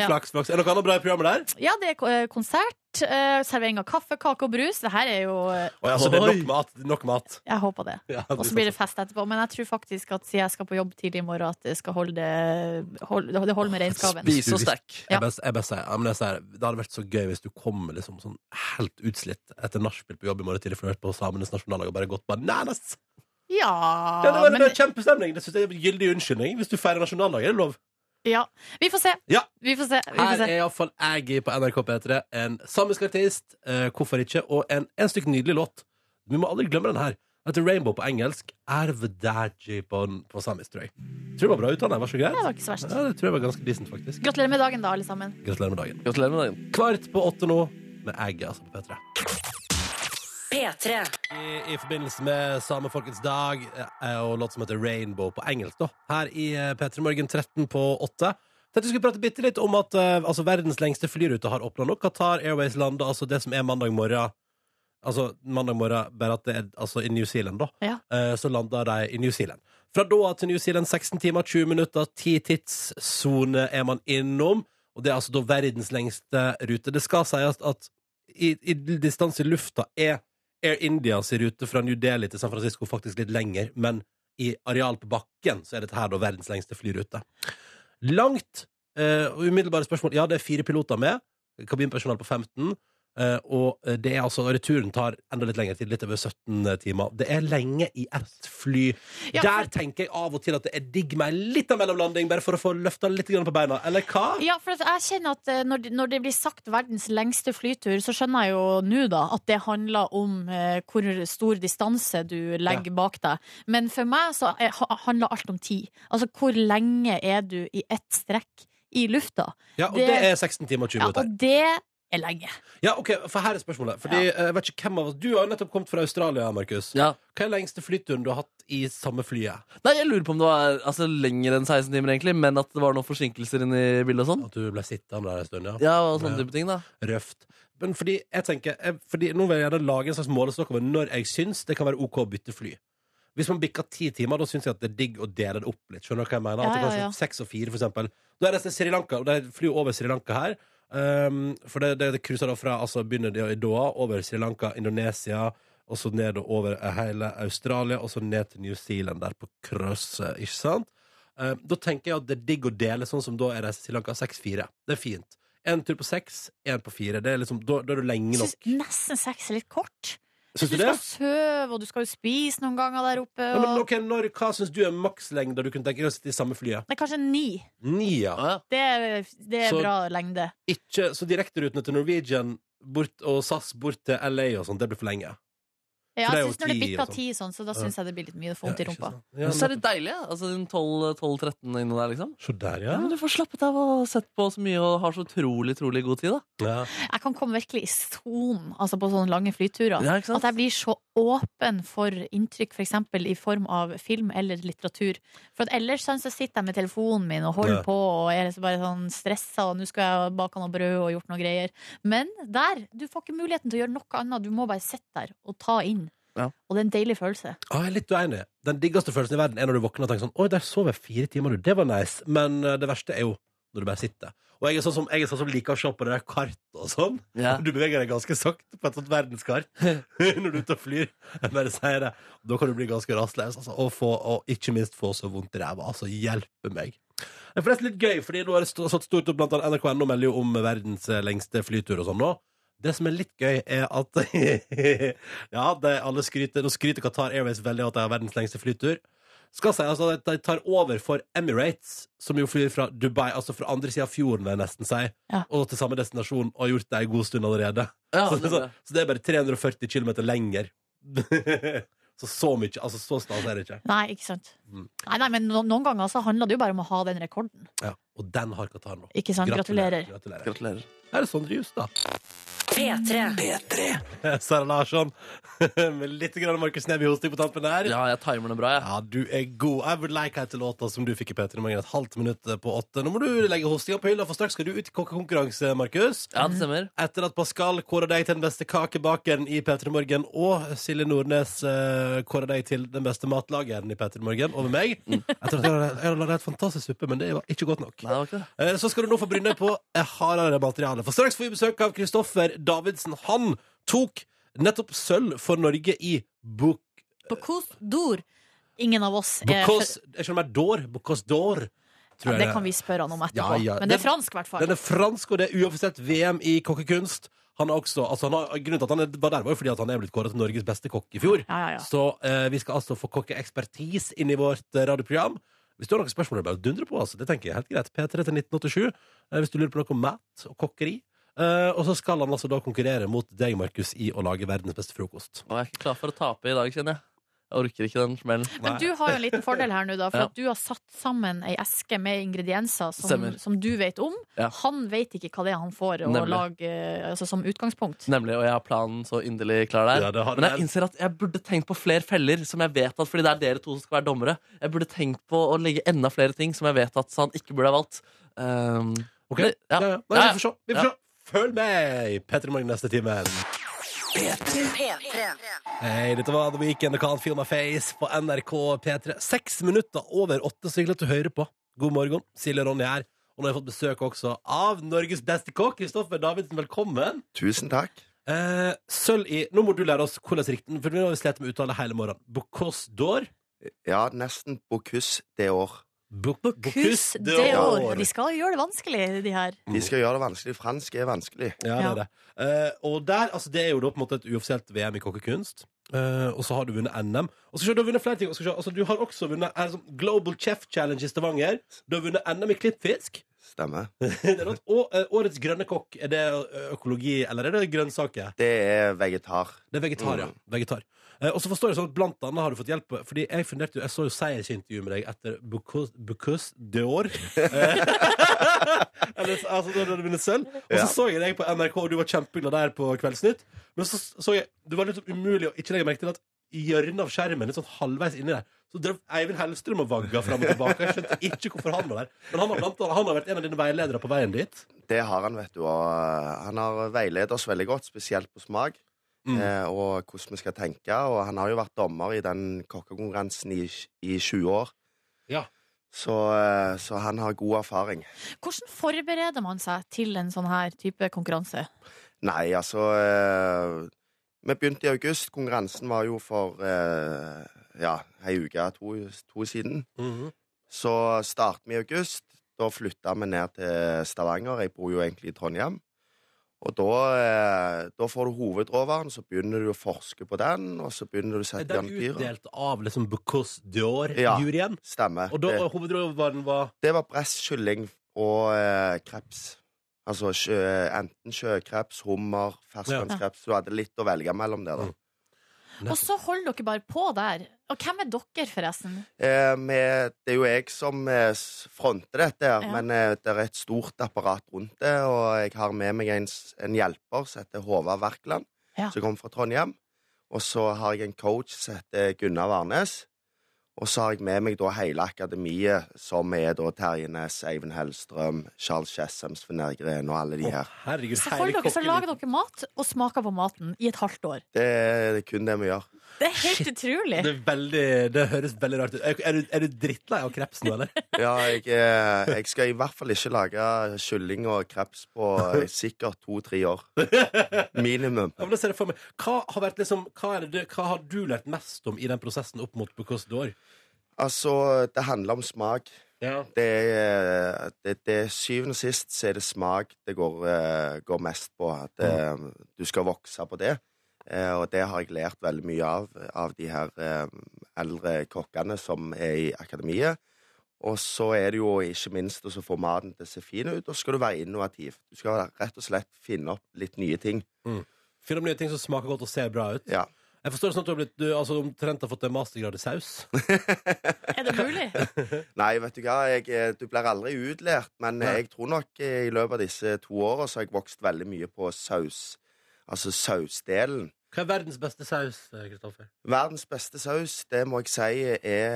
Speaker 3: Ja.
Speaker 2: Flaks, flaks. Er det noe annet bra i programmet der?
Speaker 3: Ja, det er ko- eh, konsert. dessert, eh, servering av kaffe, kake og brus. Det her er jo eh,
Speaker 2: Oi, altså, det er
Speaker 4: Oi.
Speaker 2: nok mat. det er Nok mat.
Speaker 3: Jeg håper det.
Speaker 2: Ja,
Speaker 3: Og så blir det fest etterpå. Men jeg tror faktisk at siden jeg skal på jobb tidlig i morgen, at det skal holde, det- hold, det holder med regnskapen.
Speaker 4: Spis og stack.
Speaker 3: Ja.
Speaker 2: Jeg bare, jeg bare sier, ja, men jeg sier, det hadde vært så gøy hvis du kom liksom, sånn helt utslitt etter nachspiel på jobb i morgen tidlig, flørt på samenes nasjonaldag og bare gått bare Nei, nei, s-
Speaker 3: Ja,
Speaker 2: ja, det var
Speaker 3: men-
Speaker 2: det var kjempestemning! Det synes jeg er en gyldig unnskyldning. Hvis du feirer nasjonaldag, er det lov.
Speaker 3: ja. Vi får se.
Speaker 2: Ja.
Speaker 3: Vi får se. Vi får
Speaker 2: Her
Speaker 3: se.
Speaker 2: er iallfall jeg på NRK P3. En samisk artist, eh, hvorfor ikke, og en, en stykk nydelig låt. Vi må aldri glemme den her. Den heter Rainbow på engelsk. Ervedaji på, på samisk, tror jeg. Tror det var bra uttale. Var så greit.
Speaker 3: Det var ikke så verst.
Speaker 2: Ja, det tror jeg var ganske decent, faktisk.
Speaker 3: Gratulerer med dagen, da, alle sammen.
Speaker 2: Gratulerer med dagen.
Speaker 4: Gratulerer med dagen.
Speaker 2: Kvart på åtte nå med egg, altså, på P3.
Speaker 1: P3.
Speaker 2: I, I forbindelse med Samefolkets dag eh, og låt som heter Rainbow på engelsk, da. Her i eh, P3 Morgen 13 på 8. Tenkte vi skulle prate bitte litt om at eh, altså, verdens lengste flyrute har åpna nå. Qatar Airways lander altså det som er mandag morgen. Altså mandag morgen, bare at det er altså, i New Zealand, da.
Speaker 3: Ja.
Speaker 2: Eh, så lander de i New Zealand. Fra da av til New Zealand 16 timer, 20 minutter, 10 tidssone er man innom. Og det er altså da verdens lengste rute. Det skal sies at i, i distanse i lufta er Air Indias rute fra New Delhi til San Francisco faktisk litt lenger, men i areal på bakken så er dette her da verdens lengste flyrute. Langt eh, og umiddelbare spørsmål. Ja, det er fire piloter med. Kabinpersonell på 15. eh, og det er altså, og returen tar enda litt lengre tid, litt over 17 timer. Det er lenge i ett fly.
Speaker 3: Ja, for-
Speaker 2: Der tenker jeg av og til at det er digg med en liten mellomlanding, bare for å få løfta litt grann på beina. Eller hva?
Speaker 3: Ja, for at jeg kjenner at eh, når, det- når det blir sagt verdens lengste flytur, så skjønner jeg jo nå da at det handler om eh, hvor stor distanse du legger bak deg. Men for meg så er, ha- handler alt om tid. Altså hvor lenge er du i ett strekk i lufta?
Speaker 2: Ja, og det,
Speaker 3: det-
Speaker 2: er 16 timer og 20
Speaker 3: Ja,
Speaker 2: minutter.
Speaker 3: og det er lenge.
Speaker 2: Ja, ok, for her er spørsmålet. Fordi, eh, jeg vet ikke hvem av oss Du har jo nettopp kommet fra Australia, Markus.
Speaker 4: Ja.
Speaker 2: Hva er lengste flyturen du har hatt i samme flyet?
Speaker 4: Nei, jeg lurer på om det var altså, lenger enn 16 timer, egentlig, men at det var noen forsinkelser inne i bildet og sånn.
Speaker 2: At du ble sittende der en stund, ja.
Speaker 4: Ja, og sånne type ting, da.
Speaker 2: Røft. Men fordi, jeg tenker jeg, fordi Nå vil jeg gjerne lage en slags målestokk over når jeg syns det kan være OK å bytte fly. Hvis man bikker ti timer, da syns jeg at det er digg å dele det opp litt. Skjønner du hva jeg mener?
Speaker 3: Ja,
Speaker 2: At det
Speaker 3: ja,
Speaker 2: går
Speaker 3: ja.
Speaker 2: sånn Seks og fire, for eksempel. Da er det Sri Lanka, og det er fly over Sri Lanka her. Um, for det, det, det cruiser da fra altså begynner det i Doha, over Sri Lanka, Indonesia, og så ned og over eh, hele Australia, og så ned til New Zealand der på krøsset, ikke sant? Um, da tenker jeg at det er digg å dele, sånn som da er det Sri Lanka 6-4. Det er fint. En tur på seks, en på fire. Det er liksom, da, da er du lenge
Speaker 3: Jeg
Speaker 2: nok.
Speaker 3: syns nesten seks er litt kort.
Speaker 2: Syns
Speaker 3: Du
Speaker 2: du det?
Speaker 3: skal sove, og du skal jo spise noen ganger der oppe.
Speaker 2: Ja, men,
Speaker 3: Og...
Speaker 2: ok, når, hva syns du er makslengda du kunne tenke deg å sitte i samme flyet?
Speaker 3: Det er kanskje ni.
Speaker 2: Ni, ja.
Speaker 4: Ja, ja.
Speaker 3: Det er, det er
Speaker 2: Så-
Speaker 3: bra lengde.
Speaker 2: ikke Så direkterutene til Norwegian bort, og SAS bort til LA og sånn, det blir for lenge.
Speaker 3: Ja,
Speaker 2: For det er
Speaker 3: jeg
Speaker 2: jo
Speaker 3: synes Når det
Speaker 2: ti og
Speaker 3: bikker
Speaker 2: sånn.
Speaker 3: ti sånn, så da
Speaker 2: Ja.
Speaker 3: syns jeg det blir litt mye vondt i
Speaker 2: Ja, ikke
Speaker 3: rumpa.
Speaker 2: sant?
Speaker 4: Men så er
Speaker 2: Ja,
Speaker 4: det deilig, ja. Altså, den 12-13 inne der, liksom.
Speaker 2: men- Se der,
Speaker 4: Ja,
Speaker 2: ja.
Speaker 4: men Du får slappet av og sett på så mye og har så utrolig utrolig god tid. da
Speaker 2: ja.
Speaker 3: Jeg kan komme virkelig i sonen altså på sånne lange flyturer.
Speaker 4: Ja, ikke sant?
Speaker 3: At jeg blir så åpen for inntrykk, f.eks. i form av film eller litteratur. For at ellers sånn, så sitter jeg med telefonen min og holder
Speaker 2: Ja.
Speaker 3: på og er liksom bare sånn stressa, og nå skal jeg bake noe brød og gjort noe greier. Men der, du får ikke muligheten til å gjøre noe annet. Du må bare sitte der og ta inn.
Speaker 4: Ja.
Speaker 3: Og det er en deilig følelse.
Speaker 2: Ah, jeg er litt uenig. Den diggeste følelsen i verden er når du våkner og tenker sånn Oi, der sov jeg fire timer, du. Det var nice. Men eh, det verste er jo når du bare sitter. Og jeg er sånn som, jeg er sånn som liker å se på det der kartet og sånn.
Speaker 4: Ja.
Speaker 2: Du beveger deg ganske sakte på et sånt verdenskart når du er ute og flyr. Jeg bare sier det. Da kan du bli ganske rastløs, altså. Og, få, og ikke minst få så vondt i ræva. Altså, hjelpe meg. Det er forresten litt gøy, fordi nå har det stå- stått stort opp blant annet NRK.no melder jo om verdens eh, lengste flytur og sånn nå. Det som er litt gøy, er at Ja, det er alle skryter Nå skryter Qatar Airways veldig av at de har verdens lengste flytur. Skal si altså at de tar over for Emirates, som jo flyr fra Dubai, altså fra andre sida av fjorden, vil jeg nesten si,
Speaker 3: Ja.
Speaker 2: og til samme destinasjon, og har gjort det ei god stund allerede.
Speaker 4: Ja,
Speaker 2: så,
Speaker 4: det,
Speaker 2: det, så, så det er bare 340 km lenger. så så mye Altså, så stas er det ikke.
Speaker 3: Nei, ikke sant.
Speaker 2: Mm.
Speaker 3: Nei, nei, men no noen ganger så handler det jo bare om å ha den rekorden.
Speaker 2: Ja, og den har Qatar nå.
Speaker 3: Ikke sant? Gratulerer.
Speaker 2: Gratulerer.
Speaker 4: Gratulerer.
Speaker 2: Her er Sondre Justad.
Speaker 1: P3.
Speaker 2: Sara Larsson med litt grann Markus Neby hosting på tampen der.
Speaker 4: Ja, jeg timer det bra, jeg.
Speaker 2: Ja, du er god. I would like her til låta som du fikk i P3 Morgen et halvt minutt på åtte. Nå må du legge hostinga på hylla, for straks skal du ut i kokkekonkurranse, Markus.
Speaker 4: Ja, det stemmer.
Speaker 2: Etter at Pascal kåra deg til den beste kakebakeren i P3 Morgen, og Silje Nordnes uh, kåra deg til den beste matlageren i P3 Morgen over meg Etter at jeg hadde- jeg hadde lagd helt fantastisk suppe, men det var ikke godt nok.
Speaker 4: Mm. Nei, det var ikke det.
Speaker 2: Eh, Så skal du nå få bryne deg på eh, hardere materiale. For straks får vi besøk av Kristoffer Davidsen. Han tok nettopp sølv for Norge i Buk...
Speaker 3: Bocuse d'Or. Ingen av oss er
Speaker 2: Bocuse Jeg skjønner meg d'Or. Bocuse d'Or,
Speaker 3: Eh, ja,
Speaker 2: tror jeg
Speaker 3: Det kan vi spørre han om etterpå.
Speaker 2: Ja, ja.
Speaker 3: Men det
Speaker 2: Den-
Speaker 3: er fransk, i hvert fall.
Speaker 2: Den er fransk, og det er uoffisielt VM i kokkekunst. Han er også, altså han har, grunnen til at han er- var der, var jo fordi at han er blitt kåret til Norges beste kokk i fjor.
Speaker 3: Ja, ja, ja.
Speaker 2: Så eh, vi skal altså få kokkeekspertis inn i vårt eh, radioprogram. Hvis du har noen spørsmål, er det bare å dundre på. Altså. Det tenker jeg er helt greit. P3 til 1987. eh, hvis du lurer på noe om mat og kokkeri. Eh, og så skal han altså da konkurrere mot deg, Markus, i å lage verdens beste frokost.
Speaker 4: Og jeg er ikke klar for å tape i dag, kjenner jeg. Jeg orker ikke den smellen.
Speaker 3: Men du har jo en liten fordel her nå, da, for
Speaker 4: Ja.
Speaker 3: at du har satt sammen ei eske med ingredienser som,
Speaker 4: Stemmer.
Speaker 3: som du vet om.
Speaker 4: Ja.
Speaker 3: Han vet ikke hva det er han får å
Speaker 4: Nemlig.
Speaker 3: lage eh, altså, som utgangspunkt.
Speaker 4: Nemlig, og jeg har planen så inderlig klar der.
Speaker 2: Ja, det har du
Speaker 4: Men jeg
Speaker 2: vel.
Speaker 4: innser at jeg burde tenkt på flere feller, som jeg vet at, fordi det er dere to som skal være dommere. Jeg burde tenkt på å legge enda flere ting som jeg vet at han ikke burde ha valgt. Um,
Speaker 2: Ok?
Speaker 4: men-
Speaker 2: Ja,
Speaker 4: ja.
Speaker 2: ja. Nei, vi får se. Vi
Speaker 4: Ja.
Speaker 2: får se. Følg med i P3 Morgen neste time.
Speaker 1: P3.
Speaker 2: Hei, dette var The Weekend og Can't Feel My Face på NRK P3. Seks minutter over åtte, så hyggelig at du hører på. God morgen. Silje og Ronny her. Og nå har jeg fått besøk også av Norges beste kokk, Kristoffer Davidsen. Velkommen.
Speaker 7: Tusen takk.
Speaker 2: Eh, sølv i Nå må du lære oss hvordan rikten, for nå har vi slitt med uttale hele morgenen. Bocuse d'Or.
Speaker 7: Ja, nesten bokuss det år.
Speaker 2: Bo-
Speaker 3: Kus
Speaker 2: Bocuse
Speaker 3: det år. De skal jo gjøre det vanskelig, de her.
Speaker 7: De skal gjøre det vanskelig. Fransk er vanskelig.
Speaker 2: Ja, det er det. Eh, og der, altså, det er jo da på en måte et uoffisielt VM i kokkekunst. Eh, og så har du vunnet NM. Og så skal du ha vunnet flere ting. Og så skal du se, altså, du har også vunnet eh, sånn Global Chef Challenge i Stavanger. Du har vunnet NM i klippfisk.
Speaker 7: Stemmer.
Speaker 2: Det er rått. og eh, årets grønne kokk, er det ø- økologi eller er det grønnsaker?
Speaker 7: Det er vegetar.
Speaker 2: Det er vegetar, ja.
Speaker 7: Mm.
Speaker 2: Vegetar. Eh, og så forstår jeg sånn at blant annet har du fått hjelp Fordi jeg funderte jo, jeg så jo seiersintervju med deg etter Bocuse Bocuse d'Or. Eh, eller, altså, da du hadde vunnet sølv. Og så
Speaker 7: Ja.
Speaker 2: så jeg deg på NRK, og du var kjempeglad der på Kveldsnytt. Men så så jeg Det var liksom umulig å ikke legge merke til at i hjørnet av skjermen, litt sånn halvveis inni der, så drev Eivind Hellstrøm og vagga fram og tilbake. Jeg skjønte ikke hvorfor han var der. Men han har, blant annet, han har vært en av dine veiledere på veien dit.
Speaker 7: Det har han, vet du. Og eh, han har veiledet oss veldig godt, spesielt på smak.
Speaker 2: Mm.
Speaker 7: Eh, og hvordan vi skal tenke. Og han har jo vært dommer i den kokkekonkurransen i, i 20 år.
Speaker 2: Ja.
Speaker 7: Så, eh, så han har god erfaring.
Speaker 3: Hvordan forbereder man seg til en sånn her type konkurranse?
Speaker 7: Nei, altså eh, Vi begynte i august. Konkurransen var jo for eh, ja, ei uke, to, to siden.
Speaker 2: Mhm.
Speaker 7: Så startet vi i august. Da flytta vi ned til Stavanger. Jeg bor jo egentlig i Trondheim. Og da, eh, da får du hovedråvaren, så begynner du å forske på den, og så begynner du å
Speaker 2: Er
Speaker 7: sette
Speaker 2: Den
Speaker 7: den pyra.
Speaker 2: utdelt av liksom Bocuse
Speaker 7: Ja.
Speaker 2: d'Or-juryen.
Speaker 7: Stemmer.
Speaker 2: Og da
Speaker 7: Det,
Speaker 2: hovedråvaren var
Speaker 7: det var bress, kylling og eh, kreps. Altså sjø, enten sjøkreps, hummer, ferskvannskreps. Du hadde litt å velge mellom der, da.
Speaker 2: Mm.
Speaker 3: Og så holder dere bare på der. Og hvem er dere, forresten?
Speaker 7: Eh, med, det er jo jeg som eh, s- fronter dette, her,
Speaker 3: Ja.
Speaker 7: men eh, det er et stort apparat rundt det. Og jeg har med meg en, s- en hjelper som heter Håvard Werkland,
Speaker 3: Ja.
Speaker 7: som kommer fra Trondheim. Og så har jeg en coach som heter Gunnar Warnes. Og så har jeg med meg da hele akademiet, som er da Terje Næss, Eivind Hellstrøm, Charles Chessem, Sven Ergren og alle de her.
Speaker 2: Å, herregud,
Speaker 3: Så holder dere, så lager dere mat og smaker på maten i et halvt år.
Speaker 7: Det er kun det vi gjør.
Speaker 3: Det er helt utrolig.
Speaker 2: Det, er veldig, Eh, det høres veldig rart ut. Er, er, du, er du drittlei av kreps nå, eller?
Speaker 7: Ja, jeg, eh, jeg skal i hvert fall ikke lage kylling og kreps på eh, sikkert to-tre år. Minimum.
Speaker 2: Ja, men det ser jeg for meg. Hva har, vært liksom, hva, er det, hva har du lært mest om i den prosessen opp mot Bocuse d'Or?
Speaker 7: Altså, det handler om smak.
Speaker 2: Ja.
Speaker 7: Det er, det, det er syvende og sist så er det smak det går, eh, går mest på. At eh, du skal vokse på det. Eh, og det har jeg lært veldig mye av, av de her eh, eldre kokkene som er i akademiet. Og så er det jo ikke minst å så få maten til å se fin ut, og så skal du være innovativ. Du skal rett og slett finne opp litt nye ting.
Speaker 2: Finn om nye ting som smaker godt og ser bra ut.
Speaker 7: Ja.
Speaker 2: Jeg forstår det sånn at du har blitt, du, altså, omtrent har fått en mastergrad i saus.
Speaker 3: Er det mulig?
Speaker 7: Nei, vet du hva, jeg, eh, du blir aldri utlært, men
Speaker 2: Nei.
Speaker 7: jeg tror nok eh, i løpet av disse to åra så har jeg vokst veldig mye på saus. Altså sausdelen.
Speaker 2: Hva er verdens beste saus, eh, Kristoffer?
Speaker 7: Verdens beste saus, det må jeg si, er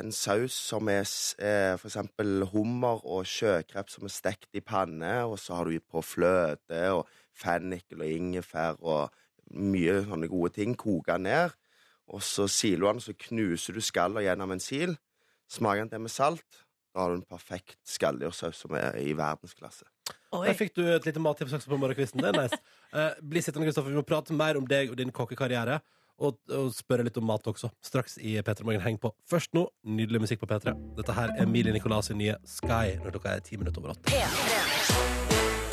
Speaker 7: en saus som er s- eh, for eksempel hummer og sjøkreps som er stekt i panne, og så har du på fløte og fennikel og ingefær og mye sånne gode ting. Koker ned, og så siler du den, så knuser du skallet gjennom en sil. Smaker den til med salt. Da har du en perfekt skalldyrsaus som er i verdensklasse.
Speaker 3: Oi.
Speaker 2: Der fikk du et lite mattips også på morgenkvisten. Det er nice. Eh, bli sittende, Kristoffer. Vi må prate mer om deg og din kokkekarriere. Og, og spørre litt om mat også. Straks i P3 Morgen. Heng på. Først nå, nydelig musikk på P3. Dette her er Emilie Nicolas' sin nye Sky når klokka er ti minutter over åtte.
Speaker 1: P3.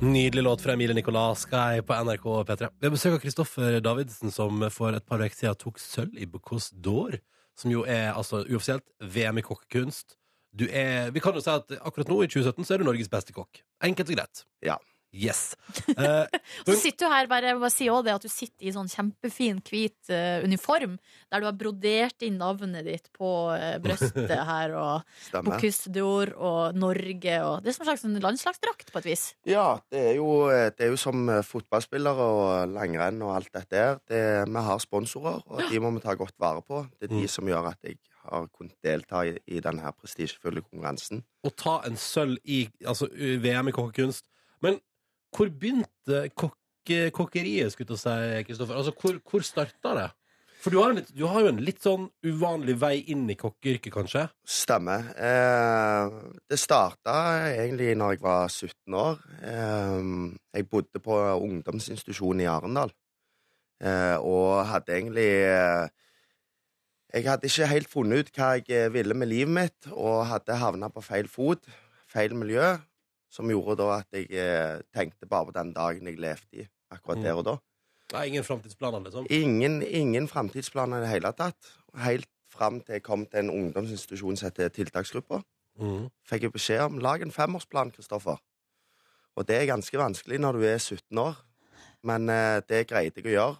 Speaker 2: Nydelig låt fra Emilie Nicolas Sky på NRK og P3. Vi har besøk av Kristoffer Davidsen, som for et par uker siden tok sølv i Bocuse d'Or, som jo er altså uoffisielt VM i kokkekunst. Du er, vi kan jo si at akkurat nå, i 2017, så er du Norges beste kokk. Enkelt og greit.
Speaker 7: Ja.
Speaker 2: Yes. Eh,
Speaker 3: Så sitter du her, bare, jeg må bare si også det, at du sitter i sånn kjempefin hvit eh, uniform, der du har brodert inn navnet ditt på eh, brøstet her, og
Speaker 7: Stemmer.
Speaker 3: Bocuse d'Or og Norge, og det er som en slags sånn landslagsdrakt på et vis.
Speaker 7: Ja, det er jo, det er jo som eh, fotballspillere og langrenn og alt dette der. Det, vi har sponsorer, og de må vi ta godt vare på. Det er de
Speaker 2: Mm.
Speaker 7: som gjør at jeg har kunnet delta i, i denne her prestisjefulle konkurransen.
Speaker 2: å ta en sølv i altså, u- VM i kokkekunst. Men hvor begynte kokke, kokkeriet, skulle jeg til å si, Kristoffer? Altså, hvor, hvor starta det? For du har, en litt, du har jo en litt sånn uvanlig vei inn i kokkeyrket, kanskje?
Speaker 7: Stemmer. Eh, det starta egentlig når jeg var 17 år. Eh, jeg bodde på ungdomsinstitusjon i Arendal. Eh, og hadde egentlig eh, Jeg hadde ikke helt funnet ut hva jeg eh, ville med livet mitt, og hadde havna på feil fot, feil miljø, som gjorde da at jeg eh, tenkte bare på den dagen jeg levde i, akkurat der og da.
Speaker 2: Nei, ingen framtidsplaner, liksom.
Speaker 7: Ingen, ingen framtidsplaner i det hele tatt. Helt fram til jeg kom til en ungdomsinstitusjon som heter Tiltaksgruppa
Speaker 2: Mm.
Speaker 7: fikk jeg beskjed om lag en femårsplan, Kristoffer. Og det er ganske vanskelig når du er 17 år, men eh, det greide jeg å gjøre.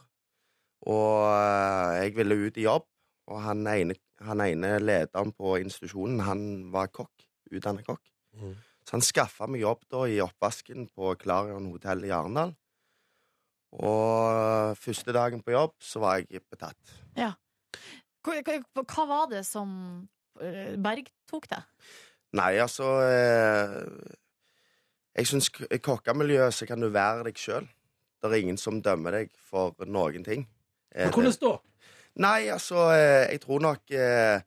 Speaker 7: Og eh, jeg ville ut i jobb, og han ene, han ene lederen på institusjonen, han var kokk, utdannet kokk.
Speaker 2: Mhm.
Speaker 7: Så han skaffa meg jobb da i oppvasken på Klarion hotell i Arendal. Og første dagen på jobb så var jeg betatt.
Speaker 3: Hva, hva, hva var det som eh, bergtok deg?
Speaker 7: Nei, altså eh, Jeg syns k- i kokkemiljøet så kan du være deg sjøl. Det er ingen som dømmer deg for noen ting. Eh,
Speaker 2: Men hvordan
Speaker 7: det-
Speaker 2: da?
Speaker 7: Nei, altså, eh, jeg tror nok eh,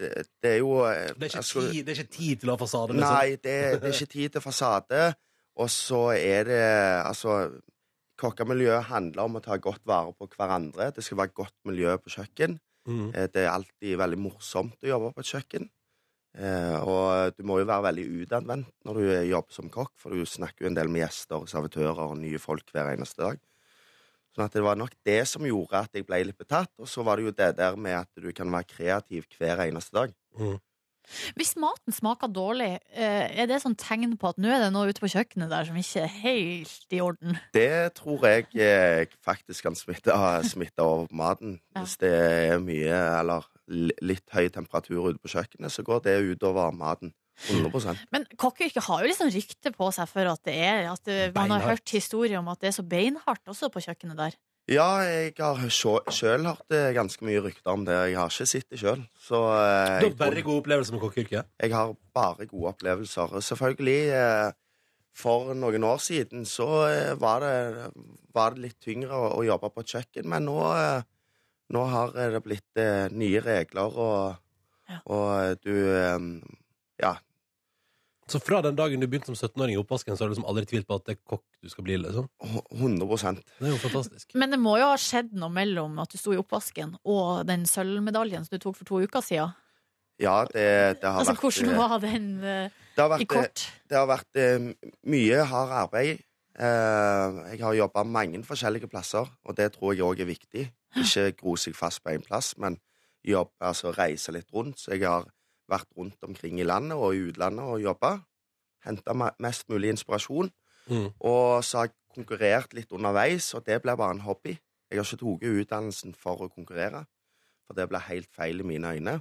Speaker 7: eh, Det er jo eh,
Speaker 2: Det er ikke,
Speaker 7: altså,
Speaker 2: tid, det er ikke tid til å ha fasade, liksom.
Speaker 7: Nei, det, det er ikke tid til fasade. Og så er det Altså, kokkemiljøet handler om å ta godt vare på hverandre. Det skal være godt miljø på kjøkken.
Speaker 5: Mm.
Speaker 2: Mhm.
Speaker 7: Eh, Det er alltid veldig morsomt å jobbe på et kjøkken. Eh, og du må jo være veldig utadvendt når du jobber som kokk, for du snakker jo en del med gjester, servitører og nye folk hver eneste dag. Sånn at det var nok det som gjorde at jeg ble litt betatt. Og så var det jo det der med at du kan være kreativ hver eneste dag.
Speaker 3: Hvis maten smaker dårlig, eh, er det sånn tegn på at nå er det noe ute på kjøkkenet der som ikke er helt i orden?
Speaker 7: Det tror jeg eh, faktisk kan smitte, smitte over på maten.
Speaker 3: Ja.
Speaker 7: Hvis det er mye eller li- litt høy temperatur ute på kjøkkenet, så går det utover maten. 100
Speaker 3: Men kokkeyrket har jo liksom rykte på seg for at det er at det, Man har
Speaker 2: Beinhardt.
Speaker 3: hørt historier om at det er så beinhardt også på kjøkkenet der.
Speaker 7: Ja, jeg har sjøl hørt eh, ganske mye rykter om det. Jeg har ikke sett det sjøl. Så eh,
Speaker 2: Du
Speaker 7: jeg,
Speaker 2: har bare
Speaker 7: tror,
Speaker 2: god opplevelse med kokkeyrket?
Speaker 7: jeg har bare gode opplevelser. Og Selvfølgelig, eh, for noen år siden så eh, var det, var det litt tyngre å, å jobbe på et kjøkken, men nå, eh, nå har det blitt eh, nye regler, og,
Speaker 3: Ja.
Speaker 7: og du eh, Ja,
Speaker 2: Så fra den dagen du begynte som 17-åring i oppvasken, så har du liksom aldri tvilt på at det er kokk du skal bli? liksom.
Speaker 7: 100
Speaker 2: Det er jo fantastisk.
Speaker 3: Men det må jo ha skjedd noe mellom at du sto i oppvasken og den sølvmedaljen som du tok for to uker siden.
Speaker 7: Ja, det, det har
Speaker 3: Altså,
Speaker 7: vært
Speaker 3: hvordan
Speaker 7: eh,
Speaker 3: var den eh,
Speaker 7: det har
Speaker 3: i
Speaker 7: vært, eh,
Speaker 3: kort?
Speaker 7: det har vært eh, mye hardt arbeid. Eh, jeg har jobba mange forskjellige plasser, og det tror jeg òg er viktig. Ikke gro seg fast på én plass, men jobb, altså reise litt rundt. Så jeg har vært rundt omkring i landet og i utlandet og jobba. Henta mest mulig inspirasjon.
Speaker 2: Mm.
Speaker 7: Og så har jeg konkurrert litt underveis, og det ble bare en hobby. Jeg har ikke tatt utdannelsen for å konkurrere, for det ble helt feil i mine øyne.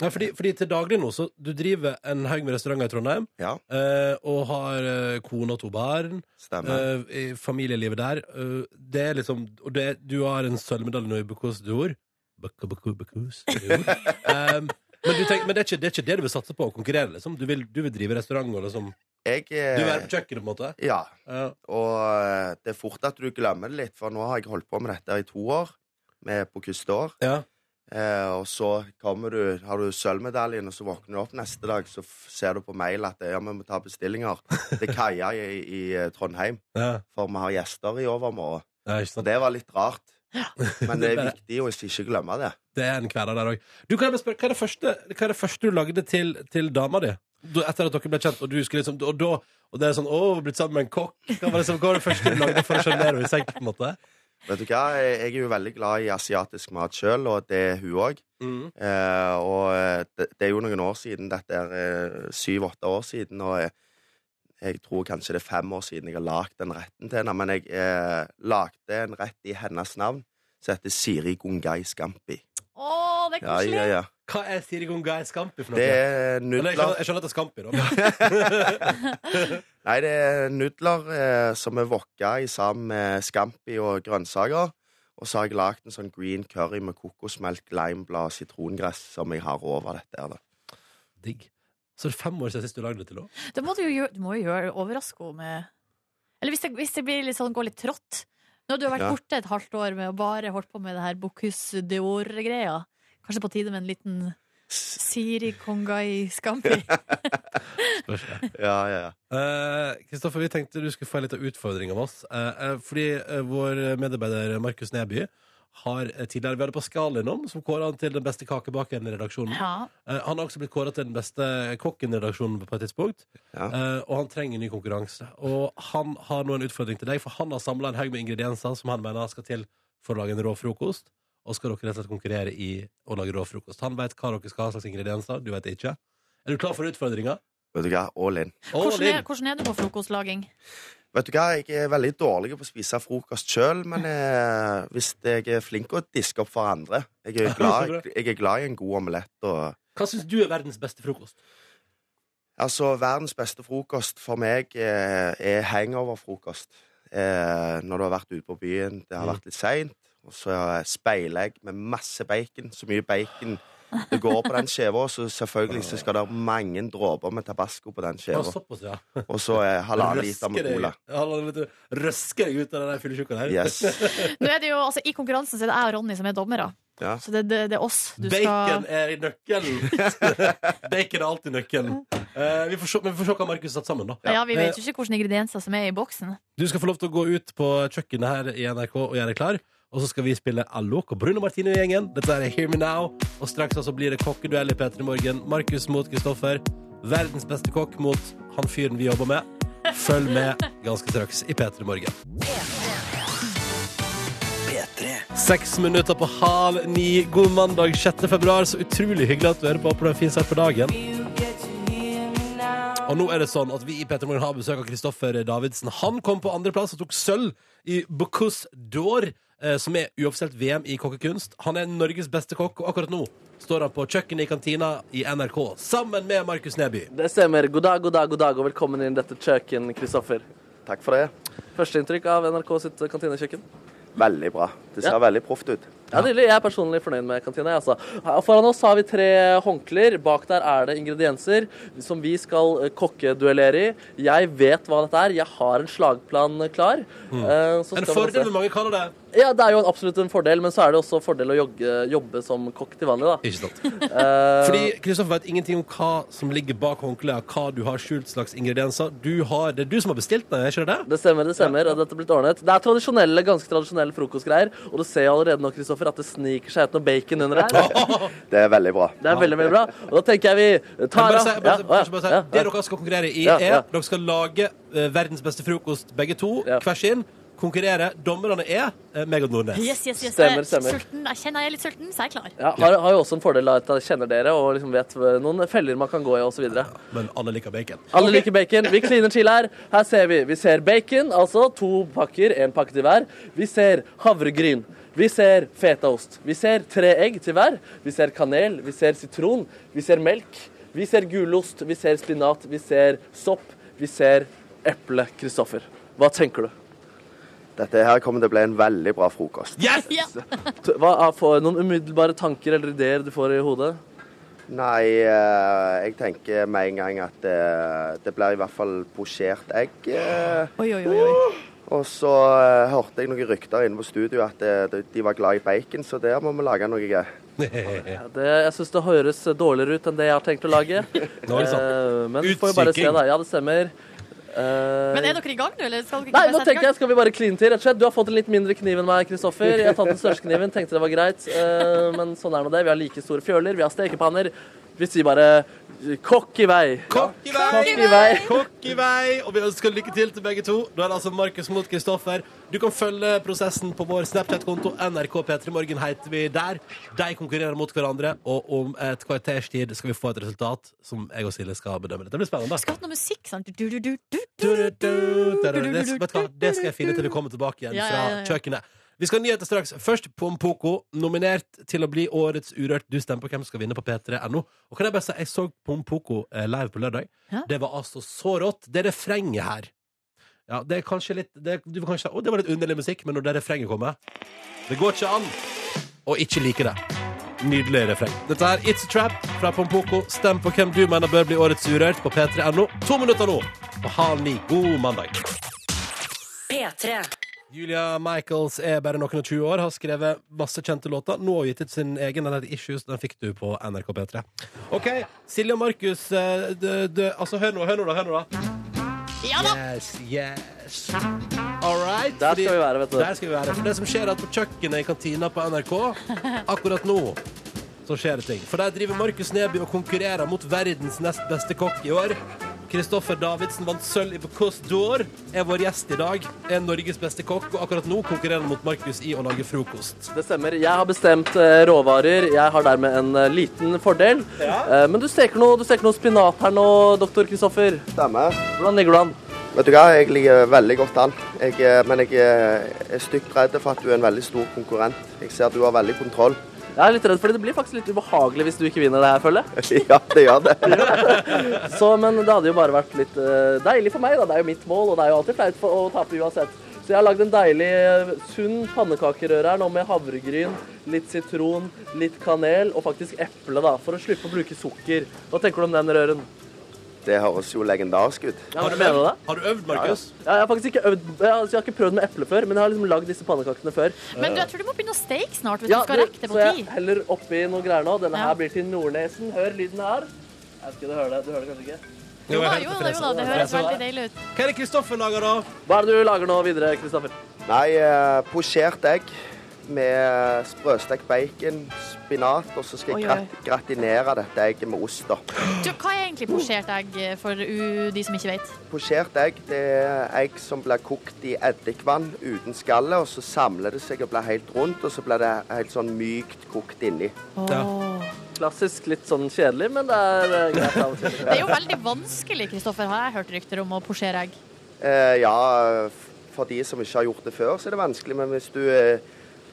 Speaker 2: Nei, fordi, fordi til daglig nå, så du driver en haug med restauranter i Trondheim,
Speaker 7: Ja,
Speaker 2: eh, og har eh, kone og to barn.
Speaker 7: stemmer.
Speaker 2: Eh, i familielivet der. eh, det er liksom Og det, du har en sølvmedalje nå i Bocuse d'Or. Bocu- bocu- Bocuse d'Or. Em, Ehm, Men, du tenker, men det, er ikke, det er ikke det du vil satse på å konkurrere? liksom Du vil, du vil drive restaurant og liksom
Speaker 7: Jeg eh,
Speaker 2: Du vil være på kjøkkenet, på en måte?
Speaker 7: Ja.
Speaker 2: Ja.
Speaker 7: Og eh, det er fort at du glemmer det litt, for nå har jeg holdt på med dette i to år. Med på kusteår.
Speaker 2: Ja.
Speaker 7: Eh, og så kommer du, har du sølvmedaljen, og så våkner du opp neste dag, så f ser du på mail at ja, vi må ta bestillinger til kaia i, i eh, Trondheim,
Speaker 2: Ja.
Speaker 7: for vi har gjester i overmorgen.
Speaker 2: Ja, ikke
Speaker 7: Så
Speaker 2: sant?
Speaker 7: det var litt rart. Men det
Speaker 2: Det
Speaker 7: er
Speaker 2: er-
Speaker 7: viktig å ikke glemme det.
Speaker 2: Det er en kvelder der òg. Hva, er det spør- hva er det første- hva er det første du lagde til, til dama di? Da- Etter at dere ble kjent, og du skulle liksom Og, da, og det er sånn 'Å, vi har blitt sammen med en kokk'. Hva var, det, som- hva var det første du lagde for å sjarmere henne i sengen? på en måte?
Speaker 7: Vet du hva, jeg jeg er jo veldig glad i asiatisk mat sjøl, og det er hun òg.
Speaker 2: Mm.
Speaker 7: Eh, og eh, det, det er jo noen år siden, dette er syv-åtte år siden, og jeg, jeg tror kanskje det er fem år siden jeg har lagd den retten til henne. Men jeg eh, lagde en rett i hennes navn som heter Siri Gungai Scampi.
Speaker 3: Å, det er
Speaker 7: Ja,
Speaker 3: koselig!
Speaker 7: ja, ja.
Speaker 2: Hva er Siri Gungai Scampi for noe?
Speaker 7: Det er
Speaker 2: Eller, jeg, skjønner,
Speaker 7: nudler
Speaker 2: jeg skjønner at det er Scampi, da. men-
Speaker 7: Nei, det er nudler eh, som er wokka i sammen med scampi og grønnsaker. Og så har jeg lagd en sånn green curry med kokosmelk, limeblad og sitrongress som jeg har over dette. her, da.
Speaker 2: Digg. Så er det fem år siden sist du lagde det til henne?
Speaker 3: Det må du, jo gjøre, du må jo gjøre overraske henne med Eller hvis det, hvis det blir litt sånn, går litt trått Nå har du vært
Speaker 7: Ja.
Speaker 3: borte et halvt år med å bare holdt på med det her Bocuse d'Or-greia Kanskje på tide med en liten Siri Kongai Scampi
Speaker 2: Spørs det.
Speaker 7: Ja, ja, ja.
Speaker 2: Eh, Kristoffer, vi tenkte du skulle få en liten utfordring av oss. Eh, eh, fordi eh, vår medarbeider Markus Neby har eh, tidligere Vi hadde Pascal innom, som kåra han til den beste kakebakeren i redaksjonen.
Speaker 3: Ja,
Speaker 2: Eh, han har også blitt kåra til den beste kokken i redaksjonen på et tidspunkt.
Speaker 7: Ja.
Speaker 2: Eh, og han trenger ny konkurranse. Og han har nå en utfordring til deg, for han har samla en haug med ingredienser som han mener skal til for å lage en rå frokost. Og skal dere rett og slett konkurrere i å lage rå frokost. Han veit hva dere skal ha slags ingredienser, du veit ikke. Er du klar for utfordringa?
Speaker 7: Vet du hva, all in.
Speaker 2: All
Speaker 3: hvordan er,
Speaker 2: in.
Speaker 3: hvordan er du på frokostlaging?
Speaker 7: Vet du hva, jeg er veldig dårlig på å spise frokost sjøl, men eh, hvis jeg er flink å diske opp for andre Jeg er glad,
Speaker 2: Så bra.
Speaker 7: jeg er glad i en god omelett og
Speaker 2: Hva syns du er verdens beste frokost?
Speaker 7: Altså, verdens beste frokost for meg eh, er hangover-frokost. Eh, når du har vært ute på byen, det har
Speaker 2: Mm.
Speaker 7: vært litt seint, og så speilegg med masse bacon. Så mye bacon det går på den skiva, så selvfølgelig så skal det være mange dråper med tabasco på den
Speaker 2: Ja,
Speaker 7: skiva.
Speaker 2: såpass, ja.
Speaker 7: Og så eh, halvannen liter
Speaker 2: Røsker
Speaker 7: med
Speaker 2: deg-
Speaker 7: cola.
Speaker 2: halvannen liter- Røsker deg ut av den der fyllesjuka der.
Speaker 7: Yes.
Speaker 3: Nå er det jo, altså i konkurransen så er det jeg og Ronny som er dommere
Speaker 7: Ja.
Speaker 3: Så det, det, det er oss du skal...
Speaker 2: Bacon er i nøkkelen. Bacon er alltid nøkkelen. Eh, vi, får se, men vi får se hva Markus satt sammen, da.
Speaker 3: Ja, vi
Speaker 4: Eh,
Speaker 3: vet jo ikke hvordan ingredienser som er i boksen
Speaker 2: Du skal få lov til å gå ut på kjøkkenet her i NRK og gjøre deg klar. Og så skal vi spille Alok og Bruno Martino-gjengen. Dette er Hear Me Now. Og straks altså blir det kokkeduell i P3 Morgen. Markus mot Kristoffer. Verdens beste kokk mot han fyren vi jobber med. Følg med ganske straks i P3 Morgen. Seks minutter på halv ni. God mandag 6. februar. Så utrolig hyggelig at du hører på på den fin start på dagen. Og nå er det sånn at vi i Petter Morgen har besøk av Kristoffer Davidsen. Han kom på andreplass og tok sølv i Bocuse d'Or, eh, som er uoffisielt VM i kokkekunst. Han er Norges beste kokk, og akkurat nå står han på kjøkkenet i kantina i NRK sammen med Markus Neby.
Speaker 4: Det stemmer. God dag, god dag, god dag, og velkommen inn i dette kjøkken, Kristoffer.
Speaker 7: Takk for det.
Speaker 4: Førsteinntrykk av NRK sitt kantinekjøkken?
Speaker 7: Veldig bra. Det ser
Speaker 4: Ja.
Speaker 7: veldig proft ut.
Speaker 4: Ja, nydelig. Jeg er personlig fornøyd med kantina. jeg, Altså. Her Foran oss har vi tre håndklær. Bak der er det ingredienser som vi skal eh, kokkeduellere i. Jeg vet hva dette er. Jeg har en slagplan klar. Eh, så
Speaker 2: Mm. En
Speaker 4: skal man
Speaker 2: fordel
Speaker 4: se.
Speaker 2: med mange kaller det.
Speaker 4: Ja, det er jo absolutt en fordel, men så er det også fordel å jogge, jobbe som kokk til vanlig, da. Eh,
Speaker 2: Ikke sant? Fordi Kristoffer vet ingenting om hva som ligger bak håndkleet, hva du har skjult slags ingredienser. Du har, det er du som har bestilt den, er ikke det?
Speaker 4: Det stemmer, det stemmer. og Dette er blitt ordnet. Det er tradisjonelle, ganske tradisjonelle frokostgreier. Og du ser jo allerede nå, Kristoffer, at det sniker seg ut noe bacon under her.
Speaker 7: Det er veldig bra.
Speaker 4: Det er veldig, veldig bra. Og da tenker jeg vi tar
Speaker 2: Bare
Speaker 4: av
Speaker 2: si,
Speaker 4: Ja,
Speaker 2: bare, si-
Speaker 4: å ja,
Speaker 2: kanskje bare si,
Speaker 4: ja,
Speaker 2: Det
Speaker 4: ja.
Speaker 2: dere skal konkurrere i,
Speaker 4: Ja,
Speaker 2: er
Speaker 4: ja.
Speaker 2: Dere skal lage eh, verdens beste frokost, begge to,
Speaker 4: Ja.
Speaker 2: hver sin. Konkurrere. Dommerne er uh, meg og Nordnes.
Speaker 3: Yes, yes, yes Jeg
Speaker 4: Stemmer,
Speaker 3: er
Speaker 4: stemmer.
Speaker 3: Sulten, jeg kjenner jeg er litt sulten, så jeg er klar
Speaker 4: Ja, har, har jo også en fordel av at jeg kjenner dere og liksom vet noen feller man kan gå i osv.
Speaker 2: Men alle liker bacon.
Speaker 4: Alle liker bacon. Vi kliner til her. Her ser vi. Vi ser bacon, altså to pakker, én pakke til hver. Vi ser havregryn. Vi ser fetaost. Vi ser tre egg til hver. Vi ser kanel. Vi ser sitron. Vi ser melk. Vi ser gulost. Vi ser spinat. Vi ser sopp. Vi ser eple, Kristoffer. Hva tenker du?
Speaker 7: Dette her kommer til å bli en veldig bra frokost.
Speaker 2: Yes!
Speaker 3: Ja.
Speaker 4: T- Hva er for noen umiddelbare tanker eller ideer du får i hodet?
Speaker 7: Nei, eh, jeg tenker med en gang at eh, det blir i hvert fall posjert egg. eh.
Speaker 3: Oi, oi, oi, oi.
Speaker 8: Uh!
Speaker 7: Og så eh, hørte jeg noen rykter inne på studio at eh, de- de var glad i bacon, så der må vi lage noe
Speaker 2: Nå
Speaker 4: Det, jeg syns det høres dårligere ut enn det jeg har tenkt å lage.
Speaker 2: er det sant.
Speaker 4: Eh, men vi får jo bare se,
Speaker 2: Utsyking.
Speaker 4: da. Ja, det stemmer. Eh,
Speaker 3: Men er dere i gang nå, eller skal dere ikke
Speaker 4: Nei,
Speaker 3: bare
Speaker 4: nå
Speaker 3: sette i
Speaker 4: tenker
Speaker 3: gang?
Speaker 4: jeg, skal vi bare kline til, rett og slett. Du har fått en litt mindre kniv enn meg, Kristoffer. Jeg har tatt den største kniven, tenkte det var greit. eh, men sånn er nå det. Vi har like store fjøler, vi har stekepanner. Vi sier bare eh, kokk i vei.
Speaker 2: Kokk i
Speaker 4: Kokk
Speaker 2: vei!
Speaker 4: i vei.
Speaker 2: Kokk i vei! Og vi ønsker lykke til til begge to. Da er det altså Markus mot Kristoffer. Du kan følge prosessen på vår Snapchat-konto. NRK P3morgen heter vi der. De konkurrerer mot hverandre, og om et kvarters tid skal vi få et resultat som jeg og Silje skal bedømme. Dette blir spennende.
Speaker 3: Skal ha noe musikk, sant? Du, du, du, du, du.
Speaker 2: Du, du, du, du, du, du. Det, vet du hva? det skal jeg finne til vi kommer tilbake igjen
Speaker 3: Ja, ja, ja,
Speaker 2: fra
Speaker 3: ja.
Speaker 2: kjøkkenet. Vi skal ha nyheter straks. Først Pompoko, nominert til å bli Årets Urørt. Du stemmer på hvem som skal vinne på p3.no. Og kan jeg bare si, jeg så Pompoko eh, live på lørdag.
Speaker 3: Ja.
Speaker 2: Det var altså så rått. Det refrenget her Ja, det er kanskje litt det, Du kan kanskje si å, det var litt underlig musikk, men når det refrenget kommer Det går ikke an å ikke like det. Nydelig refreng. Dette er It's a Trap fra Pompoko. Stem på hvem du mener bør bli Årets Urørt på p3.no. To minutter nå på halv ni. God mandag.
Speaker 1: P3.
Speaker 2: Julia Michaels er bare noen og 20 år, har skrevet masse kjente låter. Nå har hun gitt ut sin egen. Den heter Issues. Den fikk du på NRK P3. OK, Silje og Markus. eh, dø- dø- Altså, hør nå, hør nå, da. Hør nå, da.
Speaker 3: Ja da!
Speaker 2: Yes, yes. All right.
Speaker 4: Der
Speaker 2: fordi-
Speaker 4: skal vi være, vet du.
Speaker 2: Der skal vi være. For det som skjer, er at på kjøkkenet i kantina på NRK akkurat nå så skjer det ting. For der driver Markus Neby og konkurrerer mot verdens nest beste kokk i år. Kristoffer Davidsen vant sølv i på Côte d'Or, er vår gjest i dag. Er Norges beste kokk, og akkurat nå konkurrerer han mot Markus i å lage frokost.
Speaker 4: Det stemmer. Jeg har bestemt eh, råvarer. Jeg har dermed en eh, liten fordel. Eh, men du steker, noe, du steker noe spinat her nå, doktor Kristoffer.
Speaker 7: Stemmer.
Speaker 4: Hvordan ligger du an?
Speaker 7: Vet du hva, jeg ligger veldig godt an. Jeg, eh, men jeg eh, er stygt redd for at du er en veldig stor konkurrent. Jeg ser at du har veldig kontroll.
Speaker 4: Jeg er litt redd, fordi det blir faktisk litt ubehagelig hvis du ikke vinner det her, føler jeg.
Speaker 7: ja, det gjør det.
Speaker 4: Så, men det hadde jo bare vært litt eh, deilig for meg, da. Det er jo mitt mål, og det er jo alltid flaut for- å tape uansett. Så jeg har lagd en deilig, eh, sunn pannekakerøre her nå med havregryn, litt sitron, litt kanel og faktisk eple, da, for å slippe å bruke sukker. Hva tenker du om den røren?
Speaker 7: Det høres jo legendarisk ut.
Speaker 4: Ja, hva mener du
Speaker 2: øvd,
Speaker 4: det?
Speaker 2: har du øvd, Markus?
Speaker 4: Ja, jeg har faktisk ikke øvd jeg har, jeg har ikke prøvd med eple før, men jeg har liksom lagd disse pannekakene før.
Speaker 3: Men du, jeg tror du må begynne å steike snart hvis
Speaker 4: Ja,
Speaker 3: du skal rekke det på
Speaker 4: så jeg
Speaker 3: tid.
Speaker 4: heller oppi noe greier nå. Denne
Speaker 3: Ja.
Speaker 4: her blir til Nordnesen. Hør lyden her. Jeg vet ikke, du hører det. Du hører det kanskje
Speaker 3: Jo
Speaker 4: ikke?
Speaker 3: da,
Speaker 2: jeg
Speaker 3: jo
Speaker 2: er helt
Speaker 3: da, jo da, det høres
Speaker 2: tilfreds.
Speaker 3: veldig deilig ut.
Speaker 2: Hva er det Kristoffer lager, da?
Speaker 4: Hva er det du lager nå videre, Kristoffer?
Speaker 7: Nei, eh, posjert egg med sprøstekt bacon, spinat, og så skal
Speaker 3: Oi,
Speaker 7: jeg
Speaker 3: oi.
Speaker 7: grat gratinere dette egget med ost. da.
Speaker 3: Du, hva er egentlig posjert egg for u, de som ikke vet?
Speaker 7: Posjert egg det er egg som blir kokt i eddikvann uten skallet, og så samler det seg og blir helt rundt, og så blir det helt sånn mykt kokt inni.
Speaker 2: Ja.
Speaker 3: Åh.
Speaker 4: Klassisk litt sånn kjedelig, men det er eh, greit. av og til.
Speaker 3: Det er jo veldig vanskelig, Kristoffer, har jeg hørt rykter om å posjere egg.
Speaker 7: Eh, ja, f- for de som ikke har gjort det før, så er det vanskelig, men hvis du eh,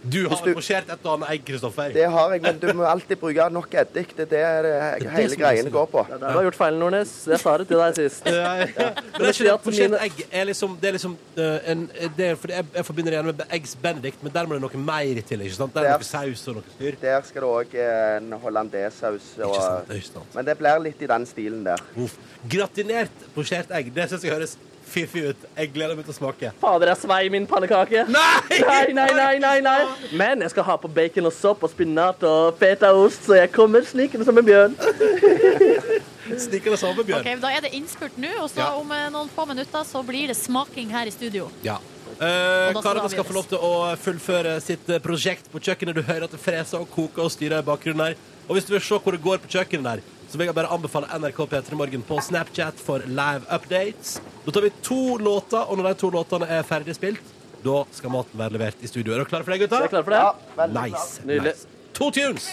Speaker 2: Du har
Speaker 7: Hvis du-
Speaker 2: posjert et og annet egg, Kristoffer.
Speaker 7: Det har jeg, men du må alltid bruke nok eddik. Det er det,
Speaker 2: Det er det
Speaker 7: det hele
Speaker 2: som er
Speaker 7: greien
Speaker 2: vanskelig.
Speaker 7: går på.
Speaker 4: Det er der du har gjort feilen, Nordnes. Jeg sa det til deg sist.
Speaker 2: Ja, ja. Men det er
Speaker 4: vil
Speaker 2: ikke
Speaker 4: si
Speaker 2: det
Speaker 4: at
Speaker 2: at posjert
Speaker 4: mine-
Speaker 2: egg er liksom, det er liksom eh, en, det er, fordi jeg, jeg forbinder det gjerne med eggs benedict, men der må det noe mer til. ikke sant? Der er det noe saus og noe styr.
Speaker 7: Der skal det òg en hollandesaus.
Speaker 2: Ikke sant,
Speaker 7: og-
Speaker 2: det er ikke sant.
Speaker 7: Men det blir litt i den stilen der.
Speaker 2: Uff. Gratinert posjert egg. Det syns jeg høres fiffig ut. Jeg gleder meg til å smake.
Speaker 4: Fader, jeg svei min pannekake.
Speaker 2: Nei!
Speaker 4: Nei, nei, nei, nei, nei. Men jeg skal ha på bacon og sopp og spinat og fetaost, så jeg kommer snikende som en bjørn.
Speaker 2: Stikker det samme, Bjørn.
Speaker 3: Ok, da er det innspurt nå, og så
Speaker 2: Ja.
Speaker 3: om eh, noen få minutter så blir det smaking her i studio.
Speaker 2: Ja. Eh,
Speaker 3: Og da skal
Speaker 2: Karene
Speaker 3: det
Speaker 2: skal få lov til å eh, fullføre sitt eh, prosjekt på kjøkkenet. Du hører at det freser og koker og styrer i bakgrunnen her. Og hvis du vil se hvor det går på kjøkkenet der, så vil jeg bare anbefale NRK P3 Morgen på Snapchat for live updates. Da tar vi to låter, og når de to låtene er ferdig spilt, da skal maten være levert i studio. Er dere klare for det,
Speaker 4: Er dere
Speaker 2: gutta?
Speaker 4: klare for det?
Speaker 2: Nice.
Speaker 4: Nydelig.
Speaker 2: nice. To tunes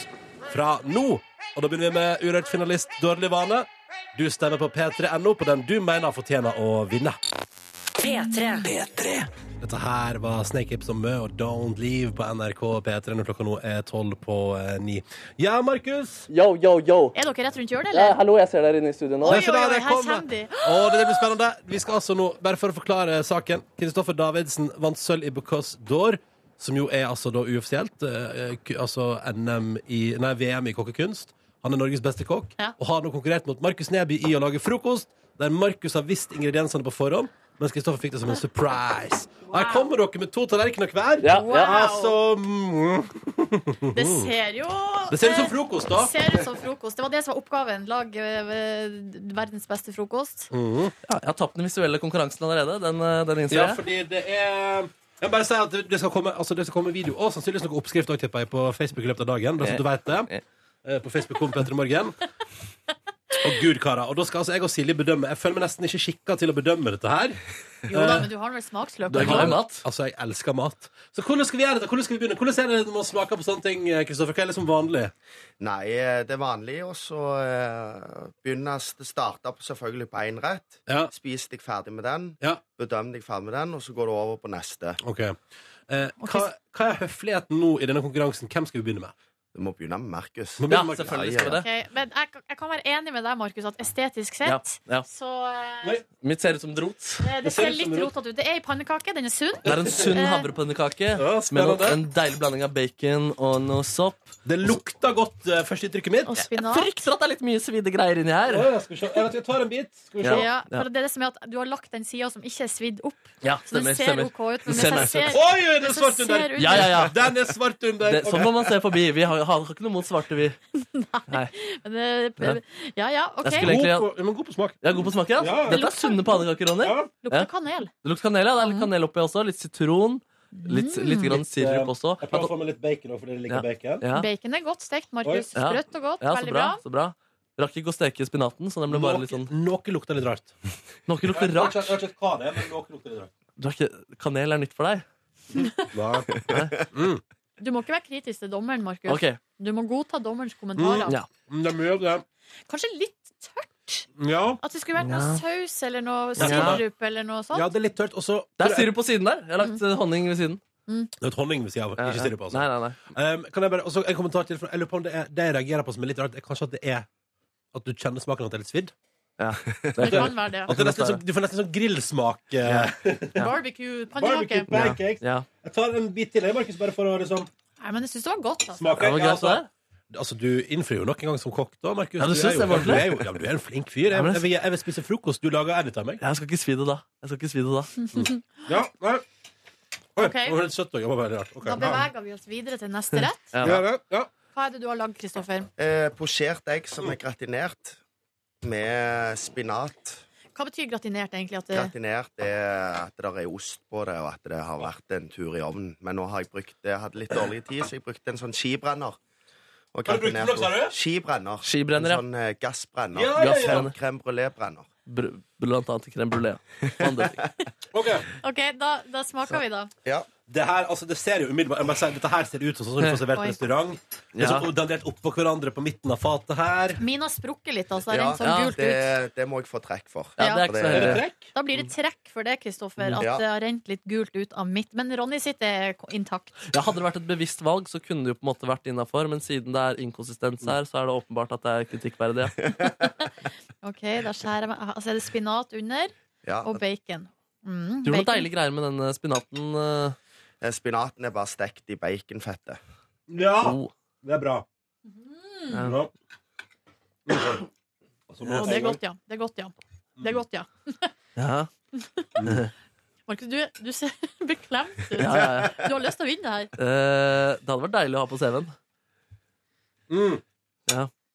Speaker 2: fra nå. Og da begynner vi med urørt finalist Dårlig vane. Du stemmer på p3.no på den du mener fortjener å vinne.
Speaker 1: P3.
Speaker 2: Dette her var Snake Hips og Mø og Don't Leave på NRK P3 når klokka nå er tolv på eh, ni. Ja, Markus!
Speaker 4: Yo, yo, yo.
Speaker 3: Er dere rett rundt hjørnet,
Speaker 4: Ja,
Speaker 3: eller?
Speaker 4: hallo, jeg ser dere inne i studio nå.
Speaker 3: Oi,
Speaker 2: Der
Speaker 3: oi,
Speaker 2: ser dere,
Speaker 3: oi,
Speaker 2: der
Speaker 3: her
Speaker 2: kommer
Speaker 3: kommer
Speaker 2: det.
Speaker 3: de.
Speaker 2: Å, det blir spennende. Vi skal altså nå, bare for å forklare saken Kristoffer Davidsen vant sølv i Because d'Or, som jo er altså da uoffisielt. eh, ku- altså NM i Nei, VM i kokkekunst. Han er Norges beste kokk
Speaker 3: Ja.
Speaker 2: og har nå konkurrert mot Markus Neby i å lage frokost, der Markus har visst ingrediensene på forhånd. Mens Kristoffer fikk det som en surprise. Og her kommer dere med to tallerkener hver.
Speaker 4: Ja, ja.
Speaker 2: Altså, mm,
Speaker 4: Mhm.
Speaker 3: Det ser jo
Speaker 2: det ser ut som frokost, da.
Speaker 3: Det ser ut som frokost. Det var det som var oppgaven. Lag eh, verdens beste frokost.
Speaker 7: Mm-hmm.
Speaker 4: Ja, jeg har tapt den visuelle konkurransen allerede. Den, eh, den innser
Speaker 2: Ja,
Speaker 4: jeg.
Speaker 2: fordi det er jeg må bare si at det- det skal komme, altså det skal komme video og sannsynligvis noe oppskrift også, tipper jeg, på Facebook i løpet av dagen. Bare så du vet det. Eh, På Facebook kom Petter i morgen. Å gud, karer. Og da skal altså jeg og Silje bedømme. Jeg føler meg nesten ikke skikka til å bedømme dette her. Eh,
Speaker 3: Jo da, men du har vel smaksløk.
Speaker 4: Eh, Det er glad i mat.
Speaker 2: Altså, jeg elsker mat. Så hvordan skal vi gjøre dette? Hvordan skal vi begynne? Hvordan er det når man smaker på sånne ting, Kristoffer? Hva er liksom vanlig?
Speaker 7: Nei, eh, det er vanlig å så eh, begynne s- Det starter på- selvfølgelig på én rett.
Speaker 2: Ja.
Speaker 7: Spis deg ferdig med den,
Speaker 2: Ja.
Speaker 7: bedøm deg ferdig med den, og så går du over på neste.
Speaker 2: Ok. Eh, hva, hva er høfligheten nå i denne konkurransen? Hvem skal vi begynne med?
Speaker 7: Du må begynne med Markus.
Speaker 2: Må vi
Speaker 4: Ja,
Speaker 2: begynne med-
Speaker 4: selvfølgelig skal vi det.
Speaker 3: Ok, men jeg, jeg kan være enig med deg, Markus, at estetisk sett
Speaker 4: Ja, ja.
Speaker 3: så eh,
Speaker 2: Nei.
Speaker 4: Mitt ser ut som drot.
Speaker 3: det, det
Speaker 2: ser
Speaker 3: ser
Speaker 2: ut som
Speaker 3: litt
Speaker 2: en rot.
Speaker 3: rotete ut. Det er ei pannekake, den er sunn.
Speaker 4: Det er en sunn
Speaker 3: Eh.
Speaker 4: havrepannekake
Speaker 2: Ja,
Speaker 4: med
Speaker 2: spennende.
Speaker 4: noe- en deilig blanding av bacon og noe sopp.
Speaker 2: Det lukta godt, eh, førsteinntrykket mitt.
Speaker 3: Og
Speaker 4: Jeg
Speaker 3: spinat.
Speaker 4: frykter at det er litt mye svidde greier inni her.
Speaker 2: Ja, ja, skal vi se. Jeg vet, jeg tar en bit. Skal vi se.
Speaker 3: Ja,
Speaker 4: Ja.
Speaker 3: for det er det som er at Du har lagt den sida som ikke er svidd opp,
Speaker 4: Ja,
Speaker 3: så
Speaker 4: stemmer,
Speaker 3: det ser
Speaker 4: stemmer.
Speaker 3: OK ut.
Speaker 4: Det
Speaker 3: Men
Speaker 4: ser
Speaker 3: mens
Speaker 4: nice
Speaker 3: jeg
Speaker 4: ut.
Speaker 3: ser,
Speaker 2: Oi, oi, det er
Speaker 3: mens
Speaker 2: svart
Speaker 3: jeg
Speaker 2: under!
Speaker 3: ser
Speaker 4: Ja, ja, ja.
Speaker 2: Den er svart under.
Speaker 4: Det, sånn
Speaker 2: Ok.
Speaker 4: må man se forbi. Vi har, har ikke noe mot svarte, vi. Nei.
Speaker 3: under- Ja ja, OK.
Speaker 4: Jeg skulle-
Speaker 2: God
Speaker 4: egentlig-
Speaker 2: på, ja, men god på smak.
Speaker 4: Jeg er god på smaken.
Speaker 2: Ja, ja.
Speaker 4: Ja. Dette er sunne pannekaker, Ronny.
Speaker 2: Ja.
Speaker 3: Lukter Mm. kanel.
Speaker 4: Det lukter kanel, ja. Det er litt kanel oppi også. Litt sitron. Litt,
Speaker 3: Mm.
Speaker 4: litt grann sirup også.
Speaker 2: eh, Jeg prøver å få med litt bacon. Også, fordi det ligger
Speaker 4: Ja.
Speaker 2: bacon.
Speaker 4: Ja,
Speaker 3: Bacon er godt stekt, Markus.
Speaker 4: Oi. Ja.
Speaker 3: Sprøtt og godt.
Speaker 4: ja så
Speaker 3: Veldig
Speaker 4: bra.
Speaker 3: bra.
Speaker 4: Så bra. Rakk ikke å steke spinaten, så den ble bare litt sånn
Speaker 2: Noe- Noe lukta litt rart.
Speaker 4: Noe
Speaker 2: Jeg
Speaker 4: lukter
Speaker 2: har
Speaker 4: rart.
Speaker 2: ikke- jeg har ikke sett hva det er, men noe lukta litt rart.
Speaker 4: Du har ikke, kanel er nytt for deg.
Speaker 2: Mm.
Speaker 3: Du må ikke være kritisk til dommeren, Markus.
Speaker 4: Ok,
Speaker 3: Du må godta dommerens kommentarer.
Speaker 4: ja.
Speaker 2: Mm, Det er mye av det.
Speaker 3: Kanskje litt tørt?
Speaker 2: Ja.
Speaker 3: At det skulle vært
Speaker 4: Ja.
Speaker 3: noe saus eller noe
Speaker 4: Ja.
Speaker 3: sirup eller noe sånt?
Speaker 2: ja, det er litt tørt. Og så
Speaker 4: Det er sirup på siden der. Jeg har
Speaker 3: Mm.
Speaker 4: lagt eh, honning ved siden.
Speaker 2: Det er et honning ved siden av. Ikke sirup, altså.
Speaker 4: Nei, nei, nei.
Speaker 2: Um, kan jeg bare, også en kommentar til fra- Jeg lurer på om det, er, det jeg reagerer på som er litt rart, er kanskje at det er At du kjenner smaken at det er litt svidd.
Speaker 3: Det kan være det.
Speaker 2: At det er nesten, sånn- du får nesten sånn grillsmak. eh,
Speaker 4: Ja.
Speaker 3: Barbecue,
Speaker 2: Barbecue
Speaker 3: pannekake.
Speaker 2: pancakes.
Speaker 4: Ja.
Speaker 2: Jeg tar en bit til, jeg, Markus, bare for å liksom
Speaker 3: Nei, Men jeg syns det var godt. Altså.
Speaker 2: smake.
Speaker 4: Det var greit, det.
Speaker 2: Altså, Du innfrir jo nok en gang som kokk, da, Markus.
Speaker 4: Ja, du
Speaker 2: er
Speaker 4: synes
Speaker 2: jo-
Speaker 4: det var
Speaker 2: du er jo, ja, men du er en flink fyr. Jeg,
Speaker 4: Ja, men det-
Speaker 2: jeg, vil, jeg vil spise frokost. Du lager edit av meg. Mm.
Speaker 4: Jeg skal ikke svi det da. Jeg skal ikke svi det da.
Speaker 2: Ja, nei. Oi,
Speaker 3: Ok.
Speaker 2: det var litt søtt òg. Det var veldig rart. Ok,
Speaker 3: Da beveger vi oss videre til neste rett.
Speaker 4: Ja.
Speaker 2: Ja, ja, ja, ja.
Speaker 3: Hva er det du har lagd, Kristoffer?
Speaker 7: Eh, posjert egg som er gratinert med spinat.
Speaker 3: Hva betyr gratinert, egentlig? At det,
Speaker 7: Gratinert er at det er ost på det, og at det har vært en tur i ovnen. Men nå har jeg brukt Jeg hadde litt dårlig tid, så jeg brukte en sånn skibrenner. Og
Speaker 2: Har du brukt den,
Speaker 7: gratinert
Speaker 2: sa du?
Speaker 7: ost. Skibrenner.
Speaker 4: Skibrenner, ja.
Speaker 7: En sånn eh, gassbrenner. Sånn
Speaker 2: Ja,
Speaker 4: ja.
Speaker 2: ja,
Speaker 7: Creme- Creme brulé-brenner.
Speaker 4: Br- Blant annet crème brulé. Og andre ting.
Speaker 2: Ok.
Speaker 3: OK, da, da smaker vi, da.
Speaker 7: Ja.
Speaker 2: Det her, altså, det ser jo umiddelbart jeg må si, Dette her ser ut som sånn som du får servert på
Speaker 3: Oi.
Speaker 2: restaurant. Det er
Speaker 4: Ja.
Speaker 2: sånn dandert oppå hverandre på midten av fatet her.
Speaker 3: Min har sprukket litt, altså. Det er
Speaker 7: Ja,
Speaker 3: rent sånn
Speaker 4: ja,
Speaker 3: gult
Speaker 7: Det,
Speaker 3: ut.
Speaker 7: det må jeg få trekk for.
Speaker 4: Ja, det er ikke så
Speaker 7: Er det
Speaker 4: heldig.
Speaker 3: Da blir det trekk for det, Kristoffer, at
Speaker 7: Ja.
Speaker 3: det har rent litt gult ut av mitt. Men Ronny sitt er ko- intakt.
Speaker 4: Ja, hadde det vært et bevisst valg, så kunne det jo på en måte vært innafor, men siden det er inkonsistens her, så er det åpenbart at det er kritikkverdig. ja.
Speaker 3: OK, da skjærer jeg meg Altså er det spinat under,
Speaker 7: Ja.
Speaker 3: og bacon. Mm,
Speaker 4: Du gjorde noen deilige greier med den eh, spinaten. eh,
Speaker 7: Eh, Spinaten er bare stekt i baconfettet.
Speaker 2: Ja!
Speaker 4: Oh.
Speaker 2: Det er bra.
Speaker 4: Ja.
Speaker 2: Bra. Mm. Altså, nå-
Speaker 3: Å, det er godt, ja. Det er godt, ja. Det er godt, ja.
Speaker 4: Ja,
Speaker 3: Markus, du, du ser beklemt ut.
Speaker 4: ja, ja, ja.
Speaker 3: Du har lyst til å vinne her.
Speaker 4: Eh, Det hadde vært deilig å ha på CV-en.
Speaker 2: Mm.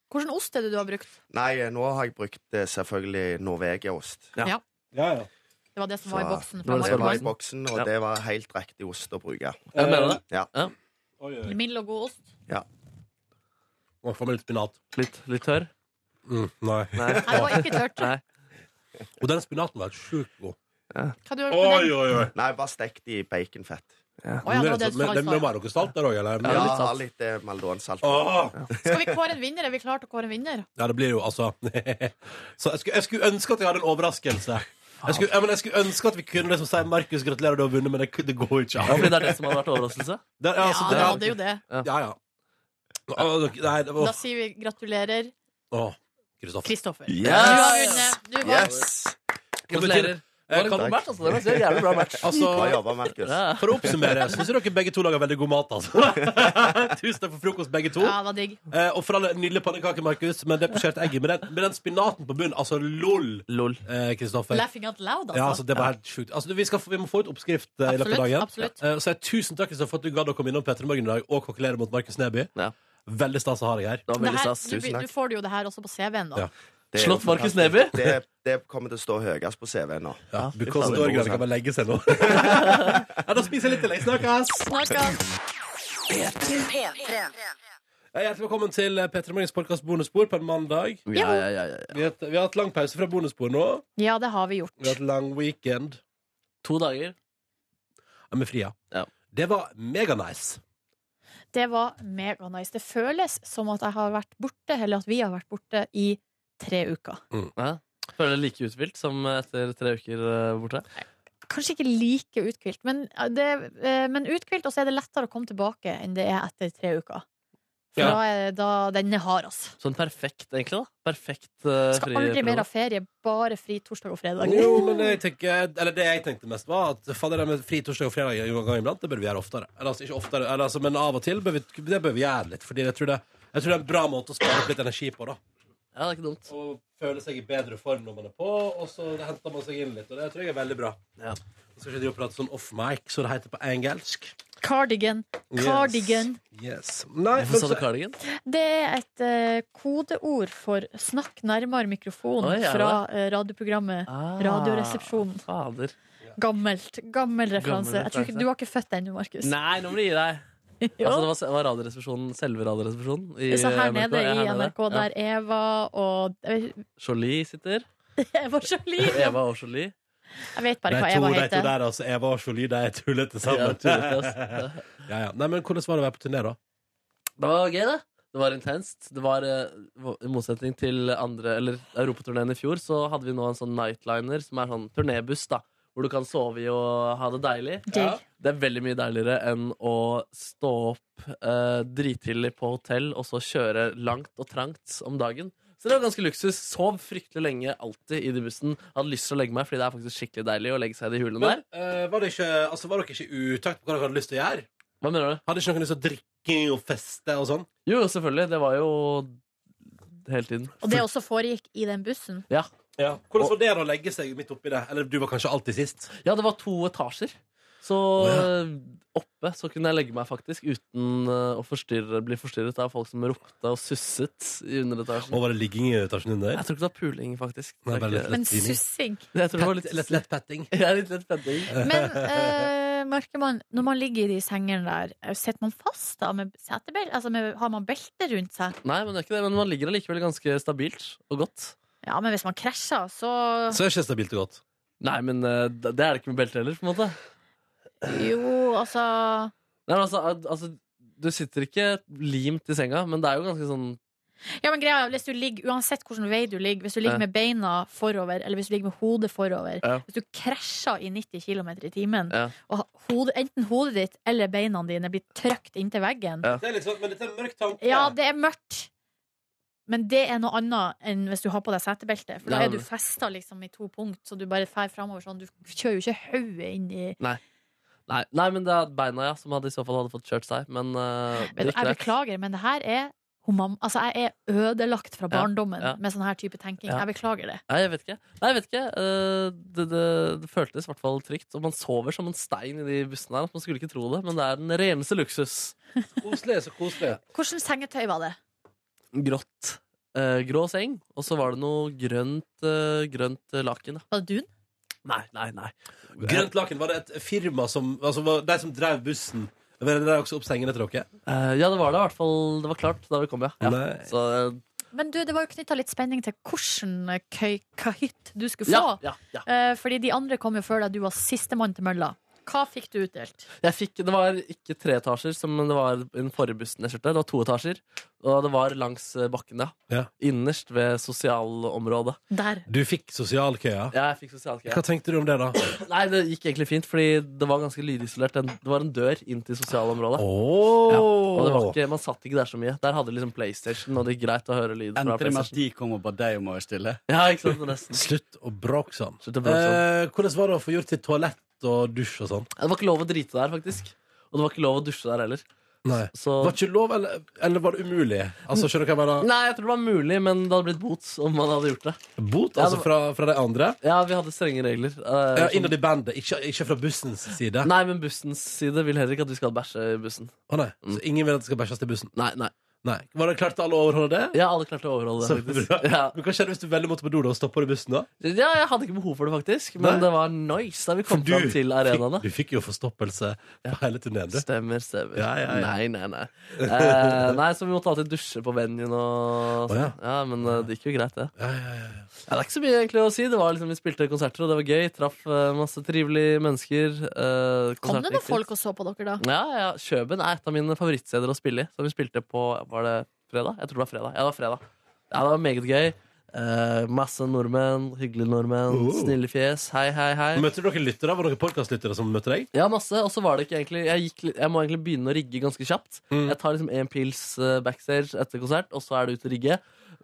Speaker 3: Hvilken ost er det du har brukt?
Speaker 7: Nei, eh, nå har jeg brukt eh, selvfølgelig Norvegia-ost.
Speaker 4: Ja.
Speaker 2: Ja, ja.
Speaker 3: Det var det som var i
Speaker 7: Så-
Speaker 3: boksen.
Speaker 4: Det var
Speaker 3: Fra
Speaker 4: det
Speaker 7: Det
Speaker 4: som
Speaker 7: var i
Speaker 3: Markus.
Speaker 7: boksen, og
Speaker 4: Ja.
Speaker 7: det var helt riktig ost å bruke.
Speaker 4: Jeg mener det.
Speaker 7: Ja.
Speaker 2: Oi, oi.
Speaker 3: Mild og god ost.
Speaker 2: Nå får vi litt spinat.
Speaker 4: Litt, litt tørr.
Speaker 2: Mm, nei.
Speaker 4: Nei.
Speaker 3: Nei, det var ikke tørt.
Speaker 4: Nei.
Speaker 2: Og den spinaten var sjukt god.
Speaker 3: Hva du har gjort med den?
Speaker 2: oi, oi.
Speaker 7: Nei, bare stekt i baconfett.
Speaker 3: Å ja, det var det
Speaker 2: Men-
Speaker 3: som var
Speaker 2: men- men
Speaker 3: svaret.
Speaker 2: var det noe salt der òg, eller?
Speaker 4: Ja,
Speaker 7: Ja,
Speaker 4: litt salt.
Speaker 7: ha litt eh, maldonsalt.
Speaker 2: Åh!
Speaker 3: Skal vi kåre en vinner? Er vi klare til å kåre en vinner?
Speaker 2: Ja, det blir jo altså Så jeg skulle, jeg skulle ønske at jeg hadde en overraskelse. Jeg skulle, ja, men jeg skulle ønske at vi kunne liksom si 'Markus, gratulerer, du har vunnet', men det, kunne- det går ikke
Speaker 4: Ja,
Speaker 2: an.
Speaker 4: fordi det er det som hadde vært overraskelse.
Speaker 2: Det, ja,
Speaker 3: Ja,
Speaker 2: altså,
Speaker 3: det
Speaker 2: det,
Speaker 3: hadde jo det.
Speaker 2: ja, ja. Åh, det- nei,
Speaker 3: Da
Speaker 2: det var
Speaker 3: sier vi gratulerer,
Speaker 2: Åh, Kristoffer.
Speaker 3: Kristoffer. Du
Speaker 7: Yes!
Speaker 3: har vunnet. Du vant.
Speaker 7: Yes!
Speaker 2: Gratulerer.
Speaker 4: Gratulerer. Det
Speaker 2: Eh,
Speaker 4: var en
Speaker 2: kan-
Speaker 4: god match, altså. Det var en jævlig bra match.
Speaker 7: Bra
Speaker 2: Altså,
Speaker 7: jobba, Markus.
Speaker 4: Ja.
Speaker 2: for å oppsummere, syns dere begge to lager veldig god mat, altså. Tusen takk for frokost, begge to.
Speaker 3: Ja, det var digg.
Speaker 2: Eh, og for alle nydelige pannekaker, Markus, med det posjerte egget. Med den, med den spinaten på bunnen. Altså lol,
Speaker 4: Lol.
Speaker 2: eh, Kristoffer.
Speaker 3: Laughing out loud,
Speaker 2: Ja, altså,
Speaker 3: altså.
Speaker 2: det var helt sjukt. Altså, du, vi, skal, få- vi må få ut oppskrift eh, i løpet
Speaker 3: Absolutt,
Speaker 2: av dagen.
Speaker 3: absolutt.
Speaker 2: Eh, så jeg, tusen takk Kristoffer, for at du gadd å komme innom Petter i Morgen i dag og kokkelere mot Markus Neby.
Speaker 4: Ja.
Speaker 2: Veldig stas å ha deg her.
Speaker 4: Det var
Speaker 3: Det
Speaker 4: veldig
Speaker 3: her,
Speaker 4: stas.
Speaker 3: du,
Speaker 7: Tusen takk.
Speaker 3: du får jo det her også på CV-en, da.
Speaker 2: Ja.
Speaker 7: Det er
Speaker 4: Slått
Speaker 7: jo
Speaker 4: Markus
Speaker 7: fantastisk.
Speaker 4: Neby?
Speaker 7: Det, det kommer til å stå høyest på CV-en nå.
Speaker 2: Ja,
Speaker 4: fy
Speaker 2: because
Speaker 4: faen,
Speaker 2: Dorgan
Speaker 4: det var
Speaker 2: kan bare legge seg nå. ja, da spiser jeg litt til. Jeg snakkes!
Speaker 3: Snakkes.
Speaker 1: P3.
Speaker 2: Ja, Hjertelig velkommen til P3 Morgens podkast Bonusspor på en mandag.
Speaker 4: Ja, ja, ja, ja.
Speaker 2: Vi har, hatt- vi har hatt lang pause fra bonusspor nå.
Speaker 3: Ja, det har vi
Speaker 2: Vi har
Speaker 3: gjort.
Speaker 2: hatt lang weekend
Speaker 4: To dager.
Speaker 2: Ja, med fria.
Speaker 4: Ja.
Speaker 2: Det var meganice.
Speaker 3: Det var meganice. Det føles som at jeg har vært borte, eller at vi har vært borte, i tre uker.
Speaker 4: Ja. Føler det like uthvilt som etter tre uker eh, borte.
Speaker 3: Kanskje ikke like uthvilt, men, det, eh, men uthvilt, og så er det lettere å komme tilbake enn det er etter tre uker. For
Speaker 2: Ja.
Speaker 3: da er da den er hard, altså.
Speaker 4: Sånn perfekt, egentlig. da Perfekt uh,
Speaker 3: Skal aldri mer ha ferie, bare fri torsdag og fredag.
Speaker 2: Jo, men jeg tenker, eller det jeg tenkte mest, var at fader, det med fri torsdag og fredag en gang iblant, det bør vi gjøre oftere. Eller, altså, ikke oftere eller, altså, men av og til bør vi, det bør vi gjøre litt. Fordi jeg tror, det, jeg tror det er en bra måte å spare opp litt energi på. da
Speaker 4: Ja, det er ikke dumt.
Speaker 2: Og føle seg i bedre form når man er på, og så henter man seg inn litt. Og det tror jeg er veldig bra.
Speaker 4: Ja.
Speaker 2: Jeg skal ikke drive og prate sånn off-mic, så det heter på engelsk.
Speaker 3: Cardigan. Cardigan.
Speaker 2: Yes. yes. Nei,
Speaker 4: Hvorfor sa du
Speaker 2: men så-
Speaker 4: cardigan?
Speaker 3: Det er et eh, kodeord for 'snakk nærmere mikrofonen'
Speaker 4: Oi, er det
Speaker 3: fra eh, radioprogrammet
Speaker 4: Ah,
Speaker 3: Radioresepsjonen.
Speaker 4: Fader.
Speaker 3: Gammelt. Gammel referanse.
Speaker 4: Gammel
Speaker 3: Jeg tror ikke,
Speaker 4: referanse.
Speaker 3: du var ikke født ennå, Markus.
Speaker 4: Nei, nå må du gi deg.
Speaker 3: Jo.
Speaker 4: Altså, det var, det var radioresepsjonen, selve radioresepsjonen. i
Speaker 3: Så her
Speaker 4: NRK.
Speaker 3: nede
Speaker 4: Ja,
Speaker 3: i
Speaker 4: her nede.
Speaker 3: NRK, der Eva og
Speaker 4: Ja. Jolie sitter.
Speaker 3: Eva Jolie
Speaker 4: Eva og Jolie.
Speaker 3: Jeg vet bare hva
Speaker 2: De to,
Speaker 3: Eva
Speaker 2: de to
Speaker 3: heter.
Speaker 2: der, altså. Eva og Jolie, de er tullete
Speaker 4: Ja,
Speaker 2: sammen.
Speaker 4: tullete, altså. ass.
Speaker 2: ja, ja. Nei, men Hvordan var det å være på turné, da?
Speaker 4: Det var gøy, det. Det var intenst. Det var, eh, I motsetning til andre Eller europaturneen i fjor, så hadde vi nå en sånn nightliner, som er sånn turnébuss, da. Hvor du kan sove i og ha det deilig.
Speaker 3: Digg.
Speaker 4: Det er veldig mye deiligere enn å stå opp eh, drittidlig på hotell og så kjøre langt og trangt om dagen. Så det var ganske luksus. Sov fryktelig lenge alltid i den bussen. Hadde lyst til å legge meg, fordi det er faktisk skikkelig deilig å legge seg i de hulene
Speaker 2: Men,
Speaker 4: der.
Speaker 2: eh, var, det ikke, altså, var dere ikke i utakt på hva dere hadde lyst til å gjøre?
Speaker 4: Hva mener du?
Speaker 2: Hadde ikke noen lyst til å drikke og feste og sånn?
Speaker 4: Jo, selvfølgelig. Det var jo hele tiden.
Speaker 3: Og det også foregikk i den bussen.
Speaker 4: Ja.
Speaker 2: Hvordan var det da å legge seg midt oppi det? Eller du var kanskje alltid sist?
Speaker 4: ja, det var to etasjer. Så oppe så kunne jeg legge meg faktisk uten eh, å forstyrre, bli forstyrret av folk som ropte og susset i underetasjen.
Speaker 2: Og var det ligging i etasjen under?
Speaker 4: Jeg tror ikke det var puling, faktisk.
Speaker 2: Nei,
Speaker 4: Det er
Speaker 2: bare
Speaker 4: ikke-
Speaker 2: litt-
Speaker 3: Men
Speaker 2: Fett, Jimmy.
Speaker 3: sussing.
Speaker 4: Jeg tror det var
Speaker 2: Pett,
Speaker 4: litt
Speaker 2: lett, lett petting.
Speaker 4: Jeg er litt lett petting.
Speaker 3: Men eh, merker man, når man ligger i de sengene der, eh, sitter man fast da med setebel? Altså med, har man belte rundt seg?
Speaker 4: Nei, men det er ikke det. Men man ligger allikevel ganske stabilt og godt.
Speaker 3: Ja, men hvis man krasjer, altså. så
Speaker 2: Så er det ikke stabilt og godt.
Speaker 4: Nei, men eh, det det er det ikke med belte heller, på en måte.
Speaker 3: Jo, altså
Speaker 4: Nei, men altså, al- altså du sitter ikke limt i senga, men det er jo ganske sånn
Speaker 3: Ja, men greia er, hvis du ligger, Uansett hvilken vei du ligger, hvis du ligger
Speaker 4: Ja.
Speaker 3: med beina forover, eller hvis du ligger med hodet forover
Speaker 4: Ja.
Speaker 3: Hvis du krasjer i 90 km i timen,
Speaker 4: Ja.
Speaker 3: og hodet, enten hodet ditt eller beina dine blir trøkt inntil veggen
Speaker 4: Ja.
Speaker 2: Det er litt sånn, men dette er en mørk tanke.
Speaker 3: Ja, det er mørkt, men det er noe annet enn hvis du har på deg setebelte. For da
Speaker 4: Ja,
Speaker 3: er du
Speaker 4: men-
Speaker 3: festa liksom i to punkt, så du bare fer framover sånn. Du kjører jo ikke hodet inn i
Speaker 4: Nei, nei men det er beina ja, som hadde i så fall hadde fått kjørt seg. Men eh, det
Speaker 3: Jeg
Speaker 4: gikk greit.
Speaker 3: beklager, men det her er humam... Altså, jeg er ødelagt fra
Speaker 4: Ja,
Speaker 3: barndommen
Speaker 4: ja.
Speaker 3: med sånn her type tenking.
Speaker 4: Ja.
Speaker 3: Jeg beklager det.
Speaker 4: Nei, jeg vet ikke. Nei, jeg vet ikke. Eh, det, det, det føltes i hvert fall trygt. Og man sover som en stein i de bussene her. Man skulle ikke tro det, men det er den reneste luksus.
Speaker 2: Koselig, så koselig.
Speaker 3: Hvordan sengetøy var det?
Speaker 4: Grått. eh, grå seng, og så var det noe grønt, eh, grønt eh, laken. da.
Speaker 3: Var det dun?
Speaker 4: Nei, nei, nei.
Speaker 2: Grønt Laken, var det et firma som Altså, var de som drev bussen, var det der også opp sengen etter dere?
Speaker 4: Eh, ja, det var det i hvert fall. Det var klart da vi kom, ja. ja.
Speaker 2: Nei.
Speaker 4: Så, eh,
Speaker 3: Men du, det var jo knytta litt spenning til hvordan eh, køy- kahytt du skulle
Speaker 4: ja,
Speaker 3: få.
Speaker 4: ja, ja.
Speaker 3: Eh, Fordi de andre kom jo før deg, du var sistemann til mølla. Hva fikk du utdelt?
Speaker 4: Jeg fikk, det var ikke tre etasjer, som det var i den forrige bussen jeg kjørte. Det var to etasjer, og det var langs eh, bakken, ja.
Speaker 2: Ja.
Speaker 4: Innerst ved sosialområdet.
Speaker 3: Der.
Speaker 2: Du fikk sosialkøya.
Speaker 4: Ja, jeg fikk sosialkøya.
Speaker 2: Hva tenkte du om det, da?
Speaker 4: Nei, det gikk egentlig fint, fordi det var ganske lydisolert. Den- Det var en dør inn til sosialområdet. Ja, og det var
Speaker 2: Oh.
Speaker 4: ikke, man satt ikke der så mye. Der hadde liksom PlayStation, og det gikk greit å høre lyd fra
Speaker 9: Endte det med at
Speaker 4: PlayStation.
Speaker 9: de kom og ba deg om å være stille?
Speaker 4: Ja, ikke sant, nesten.
Speaker 2: Slutt å bråke sånn.
Speaker 4: Slutt å bråke
Speaker 2: Eh, hvordan var det å få gjort til toalett og dusj og sånn?
Speaker 4: Ja, Det var ikke lov å drite der, faktisk. Og det var ikke lov å dusje der heller.
Speaker 2: Nei.
Speaker 4: Så
Speaker 2: Var ikke lov, eller, eller var det umulig? Altså, skjønner du hva jeg mener?
Speaker 4: Nei, jeg tror det var mulig, men det hadde blitt bot om man hadde gjort det.
Speaker 2: Bot,
Speaker 4: Ja,
Speaker 2: altså,
Speaker 4: det
Speaker 2: fra, fra de andre?
Speaker 4: Ja, vi hadde strenge regler. eh,
Speaker 2: Ja,
Speaker 4: som-
Speaker 2: Innad i bandet, ikke, ikke fra bussens side?
Speaker 4: Nei, men bussens side vil heller ikke at vi skal bæsje i bussen. Mm.
Speaker 2: Å, nei. Så ingen vil at det skal bæsjes til bussen?
Speaker 4: Nei, nei.
Speaker 2: Nei. Var det klart alle overholder det?
Speaker 4: Ja, alle klarte å overholde
Speaker 2: Så
Speaker 4: det. faktisk.
Speaker 2: bra.
Speaker 4: Ja.
Speaker 2: Men Hva skjer hvis du veldig måtte på do da, og stopper i bussen da?
Speaker 4: ja, jeg hadde ikke behov for det, faktisk. Men
Speaker 2: Nei.
Speaker 4: det var nice da vi kom
Speaker 2: Du
Speaker 4: fram til arenaene.
Speaker 2: Fikk, du fikk jo forstoppelse på hele turneen, du.
Speaker 4: Stemmer, stemmer.
Speaker 2: Ja, ja, ja.
Speaker 4: Nei, nei, nei. Eh, nei, så vi måtte alltid dusje på venuen og
Speaker 2: Å, ja.
Speaker 4: ja, men eh, det gikk jo greit, det.
Speaker 2: Ja, ja, ja.
Speaker 4: Ja, det er ikke så mye egentlig å si. Det var liksom Vi spilte konserter, og det var gøy. Traff eh, masse trivelige mennesker. eh,
Speaker 3: Kom
Speaker 4: konsert
Speaker 3: det
Speaker 4: gikk
Speaker 3: noen
Speaker 4: fint.
Speaker 3: folk og så på dere da?
Speaker 4: Ja, ja. Kjøben er et av mine favorittsteder å spille i. Som vi spilte på Var det fredag? Jeg tror det var fredag. Ja, det var fredag. Ja, det var meget gøy. Eh, masse nordmenn. Hyggelige nordmenn.
Speaker 2: Oh.
Speaker 4: Snille fjes. Hei, hei, hei.
Speaker 2: Møtte dere lyttere? Var det noen podcastlyttere som møtte deg?
Speaker 4: Ja, masse. Og så var det ikke egentlig jeg, gikk, litt- jeg må egentlig begynne å rigge ganske kjapt.
Speaker 2: Mm.
Speaker 4: Jeg tar liksom en pils eh, backstage etter konsert, og så er det ut og rigge.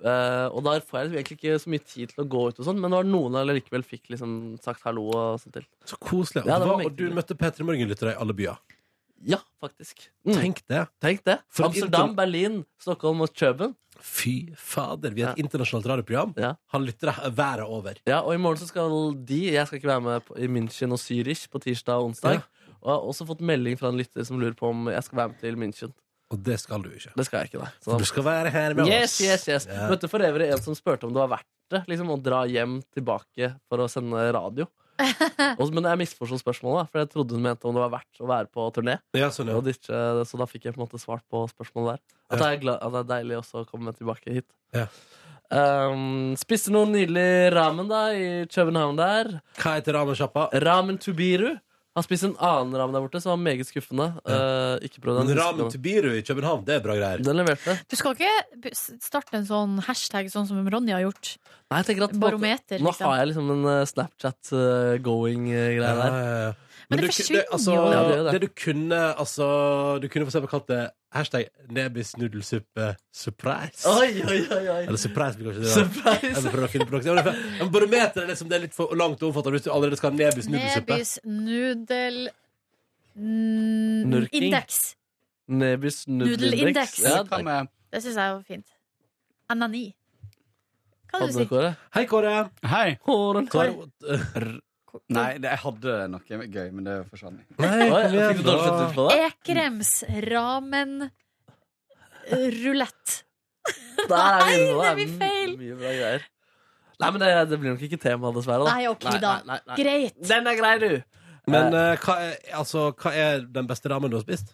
Speaker 4: Eh, og der får jeg liksom egentlig ikke så mye tid til å gå ut, og sånn men det var noen jeg likevel fikk liksom sagt hallo og sånt til.
Speaker 2: Så koselig. Og,
Speaker 4: Ja, det
Speaker 2: det
Speaker 4: var
Speaker 2: var,
Speaker 4: meget
Speaker 2: og du
Speaker 4: hyggelig.
Speaker 2: møtte P3 Morgen-lyttere i alle byer.
Speaker 4: Ja, faktisk. Mm. Tenk,
Speaker 2: Tenk det.
Speaker 4: det.
Speaker 2: For en
Speaker 4: Amsterdam,
Speaker 2: intern-
Speaker 4: Berlin, Stockholm og Kjøben.
Speaker 2: Fy fader. Vi er et
Speaker 4: Ja.
Speaker 2: internasjonalt radioprogram.
Speaker 4: Ja.
Speaker 2: Har lyttere været over.
Speaker 4: Ja, og i morgen så skal de Jeg skal ikke være med på, i München og Zürich på tirsdag og onsdag.
Speaker 2: Ja.
Speaker 4: Og jeg har også fått melding fra en lytter som lurer på om jeg skal være med til München.
Speaker 2: Og det skal du ikke.
Speaker 4: Det skal jeg ikke, nei. Så da
Speaker 2: Du skal være her med
Speaker 4: Sånn. Yes,
Speaker 2: oss.
Speaker 4: yes, yes
Speaker 2: Ja.
Speaker 4: Møtte for øvrig en som spurte om det var verdt det liksom, Å dra hjem tilbake for å sende radio og, Men jeg misforstod spørsmålet da, For jeg trodde hun mente om det var verdt å være på turné
Speaker 2: Ja, sånn, ja.
Speaker 4: og ditche, Så da fikk jeg på en måte svart på spørsmålet der At
Speaker 2: Ja.
Speaker 4: det er, glad, at det er deilig også å komme tilbake hit
Speaker 2: Ja.
Speaker 4: Ehm, Spiste noen nydelig ramen da I København der
Speaker 2: Hva heter ramensjappa?
Speaker 4: Ramen Tubiru Har spist en annen ramen der borte Som var meget skuffende Eh, Ikke prøv den
Speaker 2: Men
Speaker 4: tyske
Speaker 2: Ramen
Speaker 4: ramen.
Speaker 2: til Biru i København, det er bra greier.
Speaker 4: Den leverte
Speaker 3: Du skal ikke b- starte en sånn hashtag sånn som Ronny har gjort?
Speaker 4: Nei, jeg tenker at på en måte-
Speaker 3: Barometer,
Speaker 4: Nå
Speaker 3: liksom.
Speaker 4: har jeg liksom en eh, Snapchat-going-greie der.
Speaker 2: Ja, ja, ja.
Speaker 3: Men det
Speaker 2: du-
Speaker 3: forsvinner
Speaker 2: altså,
Speaker 3: jo.
Speaker 4: Ja, det gjør det.
Speaker 2: det. du kunne altså, Du kunne for eksempel kalt det hashtag nebisnudelsuppe surprise.
Speaker 4: Oi, oi, oi, oi.
Speaker 2: Eller surprise, blir kanskje det. da. Jeg må
Speaker 4: Surprise!
Speaker 2: prøve å finne på noe. Ja, men for- men Barometer er liksom det er litt for langt og omfattende hvis du allerede skal ha nebisnudelsuppe.
Speaker 3: Nebis nudel... n-
Speaker 4: Nurking.
Speaker 3: Indeks.
Speaker 4: Nebis
Speaker 3: Nudelindeks.
Speaker 4: nudelindeks. Ja,
Speaker 9: Hva
Speaker 4: takk.
Speaker 9: med
Speaker 3: Det syns jeg var fint. Anani. Hva hadde du
Speaker 4: Hadde
Speaker 3: si?
Speaker 4: dere
Speaker 2: Hei, Kåre.
Speaker 9: Hei!
Speaker 4: håret?
Speaker 2: Kåre.
Speaker 9: Nei, det, jeg hadde noe gøy, men det forsvant.
Speaker 4: Oi,
Speaker 2: Nei, kom
Speaker 4: fikk
Speaker 2: igjen,
Speaker 4: du dårlig
Speaker 2: da.
Speaker 4: selvtillit på det?
Speaker 3: Ekrems ramen rulett.
Speaker 4: Der er vi inne
Speaker 3: Nei,
Speaker 4: på det.
Speaker 3: det blir feil.
Speaker 4: Mye bra greier. Nei, men det, det blir nok ikke tema, dessverre. Da.
Speaker 3: Nei, ok, da.
Speaker 4: Nei, nei, nei.
Speaker 3: Greit.
Speaker 4: Den er grei, du!
Speaker 2: Men eh, hva, er, altså, hva er den beste ramen du har spist?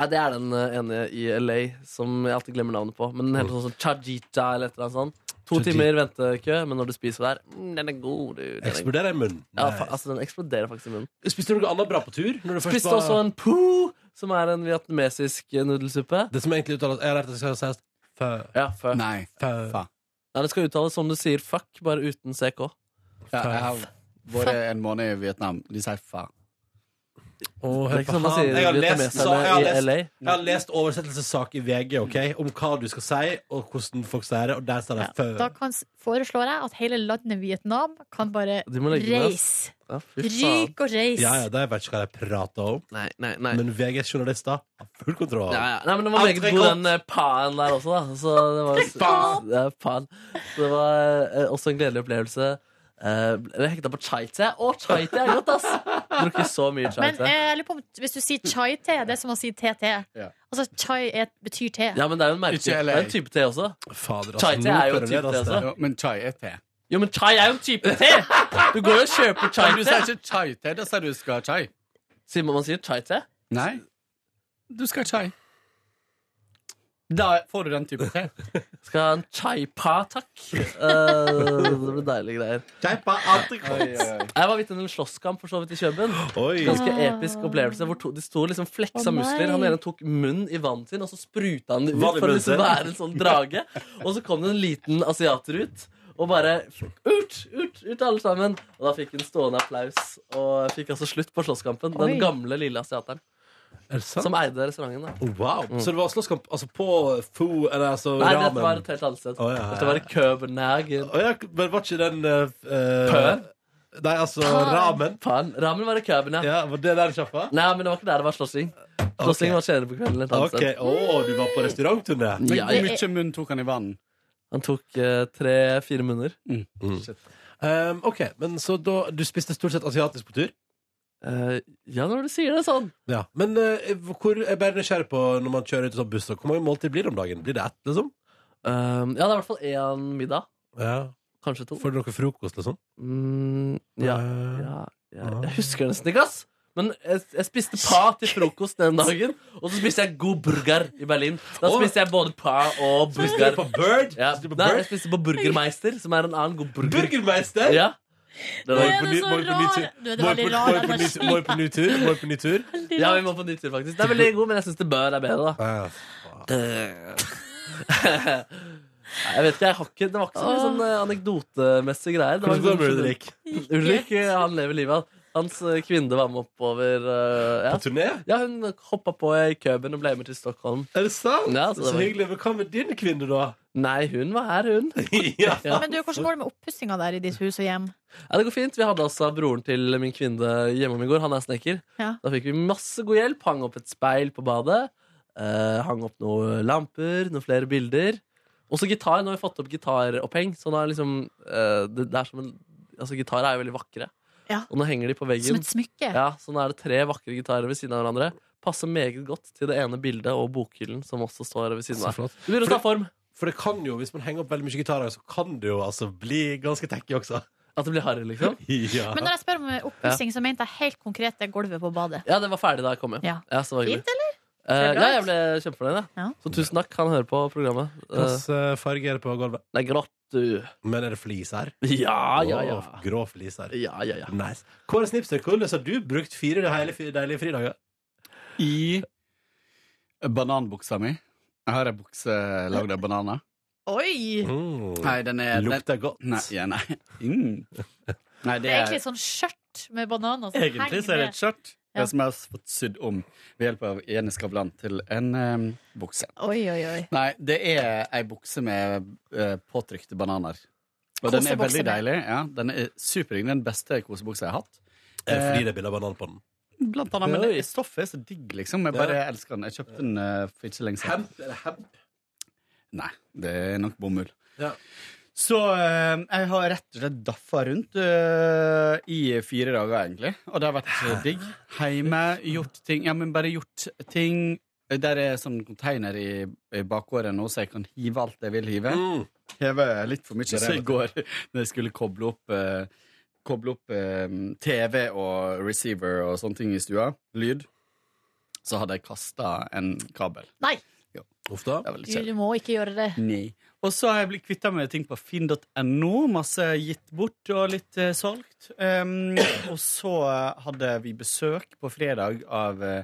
Speaker 4: Nei, det er den eh, ene i LA som jeg alltid glemmer navnet på. Men den heter sånn som Chajita eller et eller annet sånt. To
Speaker 2: Oh. Chajita.
Speaker 4: timer ventekø, men når du spiser der mm, Den er god, du. Den er god.
Speaker 2: Eksploderer i munnen.
Speaker 4: Ja,
Speaker 2: Nei.
Speaker 4: fa altså, den eksploderer faktisk i munnen.
Speaker 2: Spiste du noe annet bra på tur? Når du først
Speaker 4: Spiste
Speaker 2: var-
Speaker 4: også en poo, som er en vietnamesisk nudelsuppe.
Speaker 2: Det som egentlig uttales Jeg har lært at det skal sies fø,
Speaker 4: Ja, fuck. Nei.
Speaker 9: Nei.
Speaker 2: fø,
Speaker 9: Fa.
Speaker 4: det skal uttales som du sier fuck, bare uten CK.
Speaker 9: Ja, jeg har vært en måned i Vietnam. De sier fa.
Speaker 2: Å,
Speaker 4: Det er
Speaker 2: hør
Speaker 4: ikke
Speaker 2: på
Speaker 4: som man
Speaker 2: han.
Speaker 4: sier
Speaker 2: Jeg har lest- så- jeg har
Speaker 4: vietnameserne i
Speaker 2: lest-
Speaker 4: LA.
Speaker 2: Jeg har lest oversettelsessak i VG ok, om hva du skal si, og hvordan folk sier det. Og der står det
Speaker 3: Ja,
Speaker 2: fø.
Speaker 3: da kan, s- foreslår jeg at hele landet Vietnam kan bare
Speaker 4: De må legge ned,
Speaker 3: reise.
Speaker 4: Ja, fy faen.
Speaker 3: Ryk og reis.
Speaker 2: Ja, ja, da vet jeg ikke hva jeg prater om,
Speaker 4: Nei, nei, nei.
Speaker 2: men VGs journalister har full kontroll.
Speaker 4: ja, ja. nei, men det var meget god den eh, paen der også, da. Så det var,
Speaker 2: Paen.
Speaker 4: Ja, paen. Så det var eh, også en gledelig opplevelse. Eh, ble hekta på chai-te. Å, chai-te er godt, ass! Drukket så mye
Speaker 3: Men
Speaker 4: chai-te.
Speaker 3: eh, jeg lurer på om hvis du sier chai-te, det er som å si TT.
Speaker 9: Ja.
Speaker 3: Altså chai er, betyr te.
Speaker 4: Ja, men det er jo en merke. Det
Speaker 9: Ikke LA.
Speaker 4: er en type te også.
Speaker 2: Fader, altså,
Speaker 4: Chai-te
Speaker 2: nå
Speaker 4: er jo
Speaker 2: prøver jeg
Speaker 4: typ
Speaker 2: det,
Speaker 4: det,
Speaker 2: altså.
Speaker 9: Jo, men chai er te.
Speaker 4: Jo, men chai er jo en type te! Du går jo og kjøper
Speaker 9: Men du
Speaker 4: chai-te.
Speaker 9: sier ikke chai-te, da sier du skal ha chai.
Speaker 4: Sier man man sier chai-te?
Speaker 9: Nei. Du skal ha chai. Da får du den type te.
Speaker 4: Skal ha en chai pa, takk. Eh, det blir deilige greier.
Speaker 9: Oi, oi, oi.
Speaker 4: Jeg var vitne til en slåsskamp for så vidt i Kjøben.
Speaker 2: Oi.
Speaker 4: Ganske episk opplevelse hvor to, de sto og liksom fleksa
Speaker 3: Å, nei.
Speaker 4: muskler. Han ene tok munnen i vannet sin, og så spruta han det ut
Speaker 2: Vann i
Speaker 4: for å
Speaker 2: munnen sin.
Speaker 4: liksom være en sånn drage. Og så kom det en liten asiater ut. Og bare ut, ut, ut alle sammen. Og da fikk hun stående applaus. Og fikk altså slutt på slåsskampen. Den
Speaker 3: Oi.
Speaker 4: gamle lille asiateren
Speaker 2: Er det sant?
Speaker 4: som eide restauranten. da
Speaker 2: Wow. Så det var slåsskamp altså, på Fo Eller altså
Speaker 4: Mm. Nei,
Speaker 2: ramen?
Speaker 4: dette var et helt annet sted.
Speaker 2: Å, ja, ja, ja.
Speaker 4: Dette var i København.
Speaker 2: Å ja, men var ikke den uh,
Speaker 4: Pø?
Speaker 2: Nei, altså
Speaker 3: Pø.
Speaker 2: ramen.
Speaker 4: Faen, Ramen var i Køben, ja.
Speaker 2: Ja, Var det der sjappa?
Speaker 4: Nei, men det var ikke der det var slåssing. Slåssing
Speaker 2: Ok.
Speaker 4: var senere på kvelden. et annet
Speaker 2: OK.
Speaker 4: sted.
Speaker 2: Å, du var på restaurantturné?
Speaker 9: Men
Speaker 4: Ja,
Speaker 9: Hvor
Speaker 4: ja.
Speaker 9: mye munn tok han i vann?
Speaker 4: Han tok eh, tre-fire munner.
Speaker 9: Mm.
Speaker 2: Mm. Um, OK, men så da Du spiste stort sett asiatisk på tur?
Speaker 4: Eh, ja, når du sier det sånn.
Speaker 2: Ja. Men eh, hvor Jeg er bare nysgjerrig på når man kjører ut i sånn buss, og hvor mange måltider blir det om dagen? Blir det ett, liksom?
Speaker 4: Um, ja, det er i hvert fall én middag.
Speaker 2: Ja.
Speaker 4: Kanskje to.
Speaker 2: Får dere frokost, liksom?
Speaker 4: Mm, ja,
Speaker 2: Eh,
Speaker 4: ja, ja. Jeg husker det nesten ikke, ass. Men jeg, jeg spiste pa til frokost den dagen. Og så spiste jeg god burger i Berlin. Da
Speaker 2: Å.
Speaker 4: spiste jeg både pa og
Speaker 2: Spiste
Speaker 4: burger.
Speaker 2: dere på Bird?
Speaker 4: Ja.
Speaker 2: Spiste dere på
Speaker 4: Nei,
Speaker 2: Bird?
Speaker 4: jeg spiste på Burgermeister, som er en annen god burger.
Speaker 2: Burgermeister?
Speaker 4: Ja. Det
Speaker 3: Nå
Speaker 4: var,
Speaker 3: er det så rar Du er
Speaker 2: Må
Speaker 3: veldig
Speaker 2: jeg på-
Speaker 3: rar
Speaker 2: må jeg på ny-
Speaker 3: energi.
Speaker 2: må jeg på ny tur? Må jeg på ny tur?
Speaker 3: Veldig
Speaker 4: ja,
Speaker 3: rar.
Speaker 4: vi må på nytt tur, faktisk. Det er veldig god, men jeg syns det bør er bedre, da.
Speaker 2: Ja.
Speaker 4: Nei, Jeg vet ikke, jeg har ikke Det var ikke så mye sånn eh, anekdotemessig greier. Det var
Speaker 2: Hvordan går det med
Speaker 4: sånn-
Speaker 2: Ulrik?
Speaker 4: Ulrik, eh, han lever livet. han. Hans eh, kvinne var med oppover. eh,
Speaker 2: På
Speaker 4: Ja,
Speaker 2: turné?
Speaker 4: ja hun hoppa på i Køben og ble med til Stockholm.
Speaker 2: Er det sant?
Speaker 4: Ja, så
Speaker 2: så
Speaker 4: det var-
Speaker 2: hyggelig. Men hva med din kvinne, da?
Speaker 4: Nei, hun var her, hun.
Speaker 2: ja.
Speaker 4: Ja.
Speaker 3: Men du, hvordan går det med oppussinga der i ditt hus og hjem?
Speaker 4: Ja, det går fint. Vi hadde altså broren til min kvinne hjemme i går. Han er snekker.
Speaker 3: Ja.
Speaker 4: Da fikk vi masse god hjelp. Hang opp et speil på badet. eh, hang opp noen lamper, noen flere bilder. Også gitar. Nå har vi fått opp gitaroppheng. Så nå er liksom eh, det, det er som en, altså, Gitarer er jo veldig vakre.
Speaker 3: Ja.
Speaker 4: Og nå henger de på
Speaker 3: Som
Speaker 4: veggen.
Speaker 3: et smykke?
Speaker 4: Ja, så nå er det tre vakre gitarer ved siden av hverandre. Passer meget godt til det ene bildet og bokhyllen som også står ved siden
Speaker 2: Så
Speaker 4: av.
Speaker 2: flott.
Speaker 4: Det begynner å ta form.
Speaker 2: For det kan jo, hvis man henger opp veldig mye gitarer, så kan det jo altså bli ganske tacky også.
Speaker 4: At det blir harry, liksom.
Speaker 2: Ja.
Speaker 3: Men når jeg spør om eh, oppussing, så mente jeg helt konkret det gulvet på badet.
Speaker 4: Ja, det var ferdig da jeg kom hjem.
Speaker 3: Ja.
Speaker 4: så var det
Speaker 3: Fint,
Speaker 4: hyggelig.
Speaker 3: Ser
Speaker 4: Eh,
Speaker 3: det bra ut?
Speaker 4: ja, jeg ble kjempefornøyd. jeg.
Speaker 3: Ja.
Speaker 4: Så tusen takk. Han hører på programmet. Eh,
Speaker 2: Hvilken eh, farge er det på gulvet?
Speaker 4: det er grått, du.
Speaker 2: Men er det flis her?
Speaker 4: Ja, ja, ja.
Speaker 2: Å, grå flis her.
Speaker 4: Ja, ja, ja.
Speaker 2: Nice. Kåre Snipster, hvordan har du brukt fire deilige, fire deilige fridager?
Speaker 9: I bananbuksa mi. Jeg har ei bukse lagd av bananer.
Speaker 3: Oi!
Speaker 2: Mm.
Speaker 9: Nei, den er den,
Speaker 2: Lukter godt.
Speaker 9: Nei, ja, nei. Mm. nei
Speaker 3: Det
Speaker 9: det
Speaker 3: er
Speaker 9: er,
Speaker 3: egentlig et sånt skjørt med bananer som
Speaker 9: Egentlig så
Speaker 3: henger
Speaker 9: er det et
Speaker 3: med.
Speaker 9: skjørt.
Speaker 3: Altså, Ja.
Speaker 9: Det Som jeg har fått sydd om ved hjelp av Jenny Skavlan til en eh, bukse.
Speaker 3: Oi, oi, oi.
Speaker 9: Nei, det er ei bukse med eh, påtrykte bananer. Og den er
Speaker 3: Kosebukse
Speaker 9: veldig
Speaker 3: med.
Speaker 9: deilig. Ja, den er superdigg. Den beste kosebuksa jeg har hatt.
Speaker 2: Er
Speaker 9: Eh,
Speaker 2: det fordi det er bilde av banan på den?
Speaker 9: Blant annet, men
Speaker 4: Oi.
Speaker 9: det- stoffet er så digg, liksom. Jeg bare elsker den. Jeg kjøpte den eh, for ikke så lenge siden.
Speaker 2: Hemp? Er det hemp?
Speaker 9: Nei, det er nok bomull.
Speaker 2: Ja.
Speaker 9: Så eh, jeg har rett og slett daffa rundt eh, i fire dager, egentlig. Og det har vært eh, digg. Heime, gjort ting. Ja, men bare gjort ting. Der er sånn container i, i bakgården nå, så jeg kan hive alt jeg vil hive.
Speaker 2: Mm.
Speaker 9: Heve litt for mye,
Speaker 2: Det er
Speaker 9: så i
Speaker 2: det.
Speaker 9: går når jeg skulle koble opp eh, Koble opp eh, TV og receiver og sånne ting i stua, lyd, så hadde jeg kasta en kabel.
Speaker 3: Nei,
Speaker 2: Uff da.
Speaker 9: Det var litt kjedelig.
Speaker 3: du må ikke gjøre det.
Speaker 9: Nei. Og så har jeg blitt kvitta med ting på finn.no. Masse gitt bort og litt eh, solgt. Um, og så eh, hadde vi besøk på fredag av eh,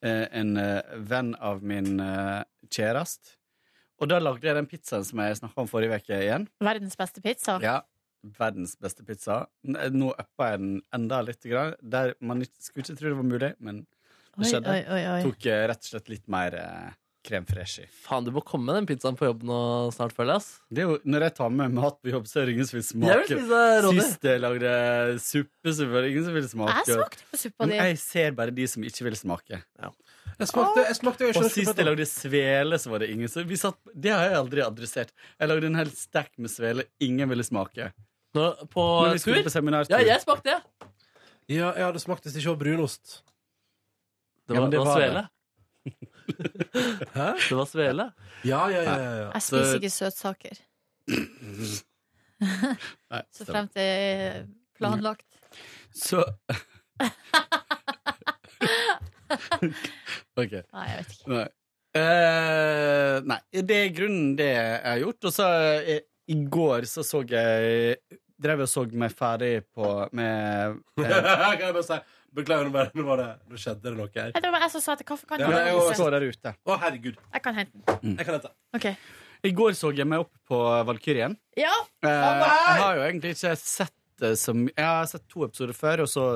Speaker 9: eh, en eh, venn av min eh, kjæreste. Og da lagde jeg den pizzaen som jeg snakka om forrige uke igjen.
Speaker 3: Verdens beste pizza.
Speaker 9: Ja, Verdens beste pizza. N- eh, Nå uppa jeg den enda litt. Grann, der man ikke- skulle ikke tro det var mulig, men
Speaker 3: Oi,
Speaker 9: skjedde.
Speaker 3: oi, oi, oi.
Speaker 9: tok eh, rett og slett litt mer eh, krem fresh i.
Speaker 4: Faen, du må komme med den pizzaen på jobb nå snart, føler jeg. ass.
Speaker 9: Det er jo, når jeg tar med mat på jobb, så er det ingen som vil
Speaker 4: Jeg vil
Speaker 9: smake.
Speaker 4: spise Ronny.
Speaker 9: Sist jeg lagde suppe, så var det ingen som ville smake.
Speaker 3: Jeg smakte på suppa
Speaker 9: Men
Speaker 3: di.
Speaker 9: jeg ser bare de som ikke vil smake.
Speaker 2: Jeg smakte, jeg smakte jeg
Speaker 9: Og
Speaker 2: skjønner ikke
Speaker 9: sist
Speaker 2: hva
Speaker 9: jeg
Speaker 2: det var.
Speaker 9: lagde svele, så var det ingen som vi satt, Det har jeg aldri adressert. Jeg lagde en hel stack med svele. Ingen ville smake.
Speaker 4: Nå, På
Speaker 9: Når vi skulle på
Speaker 4: tur?
Speaker 9: seminartur
Speaker 4: Ja, jeg smakte det.
Speaker 2: Ja, jeg hadde smakt hvis det ikke var brunost.
Speaker 4: Det
Speaker 9: Ja,
Speaker 4: var,
Speaker 9: men det
Speaker 4: det var
Speaker 9: var det.
Speaker 4: svele.
Speaker 2: Hæ?
Speaker 4: Det var svele.
Speaker 2: Ja, ja, ja. ja, ja.
Speaker 3: Jeg spiser ikke søtsaker.
Speaker 9: Nei,
Speaker 3: Så fremt det er planlagt.
Speaker 9: Så OK.
Speaker 3: Nei, jeg vet ikke.
Speaker 9: Nei. Eh, nei, det er grunnen det jeg har gjort. Og så eh, i går så så jeg Drev og så meg ferdig på med eh,
Speaker 2: kan jeg bare si Beklager, nå, bare, nå, var det, nå skjedde det noe her.
Speaker 3: Nei, Det var jeg som sa til kaffekanna.
Speaker 2: Ja, det er jo-
Speaker 9: jeg står der ute.
Speaker 2: Å, herregud.
Speaker 3: Jeg kan hente den.
Speaker 2: Jeg kan hente.
Speaker 3: Ok.
Speaker 9: Mm. I går så jeg meg opp på Valkyrien.
Speaker 3: Ja,
Speaker 9: Eh, jeg har jo egentlig ikke sett det som Jeg har sett to episoder før, og så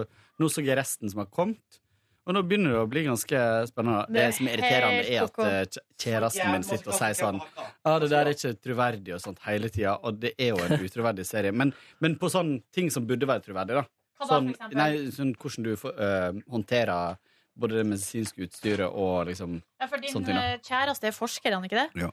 Speaker 9: nå så jeg resten som har kommet. Og nå begynner det å bli ganske spennende.
Speaker 3: Det
Speaker 9: Det,
Speaker 3: er
Speaker 9: som er irriterende, er
Speaker 3: helt
Speaker 9: at eh, kj- kjæresten min sitter og sier sånn Ja, det der er ikke troverdig og sånt hele tida, og det er jo en utroverdig serie. Men, men på sånn ting som burde være troverdig, da.
Speaker 3: hva da, for
Speaker 9: Sånn,
Speaker 3: eksempel?
Speaker 9: nei, sånn hvordan du får, øh, håndterer både det medisinske utstyret og liksom
Speaker 3: ja, for din
Speaker 2: Sånn
Speaker 9: sånne ting, da.
Speaker 3: eh, kjæreste er forsker, han ikke det?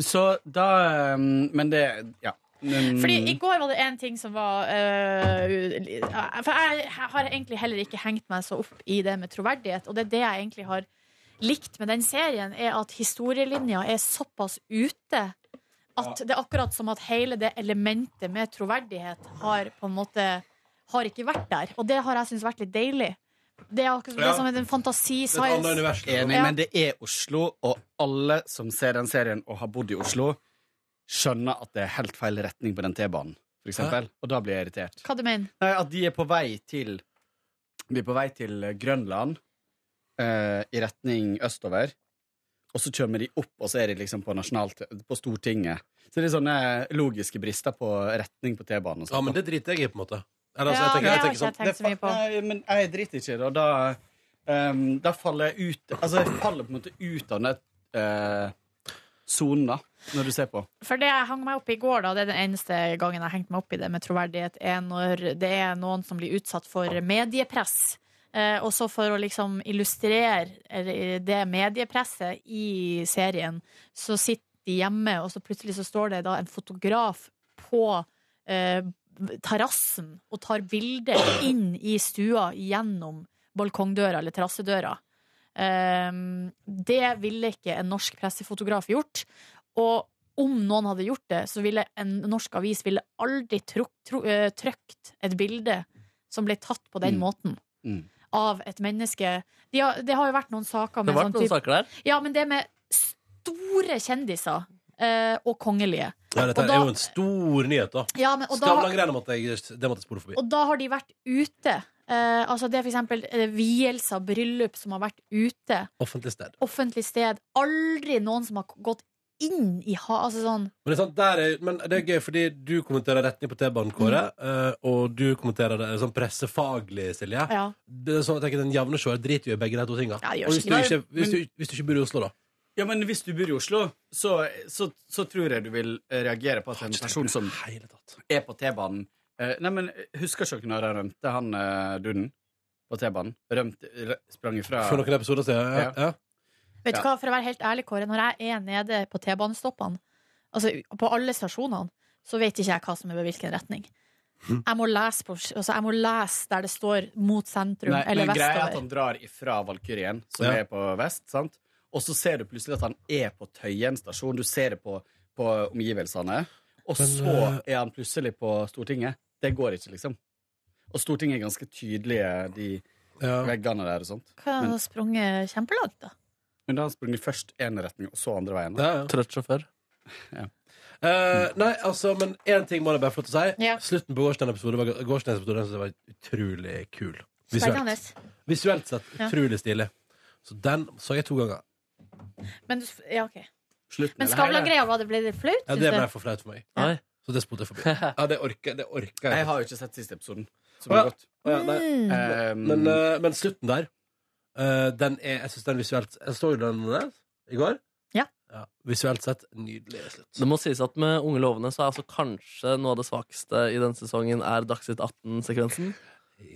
Speaker 9: Så da øh, Men det Ja. Men,
Speaker 3: Fordi
Speaker 2: Mm.
Speaker 3: i går var det en ting som var eh, li- ja, For jeg har egentlig heller ikke hengt meg så opp i det med troverdighet, og det er det jeg egentlig har likt med den serien, er at historielinja er såpass ute at det er akkurat som at hele det elementet med troverdighet har på en måte har ikke vært der. Og det har jeg syntes vært litt deilig. Det er akkurat det
Speaker 2: Ja.
Speaker 3: er som en
Speaker 2: Det er et annet
Speaker 3: fantasi-science.
Speaker 2: univers. liksom.
Speaker 9: Enig,
Speaker 3: Ja.
Speaker 9: men det er Oslo, og alle som ser den serien og har bodd i Oslo, skjønner at det er helt feil retning på den T-banen, for eksempel. Og da blir jeg irritert.
Speaker 3: Hva du mener?
Speaker 9: Nei, at de er på vei til De er på vei til Grønland eh, i retning østover. Og så kommer de opp, og så er de liksom på, nasjonalt, på Stortinget. Så det er sånne logiske brister på retning på T-banen. og sånt.
Speaker 2: Ja, men det driter jeg i, på en måte. Eller, altså,
Speaker 3: Ja,
Speaker 2: jeg
Speaker 3: det
Speaker 2: tenker,
Speaker 3: har
Speaker 2: jeg
Speaker 3: ikke
Speaker 2: tenker
Speaker 3: jeg
Speaker 2: sånn,
Speaker 3: tenkt så mye på.
Speaker 9: Nei, men jeg driter ikke i det, og da, ehm, da faller jeg ut Altså, jeg faller på en måte ut av den eh, sonen, da, når du ser på.
Speaker 3: For det jeg hang meg opp i går, da, det er den eneste gangen jeg har hengt meg opp i det med troverdighet, er når det er noen som blir utsatt for mediepress. Eh, og så for å liksom illustrere eller, eh, det mediepresset i serien, så sitter de hjemme, og så plutselig så står det da en fotograf på eh, terrassen og tar bilder inn i stua gjennom balkongdøra eller terrassedøra. Ehm, det ville ikke en norsk pressefotograf gjort. Og om noen hadde gjort det, så ville en norsk avis ville aldri truk, tro, eh, trykt et bilde som ble tatt på den
Speaker 9: Mm.
Speaker 3: måten.
Speaker 9: Mm.
Speaker 3: Av et menneske. De har, det har jo vært noen saker
Speaker 4: Det
Speaker 3: med
Speaker 4: har vært
Speaker 3: sånn
Speaker 4: noen
Speaker 3: type
Speaker 4: saker der.
Speaker 3: Ja, men det med store kjendiser eh, og kongelige.
Speaker 2: ja, dette
Speaker 3: Og
Speaker 2: er
Speaker 3: da-
Speaker 2: jo en stor nyhet, da.
Speaker 3: Ja, men, og da
Speaker 2: Skavlan-greiene måtte jeg, det måtte jeg spole forbi.
Speaker 3: Og da har de vært ute. Eh, altså det er for eksempel eh, vielser, bryllup som har vært ute.
Speaker 2: Offentlig sted.
Speaker 3: Offentlig sted. Aldri noen som har k- gått inn i ha... Altså sånn
Speaker 2: Men det, er sant, der er, men det er gøy, fordi du kommenterer retning på T-banen, Kåre. eh, Og du kommenterer det sånn pressefaglig, Silje.
Speaker 3: Mm. Ja.
Speaker 2: Det er sånn at jeg tenker Den jevne seer driter jo i begge de to tinga.
Speaker 3: Ja, det gjør
Speaker 2: og hvis du,
Speaker 3: sikkert.
Speaker 2: ikke, hvis, du, hvis du ikke bor i Oslo, da.
Speaker 9: Ja, men hvis du bor i Oslo, så, så, så tror jeg du vil eh, reagere på at en person som
Speaker 2: Hele tatt.
Speaker 9: er på T-banen eh, Nei, men husker ikke dere når han rømte, han eh, duden på T-banen? Rømte, rø- sprang ifra
Speaker 2: For noen episoder siden. Ja. Ja.
Speaker 3: Vet du
Speaker 9: Ja.
Speaker 3: hva, for å være helt ærlig, Kåre, når jeg er nede på T-banestoppene, altså u- på alle stasjonene, så vet ikke jeg hva som er ved hvilken retning. Jeg må lese, på, altså jeg må lese der det står mot sentrum
Speaker 9: Nei,
Speaker 3: eller
Speaker 9: men greia er at
Speaker 3: vestover.
Speaker 9: han drar ifra Valkyrien, som
Speaker 2: Ja.
Speaker 9: er på vest, sant? Og så ser du plutselig at han er på Tøyen stasjon. Du ser det på, på omgivelsene. Og
Speaker 2: Men, eh,
Speaker 9: så er han plutselig på Stortinget. Det går ikke, liksom. Og Stortinget er ganske tydelige, de
Speaker 2: Ja.
Speaker 9: veggene der og sånt.
Speaker 3: Hva har han sprunget kjempelangt, da?
Speaker 9: Men da har han sprunget først én retning, og så andre veien.
Speaker 2: Ja, ja.
Speaker 4: Trøtt sjåfør.
Speaker 2: Eh, nei, altså, men én ting må jeg bare få lov til å si.
Speaker 3: Ja.
Speaker 2: Slutten på gårsdagens episode var, gårsdagens episode, den synes jeg var utrolig kul. Visuelt,
Speaker 3: Spennende.
Speaker 2: Visuelt sett
Speaker 3: Ja.
Speaker 2: utrolig stilig. Så den så jeg to ganger.
Speaker 3: Men, du- ja, ok.
Speaker 9: Slutten,
Speaker 3: Men
Speaker 9: eller hele?
Speaker 3: Skavlan-greia, var det- ble det flaut?
Speaker 2: Ja,
Speaker 3: synes
Speaker 2: det
Speaker 3: du?
Speaker 2: ble for flaut for meg.
Speaker 4: Oi.
Speaker 2: Så det spolte jeg forbi. Ja, det orker, det orker jeg.
Speaker 9: Jeg har jo ikke sett siste episoden. Som
Speaker 2: Å, ja.
Speaker 9: er godt.
Speaker 2: Å, ja, nei.
Speaker 3: Mm.
Speaker 9: Um,
Speaker 2: Men, eh, men slutten der eh, Den er, jeg synes den visuelt Jeg så jo den der i går
Speaker 3: Ja.
Speaker 2: Visuelt sett, nydelig slutt
Speaker 4: Det må sies at med Unge lovende så er altså kanskje noe av det svakeste i denne sesongen er Dagsnytt 18-sekvensen.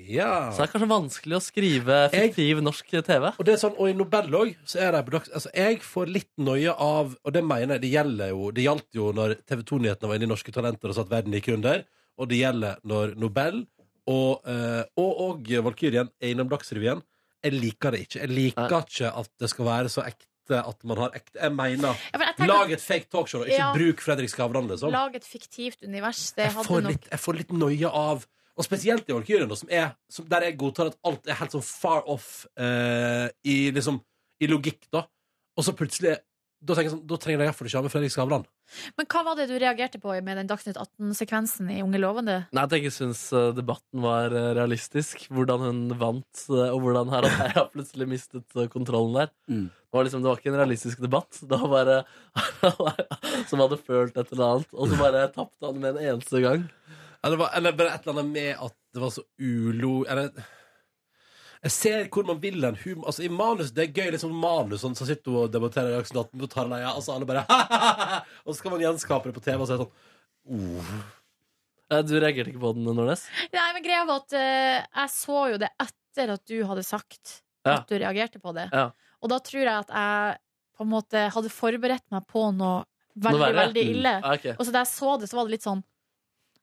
Speaker 2: Ja
Speaker 4: Så det er kanskje vanskelig å skrive fiktiv norsk TV.
Speaker 2: og det er sånn, og i Nobel også, så er det på dags... Altså, jeg får litt nøye av, og det mener jeg, det gjelder jo, det gjaldt jo når TV 2-nyhetene var inne i norske talenter og satt verden gikk under, og det gjelder når Nobel og, eh, og, og Valkyrien er innom Dagsrevyen. Jeg liker det ikke. Jeg liker
Speaker 4: Nei.
Speaker 2: ikke at det skal være så ekte at man har ekte... Jeg mener,
Speaker 3: Ja, for jeg tenker-
Speaker 2: lag et fake talkshow, og ikke
Speaker 3: Ja.
Speaker 2: bruk Fredrik Skavran, liksom.
Speaker 3: Lag et fiktivt univers. Det
Speaker 2: jeg
Speaker 3: hadde
Speaker 2: får,
Speaker 3: nok
Speaker 2: litt, jeg får litt nøye av Og spesielt i Valkyrien, da, som er, som, der jeg godtar at alt er helt sånn far off eh, i, liksom, i logikk, da. Og så plutselig Da tenker jeg sånn, da trenger jeg derfor ikke ha med Fredrik Skavlan.
Speaker 3: Men hva var det du reagerte på med den Dagsnytt 18-sekvensen i Unge lovende?
Speaker 4: Nei, at jeg ikke syns eh, debatten var eh, realistisk. Hvordan hun vant, eh, og hvordan her og der har plutselig mistet eh, kontrollen der.
Speaker 9: Mm.
Speaker 4: Det, var liksom, det var ikke en realistisk debatt. Det var bare som hadde følt et eller annet, og så bare tapte han med en eneste gang.
Speaker 2: Eller, var- eller bare et eller annet med at det var så ulo... Eller Jeg ser hvor man vil en humor Altså, i manus Det er gøy, liksom manus sånn, Så sitter hun og debatterer i Dagsnytt 18 på Tarleia, altså alle bare Og så skal man gjenskape det på TV, og så er det sånn oh.
Speaker 4: Eh, Du reagerte ikke på den, Nordnes?
Speaker 3: Nei, men greia var at eh, jeg så jo det etter at du hadde sagt
Speaker 4: Ja.
Speaker 3: at du reagerte på det.
Speaker 4: Ja.
Speaker 3: Og da tror jeg at jeg på en måte hadde forberedt meg på noe veldig,
Speaker 4: Noe verre?
Speaker 3: veldig ille.
Speaker 4: Ah, ok.
Speaker 3: Og så da jeg så det, så var det litt sånn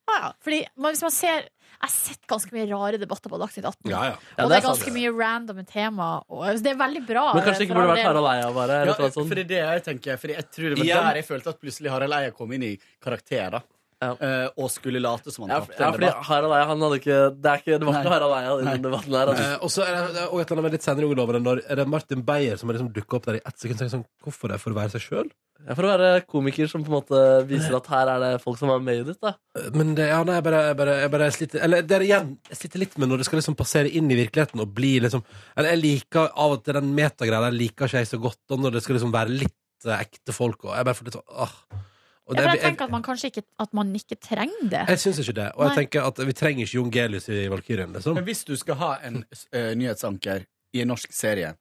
Speaker 3: ah, ja. Fordi man, hvis man ser Jeg har sett ganske mye rare debatter på Dagsnytt 18.
Speaker 2: Ja, ja.
Speaker 4: Ja,
Speaker 3: og
Speaker 4: det
Speaker 3: det
Speaker 4: er
Speaker 3: er ganske
Speaker 4: sant.
Speaker 3: mye random tema. Og, altså, det er veldig bra. eh,
Speaker 4: Men kanskje det ikke
Speaker 3: for all
Speaker 4: burde vært
Speaker 3: del.
Speaker 4: Harald Eia, bare?
Speaker 9: Ja,
Speaker 4: eller noe sånt.
Speaker 9: for det er det jeg tenker. Fordi jeg tror det var
Speaker 2: Igjen.
Speaker 9: der jeg følte at plutselig Harald Eia kom inn i karakter. da
Speaker 4: Ja.
Speaker 9: Eh, Og skulle late som han
Speaker 4: Ja, for-
Speaker 9: tapte.
Speaker 4: ja,
Speaker 9: en
Speaker 4: fordi
Speaker 9: debatt.
Speaker 4: Harald Eia, han hadde ikke Det, er ikke, det var
Speaker 9: Nei.
Speaker 4: ikke Harald Eia i den debatten der. Altså.
Speaker 2: Eh, og så er det og et eller annet med litt senere i Ungeloven Når er det Martin Beyer som har liksom dukket opp der i ett sekund Så tenker jeg sånn, hvorfor det? For å være seg selv?
Speaker 4: Ja, For å være komiker som på en måte viser at her er det folk som har made it. da
Speaker 2: Eh, Men det, ja, nei, jeg bare, jeg bare, jeg bare sliter Eller det er igjen, jeg sliter litt med når det skal liksom passere inn i virkeligheten Og bli liksom Eller jeg liker av og til den metagreia der liker ikke jeg så godt Og når det skal liksom være litt eh, ekte folk Og jeg bare får litt sånn, åh Og
Speaker 3: Ja,
Speaker 2: det-
Speaker 3: for jeg
Speaker 2: jeg,
Speaker 3: tenker at man kanskje ikke, at man ikke trenger det.
Speaker 2: jeg synes ikke det Og jeg
Speaker 3: Nei.
Speaker 2: tenker at vi trenger ikke Jon Gelius i Valkyrien liksom.
Speaker 9: Men hvis du skal ha en eh, nyhetsanker i en norsk serie,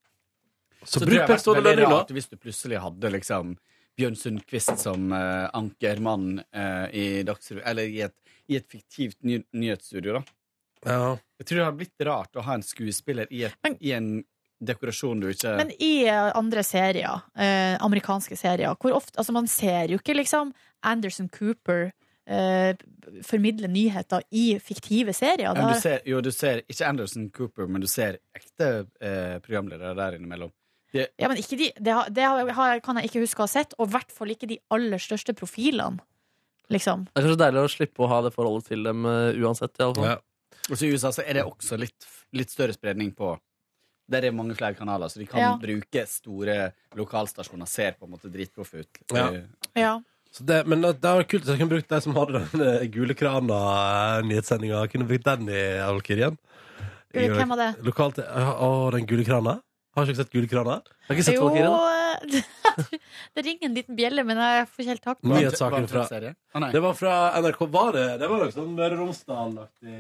Speaker 2: Så,
Speaker 9: tror
Speaker 2: bruk
Speaker 9: jeg det hadde vært
Speaker 2: personlig
Speaker 9: veldig
Speaker 2: lønning da
Speaker 9: rart Hvis du plutselig hadde liksom Bjørn Sundquist som eh, ankermann eh, i Dagsrevyen, eller i et, i et fiktivt ny nyhetsstudio, da.
Speaker 2: ja.
Speaker 9: Jeg tror det hadde blitt rart å ha en skuespiller i, et,
Speaker 3: Men-
Speaker 9: i en dekorasjon du ikke
Speaker 3: Men i eh, andre serier, eh, amerikanske serier, hvor ofte Altså, man ser jo ikke liksom Anderson Cooper eh, formidle nyheter i fiktive serier.
Speaker 9: Ja, men du
Speaker 3: Det er-
Speaker 9: ser, jo, du ser ikke Anderson Cooper, men du ser ekte eh, programledere der innimellom.
Speaker 3: ja, men ikke de, det har, det har, har- kan jeg ikke huske å ha sett, og i hvert fall ikke de aller største profilene, liksom.
Speaker 4: Det er kanskje deilig å slippe å ha det forholdet til dem eh, uansett. I alle fall.
Speaker 2: Ja.
Speaker 9: Og så i USA så er det også litt, litt større spredning på Der er det mange flere kanaler, så de kan
Speaker 3: Ja.
Speaker 9: bruke store lokalstasjoner. Ser på en måte dritproffe ut.
Speaker 2: Ja.
Speaker 9: Eh,
Speaker 3: Ja.
Speaker 2: Så det, men det, det var kult at jeg kunne brukt de som hadde den eh, gule krana eh, nyhetssendinga. Jeg Kunne brukt den i Alkyrien.
Speaker 3: Eh, Hvem var det?
Speaker 2: Lokalt ja, Å, den gule krana? Har ikke du sett gule krana?
Speaker 4: Jeg har ikke sett folk i den.
Speaker 3: eh, det ringer en liten bjelle, men jeg får ikke helt tak på den.
Speaker 2: Nyhetssaken fra
Speaker 9: serie? Å, nei.
Speaker 2: Det var fra NRK. Var det Det var nok sånn Møre og Romsdal-aktig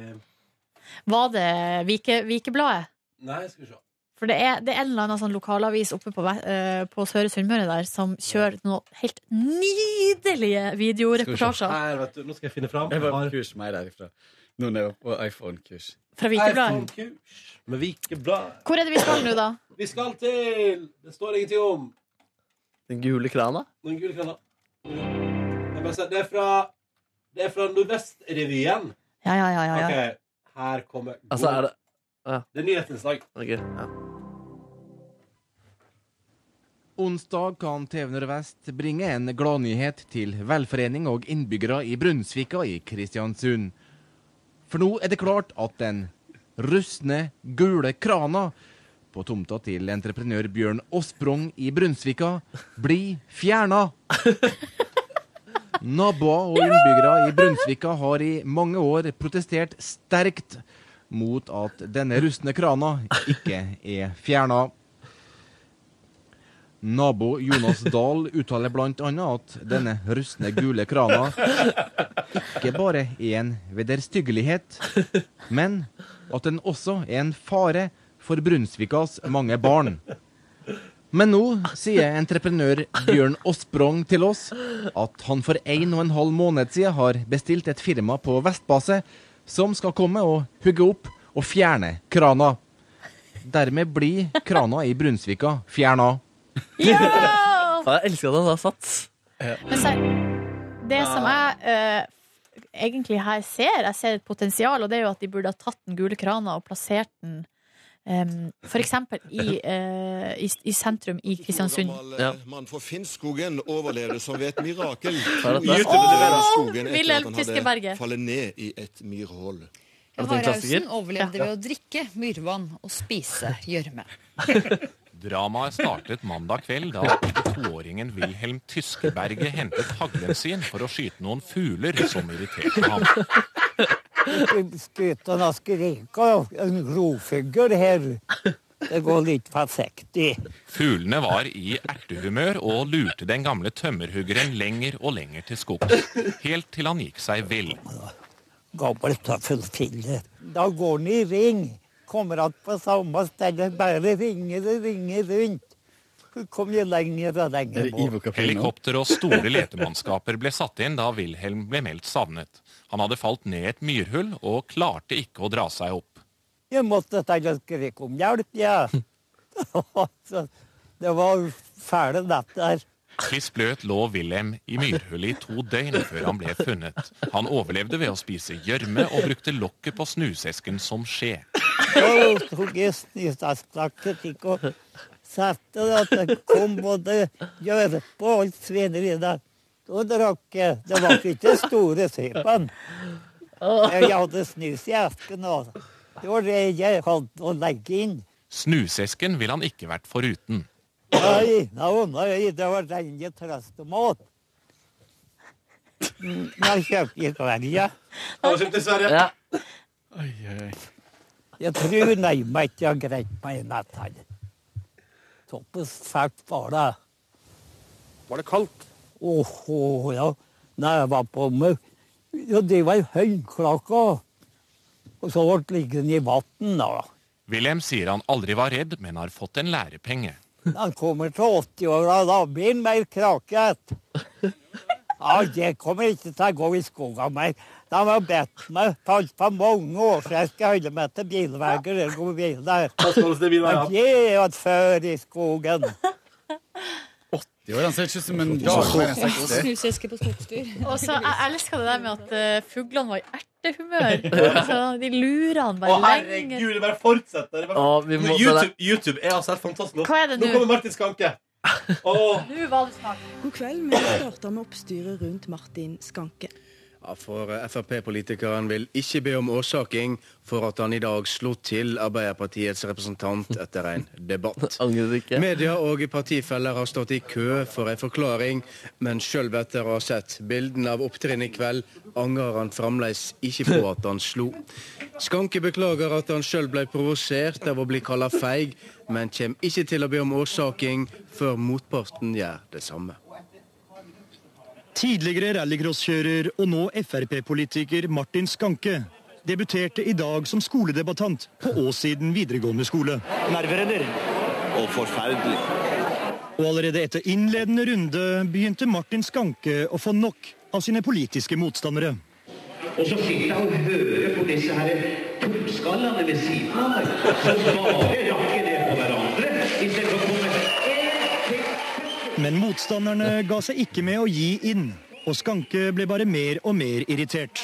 Speaker 3: Var det Vike, Vikebladet?
Speaker 2: Nei, skal vi se.
Speaker 3: For det er, det er en eller annen sånn lokalavis oppe på, ve- eh, på Søre Sunnmøre der som kjører noen helt nydelige
Speaker 2: Skal vi se.
Speaker 3: videoreportasjer
Speaker 2: Her, vet du. Nå skal jeg finne fram.
Speaker 9: Jeg var på
Speaker 2: Har-
Speaker 9: kurs med meg derifra. Nå når jeg var på iPhone-kurs.
Speaker 3: fra Vikebladet.
Speaker 2: iPhone-kurs med Vikeblad.
Speaker 3: Hvor er det vi skal nå, da?
Speaker 2: Vi skal til Det står ingenting om
Speaker 4: Den gule krana.
Speaker 2: den gule krana. Jeg bare ser- Det er fra Det er fra Nordvestrevyen.
Speaker 3: Ja, ja, ja. ja, ja.
Speaker 2: Ok, her kommer
Speaker 4: Altså, er det
Speaker 2: Det er nyhetsinnslag.
Speaker 4: ok, ja.
Speaker 10: Onsdag kan TV Nordvest bringe en gladnyhet til velforening og innbyggere i Brunsvika i Kristiansund. For nå er det klart at den rustne, gule krana på tomta til entreprenør Bjørn Åsprong i Brunsvika blir fjerna. Naboer og innbyggere i Brunsvika har i mange år protestert sterkt mot at denne rustne krana ikke er fjerna. Nabo Jonas Dahl uttaler bl.a. at denne rustne gule krana ikke bare er en vederstyggelighet, men at den også er en fare for Brunsvikas mange barn. Men nå sier entreprenør Bjørn Åsprong til oss at han for en og en halv måned siden har bestilt et firma på Vestbase som skal komme og hugge opp og fjerne krana. Dermed blir krana i Brunsvika fjerna.
Speaker 3: Ja!
Speaker 4: Ja, Jeg elsker at han da satt.
Speaker 3: Men så, det som jeg eh, egentlig her ser, jeg ser et potensial, og det er jo at de burde ha tatt den gule krana og plassert den em, for eksempel i, eh, i, i sentrum i Kristiansund.
Speaker 4: Ja.
Speaker 11: mann fra Finnskogen overlevde som ved et mirakel.
Speaker 4: Hva er dette?
Speaker 11: Ut over
Speaker 3: Åh!
Speaker 11: skogen etter at
Speaker 3: Wilhelm
Speaker 11: han hadde
Speaker 3: Fiskeberget.
Speaker 11: fallet ned i et myrhull.
Speaker 4: Er dette en klassiker?
Speaker 12: overlevde ved å drikke myrvann og spise gjørme. Dramaet startet mandag kveld da 22-åringen Wilhelm Tyskeberget hentet haglen sin for å skyte noen fugler som irriterte ham.
Speaker 13: Skutene skriker. En rovfugl her. Det går litt forsiktig.
Speaker 12: Fuglene var i ertehumør og lurte den gamle tømmerhuggeren lenger og lenger til skogs, helt til han gikk seg vill.
Speaker 13: Gammelt og forfillet. Da går den i ring. Kommer att på samme sted. Bare ringer og ringer rundt. Så Kommer jeg lenger og lenger bort.
Speaker 12: Helikopter og store letemannskaper ble satt inn da Wilhelm ble meldt savnet. Han hadde falt ned et myrhull og klarte ikke å dra seg opp.
Speaker 13: Jeg måtte til å skrike om hjelp, jeg. Så Det var fæle natt der.
Speaker 12: Kliss bløt lå Wilhelm i myrhullet i to døgn før han ble funnet. Han overlevde ved å spise gjørme og brukte lokket på snusesken som skje.
Speaker 13: Da tok jeg snøstadsplakket tikk og satte det at det kom både gjørme og alt svineri der. Da drakk jeg. Det var ikke store sypen. Jeg hadde snus i esken og Det var det jeg hadde å legge inn.
Speaker 12: Snusesken ville han ikke vært foruten.
Speaker 13: Nei, nei, nei, det var rene trøstemat. Mm, Jeg kjøpte i Sverige.
Speaker 2: Har du kjøpt i Sverige?
Speaker 4: Ja.
Speaker 13: Jeg tror nærmere ikke jeg har greid meg i natt her. Såpass fælt var det.
Speaker 2: Var det kaldt?
Speaker 13: Åh, åh, ja. Nei, jeg var på meg. Ja, det var høyklokka. Og så ble det liggende i vann da.
Speaker 12: Wilhelm sier han aldri var redd, men har fått en lærepenge.
Speaker 13: Han kommer til 80-åra, da blir han mer kraket. Ja, jeg kommer ikke til å gå i skogen mer. De har bedt meg for, for mange år siden jeg skal holde meg til bilveier og gå bil der. Men jeg har vært før i skogen.
Speaker 9: Jo, han ser ikke ut som en dag. men jeg sier ikke det.
Speaker 14: Snuseske på skogstur.
Speaker 3: Og så, jeg elsker det der med at eh, fuglene var i ertehumør. Så de lurer han
Speaker 2: Å,
Speaker 3: bare lenger.
Speaker 2: herregud, det bare fortsetter. Det bare...
Speaker 4: Å, vi må-
Speaker 2: Men YouTube, YouTube er altså helt fantastisk. Nå,
Speaker 3: Hva er det nå?
Speaker 2: nå kommer Martin Skanke. Åh,
Speaker 3: Nå var det snart.
Speaker 14: God kveld, vi starter med oppstyret rundt Martin Skanke.
Speaker 6: Ja, for Frp-politikeren vil ikke be om årsaking for at han i dag slo til Arbeiderpartiets representant etter en debatt.
Speaker 4: Angrer ikke.
Speaker 6: Media og partifeller har stått i kø for en forklaring, men sjøl etter å ha sett bildene av opptrinnet i kveld, angrer han fremdeles ikke på at han slo. Skanke beklager at han sjøl ble provosert av å bli kalla feig, men kommer ikke til å be om årsaking før motparten gjør det samme.
Speaker 15: Tidligere rallycrosskjører og nå Frp-politiker Martin Skanke debuterte i dag som skoledebattant på Åssiden videregående skole. Nerveredder.
Speaker 8: Og forferdelig.
Speaker 15: Og allerede etter innledende runde begynte Martin Skanke å få nok av sine politiske motstandere.
Speaker 8: Og så sitter han og hører på disse her toppskallene ved siden av meg, som bare rakker ned på hverandre. Istedenfor å komme
Speaker 15: Men motstanderne ga seg ikke med å gi inn, og Skanke ble bare mer og mer irritert.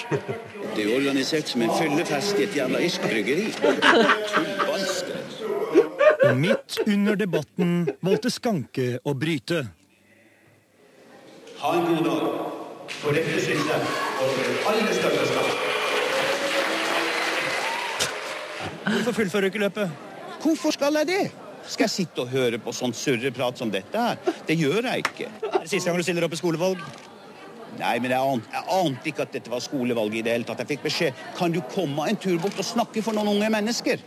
Speaker 8: Det er jo organisert som en fyllefest i et jævla iskbryggeri.
Speaker 15: Og midt under debatten valgte Skanke å bryte.
Speaker 8: Ha en god dag. For dette synes jeg var det aller største skam.
Speaker 15: Hvorfor fullfører du ikke løpet?
Speaker 8: Hvorfor skal jeg det? Skal jeg sitte og høre på sånn surreprat som dette her? Det gjør jeg ikke. Er det siste gang du stiller opp i skolevalg? Nei, men jeg ante, jeg ante ikke at dette var skolevalg i det hele tatt. Jeg fikk beskjed kan du komme en tur bort og snakke for noen unge mennesker.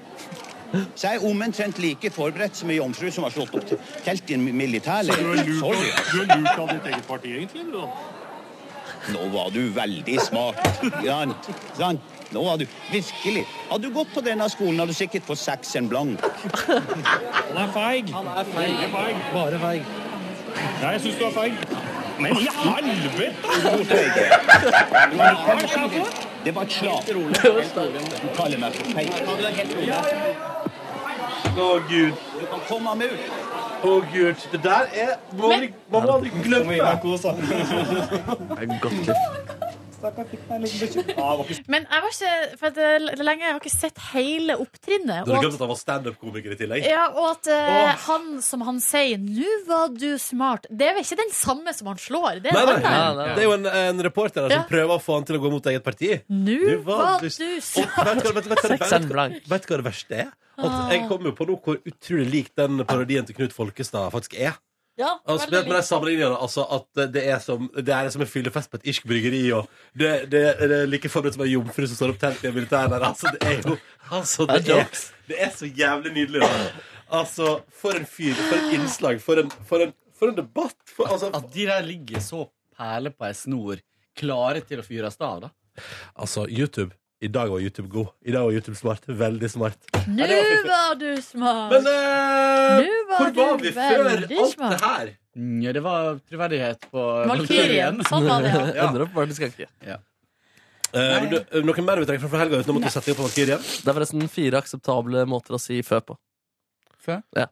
Speaker 8: Så jeg er omtrent like forberedt som ei jomfru som har slått opp til- telt i en militærleir. Sorry.
Speaker 16: av ditt eget parti, egentlig? eller da?
Speaker 8: Nå var du veldig smart. Sant? Sant? Nå var du virkelig. Hadde du gått på denne skolen, hadde du sikkert fått sekseren blank.
Speaker 16: Han er feig. Han er feig. Bare feig. Ja, jeg syns du er feig. Men i helvete!
Speaker 8: Det var et slag. Du kaller meg for feig.
Speaker 2: Å, gud.
Speaker 8: Du kan komme meg ut.
Speaker 2: Å, gud. Det der er Man må aldri glemme.
Speaker 8: Det
Speaker 4: er godt liv.
Speaker 16: Stakkar fikk meg en liten bekymring. Ja, det var ikke
Speaker 3: Men jeg var ikke For det er lenge jeg har ikke sett hele opptrinnet.
Speaker 2: Du hadde
Speaker 3: og
Speaker 2: glemt at han var standup-komiker i tillegg?
Speaker 3: Ja, og at eh,
Speaker 2: Åh.
Speaker 3: han som han sier 'Nå var du smart', det er vel ikke den samme som han slår? Det er
Speaker 2: Nei,
Speaker 3: en
Speaker 2: nei,
Speaker 3: annen.
Speaker 2: Det er jo en, en reporter der
Speaker 3: Ja.
Speaker 2: som prøver å få han til å gå mot eget parti.
Speaker 3: Nå
Speaker 2: Du var
Speaker 3: var
Speaker 2: du-
Speaker 3: du
Speaker 2: Og vet
Speaker 3: smart.
Speaker 2: du hva- vet du hva- vet du hva- Vet du hva det verste er?
Speaker 3: Ah.
Speaker 2: At jeg kommer jo på noe hvor utrolig lik den parodien til Knut Folkestad faktisk er.
Speaker 3: Ja,
Speaker 2: Altså,
Speaker 3: veldig
Speaker 2: med de sammenligningene, altså at det er som, det er som en fyllefest på et irsk bryggeri, og det, det, det er like forberedt som ei jomfru som står opp telt i en militær der. Altså, det er jo altså, det,
Speaker 16: Det er
Speaker 2: er, det er så jævlig nydelig. da. Altså, for en fyr, for et innslag, for en, for en, for en debatt. For, altså,
Speaker 9: At de der ligger så perle på ei snor, klare til å fyres av, da.
Speaker 2: Altså, YouTube. I dag var YouTube god. I dag var YouTube smart. Veldig smart.
Speaker 3: Nå var du smart.
Speaker 2: Men, eh,
Speaker 3: Nå
Speaker 2: hvor var
Speaker 3: du
Speaker 2: vi før alt
Speaker 3: veldig
Speaker 2: det
Speaker 3: smart.
Speaker 2: her?
Speaker 9: Nja, det var troverdighet på
Speaker 3: Valkyrien. Sånn var det, ja.
Speaker 4: Ender opp faktisk ikke.
Speaker 9: Ja.
Speaker 2: Eh, du- eh, noe mer vi trenger fra- fra helga uten å måtte sette opp på Valkyrien?
Speaker 4: Det er forresten fire akseptable måter å si fø på.
Speaker 9: Fø?
Speaker 4: Ja.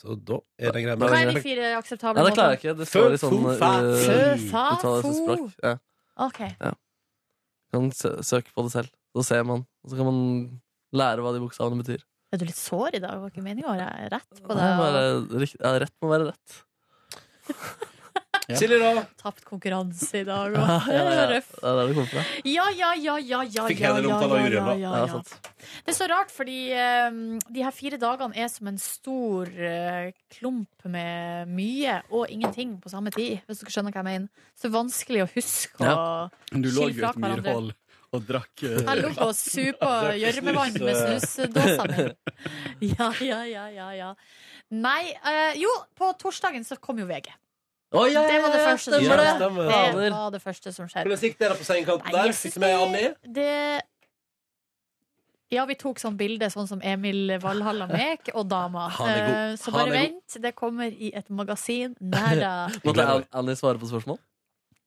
Speaker 2: Så da er det greit.
Speaker 4: med-
Speaker 3: Hva er de fire akseptable
Speaker 4: Nei, det klarer jeg ikke. Det står i sånn
Speaker 2: Fø, fo, fa.
Speaker 3: Fø, fa,
Speaker 4: uh, uttalelsesspråk.
Speaker 3: fo.
Speaker 4: Ja.
Speaker 3: OK.
Speaker 4: Ja. Kan sø- søke på det selv. Så ser man. Og så kan man lære hva de bokstavene betyr.
Speaker 3: Er du litt sår i dag? Det var ikke meningen å være rett på
Speaker 4: Det
Speaker 3: deg.
Speaker 4: må være rikt- ja, rett må være rett.
Speaker 2: Silje, da?
Speaker 3: Tapt konkurranse i dag
Speaker 4: Ja,
Speaker 3: og
Speaker 4: ja, ja.
Speaker 3: røff.
Speaker 4: Det er der det kommer fra.
Speaker 3: Ja, ja, ja, ja, ja,
Speaker 4: Fikk
Speaker 3: Ah, ja,
Speaker 4: heller
Speaker 3: ja,
Speaker 4: omtale av
Speaker 3: ja,
Speaker 4: juryen, da.
Speaker 3: ja,
Speaker 4: Ja,
Speaker 3: ja.
Speaker 4: sant.
Speaker 3: Det er så rart, fordi eh, de her fire dagene er som en stor eh, klump med mye og ingenting på samme tid, hvis dere skjønner hva jeg mener. Så vanskelig å huske å
Speaker 9: Du
Speaker 3: skille
Speaker 9: lå jo i
Speaker 3: fra
Speaker 9: et myrhold
Speaker 3: hverandre.
Speaker 9: og drakk eh,
Speaker 3: Jeg lå på supa
Speaker 9: drakk
Speaker 3: gjørmevann
Speaker 9: snus,
Speaker 3: med
Speaker 9: eh.
Speaker 3: snusdåsa mi. Ja, ja, ja, ja, ja. Nei, eh, jo, på torsdagen så kom jo VG.
Speaker 2: Å, ja,
Speaker 3: det var det
Speaker 2: ja,
Speaker 3: første som
Speaker 2: stemmer
Speaker 3: skjedde.
Speaker 2: det. Stemmer det.
Speaker 3: Det var det første som skjedde.
Speaker 2: Hvordan gikk dere på sengekanten
Speaker 3: Nei,
Speaker 2: der?
Speaker 3: jeg
Speaker 2: Fikk du
Speaker 3: synes
Speaker 2: med Annie?
Speaker 3: det- Det ja, vi tok sånn bilde, sånn som Emil Valhalla Mek og dama.
Speaker 4: Han er god.
Speaker 3: Eh, Så
Speaker 4: Han
Speaker 3: bare
Speaker 4: er god.
Speaker 3: vent, det kommer i et magasin nær deg.
Speaker 4: Måtte An- Annie svare på spørsmål?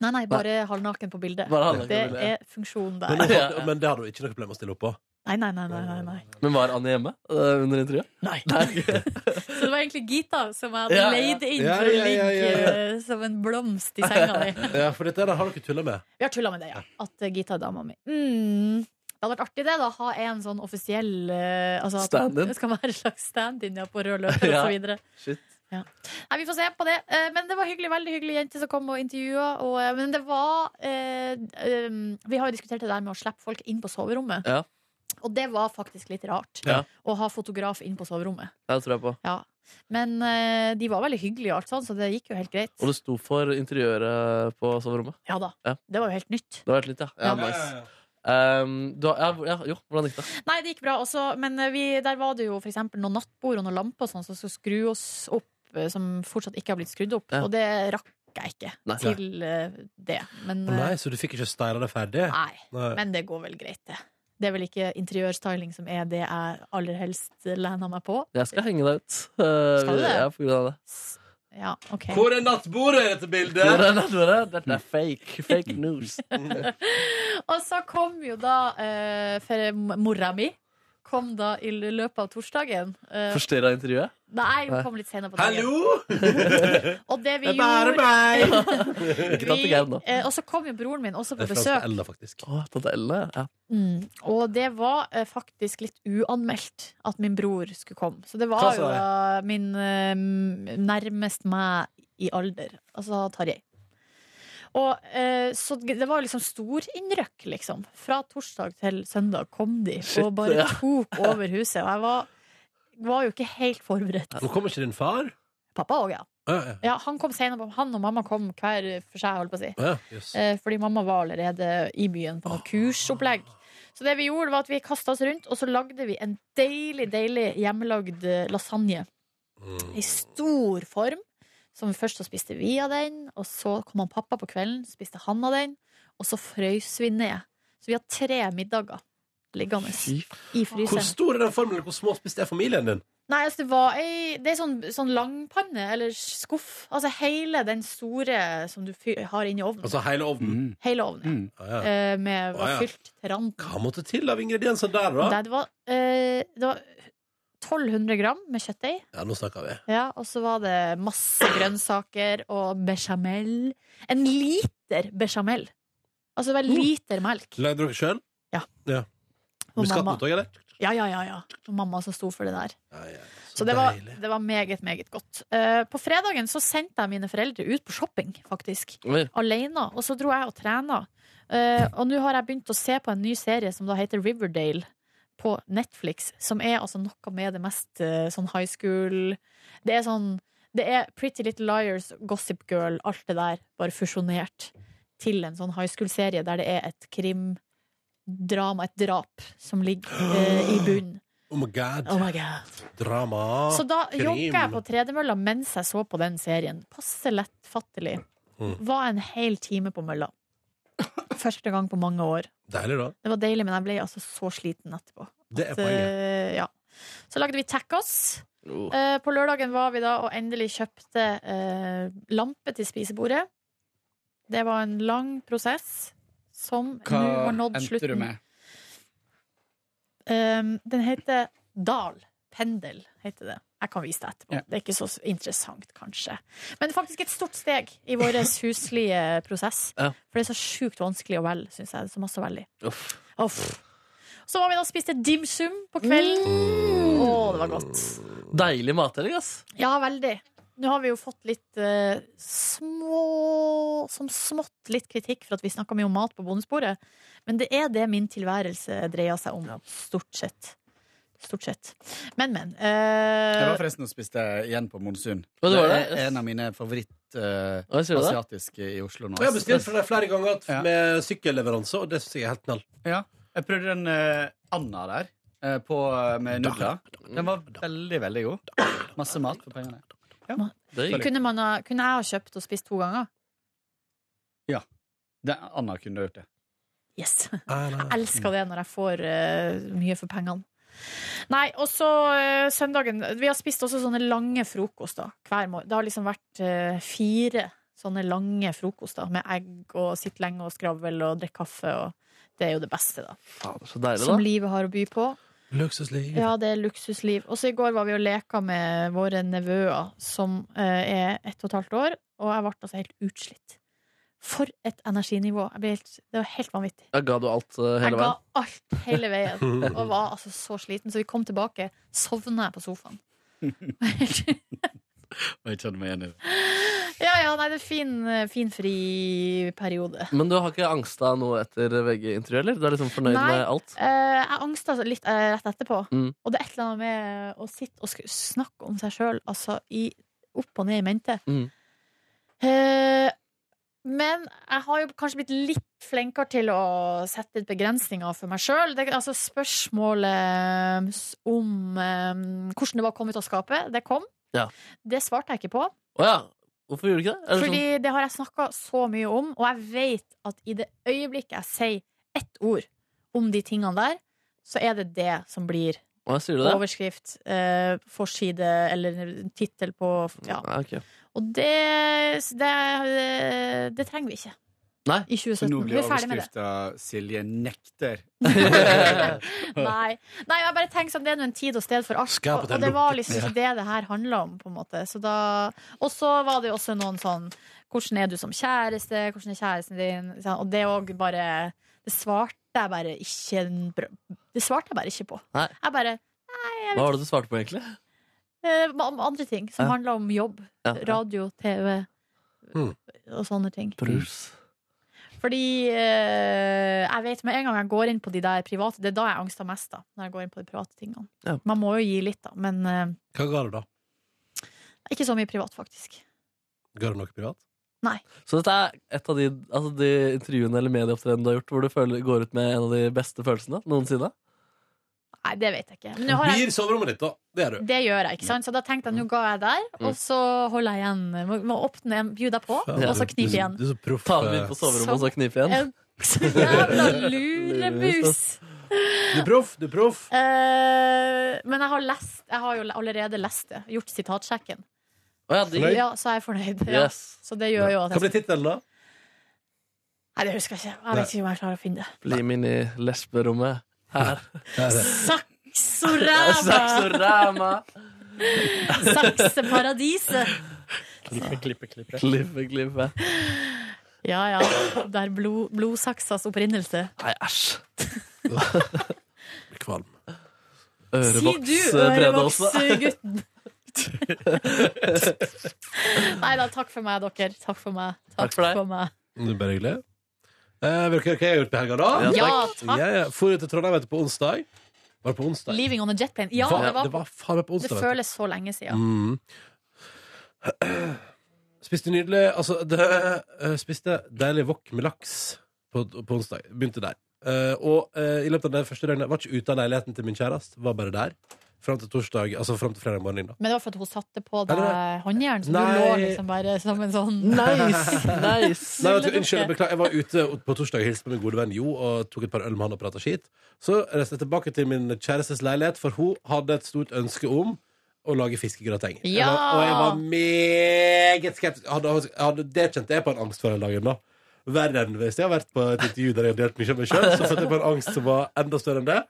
Speaker 3: Nei, nei, bare halvnaken på bildet.
Speaker 4: Bare halvnaken på
Speaker 3: det
Speaker 4: bildet.
Speaker 3: er funksjonen
Speaker 2: Men, det
Speaker 3: der.
Speaker 2: hadde- men det hadde hun ikke noe problem med å stille opp på.
Speaker 3: Nei, nei, nei, nei, nei, nei.
Speaker 4: Men var Annie hjemme eh, under intervjuet?
Speaker 3: Så det var egentlig Gita som jeg hadde
Speaker 4: Ja, ja.
Speaker 3: leid inn
Speaker 2: Ja,
Speaker 3: for å
Speaker 2: ja, ja, ja,
Speaker 3: ligge
Speaker 2: ja.
Speaker 3: eh, som en blomst i senga di.
Speaker 2: Ja, for dette der har dere tulla med.
Speaker 3: Vi har tulla med det, ja. At eh, Gita er dama mi. Mm. Det hadde vært artig det, da. Ha en sånn offisiell eh, altså, at
Speaker 4: Stand-in.
Speaker 3: Det skal være en slags stand-in ja, på rød løper
Speaker 4: Ja.
Speaker 3: og så videre.
Speaker 4: Shit.
Speaker 3: Ja. Nei, vi får se på det. Eh, Men det var hyggelig, veldig hyggelig jente som kom og intervjua. Og, eh, men det var eh, um, Vi har jo diskutert det der med å slippe folk inn på soverommet.
Speaker 4: Ja.
Speaker 3: Og det var faktisk litt rart.
Speaker 4: Ja.
Speaker 3: Å ha fotograf inn på soverommet.
Speaker 4: Ja, Det tror jeg på.
Speaker 3: Ja. Men eh, de var veldig hyggelige, og alt sånn, så det gikk jo helt greit.
Speaker 4: Og det sto for interiøret på soverommet?
Speaker 3: Ja da.
Speaker 4: Ja.
Speaker 3: Det var jo helt nytt.
Speaker 4: Det har vært litt, ja.
Speaker 3: Ja.
Speaker 4: ja, nice.
Speaker 3: Ja,
Speaker 4: Um, du har, ja, ja, jo, hvordan gikk det?
Speaker 3: Nei, det gikk bra også, men eh, vi, der var det jo for eksempel noen nattbord og noen lamper og sånn som skulle skru oss opp, eh, som fortsatt ikke har blitt skrudd opp,
Speaker 2: Ja.
Speaker 3: og det rakk jeg ikke
Speaker 2: Nei.
Speaker 3: til eh, det. Men,
Speaker 2: Å
Speaker 3: eh,
Speaker 2: nei, så du fikk ikke styla det ferdig?
Speaker 3: nei. men det går vel greit, det. Det er vel ikke interiørstyling som er det jeg aller helst lena meg på.
Speaker 4: Jeg skal henge deg ut. Uh,
Speaker 3: Skal du det?
Speaker 4: Ja, på grunn av det.
Speaker 3: Ja, ok.
Speaker 2: Hvor er nattbordet i dette bildet?
Speaker 4: Hvor er nattbordet? Dette er fake. Fake news.
Speaker 3: Og så kom jo da eh, for mora mi. Kom da i løpet av torsdagen. Eh,
Speaker 4: Forstyrra intervjuet?
Speaker 3: Nei, hun kom litt senere på dagen. Og det vi
Speaker 4: Det er bare
Speaker 3: gjorde
Speaker 4: Ikke tante Gerd nå.
Speaker 3: eh, Og så kom jo broren min også på
Speaker 4: Det er tante
Speaker 3: besøk.
Speaker 2: Ella, faktisk.
Speaker 4: Å, tante Ella, ja.
Speaker 3: Mm. Og det var eh, faktisk litt uanmeldt at min bror skulle komme. Så det var
Speaker 4: Hva sa
Speaker 3: jo eh, min eh, m- nærmest meg i alder, altså Tarjei. Og, eh, så det var liksom storinnrykk, liksom. Fra torsdag til søndag kom de
Speaker 2: Shit,
Speaker 3: og bare
Speaker 2: ja.
Speaker 3: tok over huset. Og jeg var, var jo ikke helt forberedt.
Speaker 2: Nå kommer ikke din far?
Speaker 3: Pappa òg, ja.
Speaker 2: Ja, ja.
Speaker 3: Ja, han, kom senere, på- han og mamma kom hver for seg, holdt på å si.
Speaker 2: Ja, yes. Ah.
Speaker 3: Eh, Fordi mamma var allerede i byen på noe kursopplegg. Så det vi gjorde, var at vi kasta oss rundt, og så lagde vi en deilig, deilig hjemmelagd eh, lasagne.
Speaker 2: Mm.
Speaker 3: I stor form. Som først så spiste vi av den, og så kom han pappa på kvelden, spiste han av den, og så frøys vi ned. Så vi har tre middager liggende i
Speaker 2: Hvor
Speaker 3: fryseren.
Speaker 2: stor er den formelen? Hvor småspist er familien din?
Speaker 3: Nei, altså det var ei Det er sånn, sånn langpanne, eller skuff. Altså hele den store som du fyr, har inni ovnen.
Speaker 2: Altså hele ovnen?
Speaker 3: hele ovnen.
Speaker 2: Mm. Ah, ja.
Speaker 3: eh, Med, var
Speaker 2: Å, ja.
Speaker 3: fylt til randen.
Speaker 2: Hva måtte til av ingredienser der, da?
Speaker 3: Nei, det var, eh, det var 1200 gram med kjøttdeig.
Speaker 2: Ja, nå snakker vi.
Speaker 3: Ja, og så var det masse grønnsaker og bechamel. En liter bechamel. Altså vel
Speaker 2: Oh.
Speaker 3: liter melk.
Speaker 2: Lagde dere sjøl?
Speaker 3: Ja.
Speaker 2: ja.
Speaker 3: Og
Speaker 2: Med skatten
Speaker 3: mamma.
Speaker 2: ut også, eller?
Speaker 3: Ja, ja, ja. ja. Og mamma som sto for det der. Så det var, det var meget, meget godt. Eh, på fredagen så sendte jeg mine foreldre ut på shopping, faktisk.
Speaker 4: Oi.
Speaker 3: Alene. Og så dro jeg og trena. Eh, og nå har jeg begynt å se på en ny serie som da heter Riverdale på Netflix, som er altså noe med det mest eh, sånn high school Det er sånn Det er Pretty Little Liars, Gossip Girl, alt det der, bare fusjonert til en sånn high school-serie der det er et krimdrama, et drap, som ligger eh, i bunnen.
Speaker 2: Oh my god.
Speaker 3: Oh my god.
Speaker 2: Drama.
Speaker 3: Så da
Speaker 2: Ah, Krim.
Speaker 3: jogga jeg på tredemølla mens jeg så på den serien. Passe lettfattelig.
Speaker 2: Mm.
Speaker 3: Var en hel time på mølla. Første gang på mange år.
Speaker 2: Deilig, da.
Speaker 3: Det var deilig, men jeg ble altså så sliten etterpå.
Speaker 2: Det er
Speaker 3: At, eh, ja. Så lagde vi tacos. Eh, på lørdagen var vi da og endelig kjøpte eh, lampe til spisebordet. Det var en lang prosess som nå har nådd slutten. Um, den heter Dal. Pendel heter det. Jeg kan vise deg etterpå. Det er ikke så interessant, kanskje. Men det er faktisk et stort steg i vår huslige prosess.
Speaker 4: Ja.
Speaker 3: For det er så sjukt vanskelig å velge, syns jeg. Det er så masse å velge i.
Speaker 4: Uff. Mm.
Speaker 3: Uff. Så var vi da og spiste dim sum på kvelden. Å, det var godt.
Speaker 4: Deilig matdeling, ass.
Speaker 3: Ja, veldig. Nå har vi jo fått litt eh, små Som smått litt kritikk for at vi snakka mye om mat på bondesporet. Men det er det min tilværelse dreier seg om, stort sett. Stort sett. Men, men. eh,
Speaker 9: Jeg var forresten og spiste igjen på Monsun.
Speaker 3: Hva, det var det?
Speaker 9: er en av mine
Speaker 2: Hva, sier du det?
Speaker 9: favoritt-asiatiske i Oslo nå.
Speaker 2: Og jeg har bestilt fra deg flere ganger at- med sykkelleveranse, og det syns jeg er helt knall.
Speaker 9: Ja. Jeg prøvde den eh, Anna der, eh, på, med nudler. Den var veldig, veldig god. Masse mat for pengene. Ja.
Speaker 3: kunne, man ha, kunne jeg ha kjøpt og spist to ganger?
Speaker 9: Ja. Det, Anna kunne gjort det.
Speaker 3: Yes.
Speaker 2: Jeg
Speaker 3: elsker det når jeg får eh, mye for pengene. Nei, og så eh, søndagen Vi har spist også sånne lange frokoster hver morgen. Det har liksom vært eh, fire sånne lange frokoster med egg og sitt lenge og skravl og drikke kaffe og Det er jo det beste, da.
Speaker 4: Så deilig,
Speaker 3: Som
Speaker 4: da.
Speaker 3: livet har å by på.
Speaker 2: Luksusliv.
Speaker 3: Ja, det er luksusliv. Og så i går var vi og leka med våre nevøer, som eh, er ett og et halvt år, og jeg ble altså helt utslitt. For et energinivå! Jeg ble helt, det var helt vanvittig.
Speaker 4: Jeg ga du alt eh, hele
Speaker 3: Jeg ga
Speaker 4: veien?
Speaker 3: alt hele veien og var altså så sliten. Så vi kom tilbake, sovna jeg på sofaen.
Speaker 9: Og jeg kjenner meg igjen i det.
Speaker 3: Ja, ja, nei, det er fin, eh, fin friperiode.
Speaker 4: Men du har ikke angsta noe etter VG-intervjuet, eller? Du er liksom fornøyd med alt?
Speaker 3: eh, jeg angsta litt eh, rett etterpå.
Speaker 4: Mm.
Speaker 3: Og det er et eller annet med å sitte og sk- snakke om seg sjøl, altså i, opp og ned i mente.
Speaker 4: Mm.
Speaker 3: Eh, men jeg har jo kanskje blitt litt flinkere til å sette litt begrensninger for meg sjøl. Altså spørsmålet s- om eh, hvordan det var å komme ut av skapet, det kom.
Speaker 4: Ja.
Speaker 3: Det svarte jeg ikke på.
Speaker 4: Å ja. Hvorfor gjorde du ikke det? sånn? Er det
Speaker 3: Fordi det har jeg snakka så mye om, og jeg vet at i det øyeblikket jeg sier ett ord om de tingene der, så er det det som blir
Speaker 4: sånn- Å, sier du det?
Speaker 3: overskrift, eh, forside eller tittel på ja.
Speaker 4: sånn? Ja, ok.
Speaker 3: Og det, det, det trenger vi ikke.
Speaker 4: Nei.
Speaker 3: I 2017.
Speaker 9: Så nå
Speaker 3: Vi
Speaker 9: blir
Speaker 3: er ferdig med det.
Speaker 9: overskrifta 'Silje nekter'.
Speaker 3: Nei. Nei, jeg bare tenker sånn, det er nå en tid og sted for alt.
Speaker 9: Skal på
Speaker 3: Og,
Speaker 9: den
Speaker 3: og det var
Speaker 9: lukten.
Speaker 3: liksom ikke det det her handla om, på en måte. Så da, og så var det jo også noen sånn Hvordan er du som kjæreste? Hvordan er kjæresten din? Sånn, Og det òg bare Det svarte jeg bare ikke en br- Det svarte jeg bare ikke på.
Speaker 4: Nei.
Speaker 3: Jeg bare
Speaker 4: Hva var det du svarte på, egentlig?
Speaker 3: eh, Om andre ting som
Speaker 4: Ja.
Speaker 3: handla om jobb.
Speaker 4: Ja, ja.
Speaker 3: Radio, TV
Speaker 2: Hmm.
Speaker 3: og sånne ting.
Speaker 4: Brus.
Speaker 3: Fordi eh, jeg vet med en gang jeg går inn på de der private Det er da jeg angster mest, da. Når jeg går inn på de private tingene.
Speaker 4: Ja.
Speaker 3: Man må jo gi litt, da. Men eh,
Speaker 2: Hva ga du, da?
Speaker 3: ikke så mye privat, faktisk.
Speaker 2: Ga du noe privat?
Speaker 3: Nei.
Speaker 4: Så dette er et av de, altså de intervjuene eller medieopptredenene du har gjort, hvor du føler, går ut med en av de beste følelsene noensinne?
Speaker 3: Nei, det vet jeg ikke. Men nå har jeg,
Speaker 2: Blir soverommet ditt, da. Det er du.
Speaker 3: det gjør jeg, ikke sant? Så da tenkte jeg nå ga jeg der,
Speaker 2: Mm.
Speaker 3: og så holder jeg igjen. Må, må åpne, bjude deg på, og så knipe igjen.
Speaker 2: Du er så proff.
Speaker 4: Ta dem inn på soverommet og så knipe igjen.
Speaker 3: En så jævla lurebus!
Speaker 2: Du er proff, du er proff.
Speaker 3: Eh, men jeg har, lest, jeg har jo allerede lest det. Gjort sitatsjekken.
Speaker 4: Å ja, digg.
Speaker 3: ja, så er jeg fornøyd. Ja.
Speaker 4: Yes.
Speaker 3: Så det gjør jo at
Speaker 2: Hva
Speaker 3: jeg
Speaker 2: blir tittelen, da?
Speaker 3: Nei, det husker jeg ikke. Jeg vet ikke om jeg klarer å finne det.
Speaker 4: Bli med inn i lesberommet her.
Speaker 3: Saksorama!
Speaker 4: Saksorama!
Speaker 3: Sakseparadiset.
Speaker 4: Klippe, klippe.
Speaker 3: Ja, ja. Der blod, blodsaksas opprinnelse.
Speaker 4: Nei, æsj.
Speaker 2: Kvalm.
Speaker 3: Si du,
Speaker 2: eh,
Speaker 3: eh, ørevoksgutten. Nei da, takk for meg, dere. Takk for meg.
Speaker 2: Takk for deg.
Speaker 3: meg.
Speaker 2: Mm, Det er bare hyggelig. Eh, vil dere høre hva jeg har gjort på helga, da?
Speaker 3: Ja, Ja, takk. takk.
Speaker 2: Ja, ja. For til Trondheim vet du, på onsdag. Var det på onsdag?
Speaker 3: Leaving on a jet plane. Ja,
Speaker 2: Hva?
Speaker 3: det var,
Speaker 2: Det var faen meg på onsdag,
Speaker 3: Det
Speaker 2: vet du.
Speaker 3: føles så lenge siden.
Speaker 2: Mm. Spiste nydelig Altså, det, eh, spiste deilig wok med laks på, på onsdag. Begynte der. Eh, og eh, i løpet av det første døgnet var ikke ute av leiligheten til min kjæreste. Var bare der. Fram til torsdag, altså frem til fredag morgen. inn da.
Speaker 3: Men det var for at hun satte på
Speaker 2: Nei,
Speaker 3: deg
Speaker 2: det
Speaker 3: håndjern, så
Speaker 2: Nei.
Speaker 3: du lå liksom bare som en sånn
Speaker 2: Nei, vet du, unnskyld, jeg beklager. Jeg var ute på torsdag og hilste på min gode venn Jo og tok et par øl med han og prata skit. Så reiste jeg tilbake til min kjærestes leilighet, for hun hadde et stort ønske om å lage fiskegrateng. Jeg
Speaker 16: Ja!
Speaker 2: var- Og jeg var meget skeptisk. Jeg Hadde, jeg hadde, det kjente jeg på en angst for den dagen. da Verre enn hvis jeg har vært på et intervju der jeg har delt mye av meg sjøl. Så følte jeg på en angst som var enda større enn det.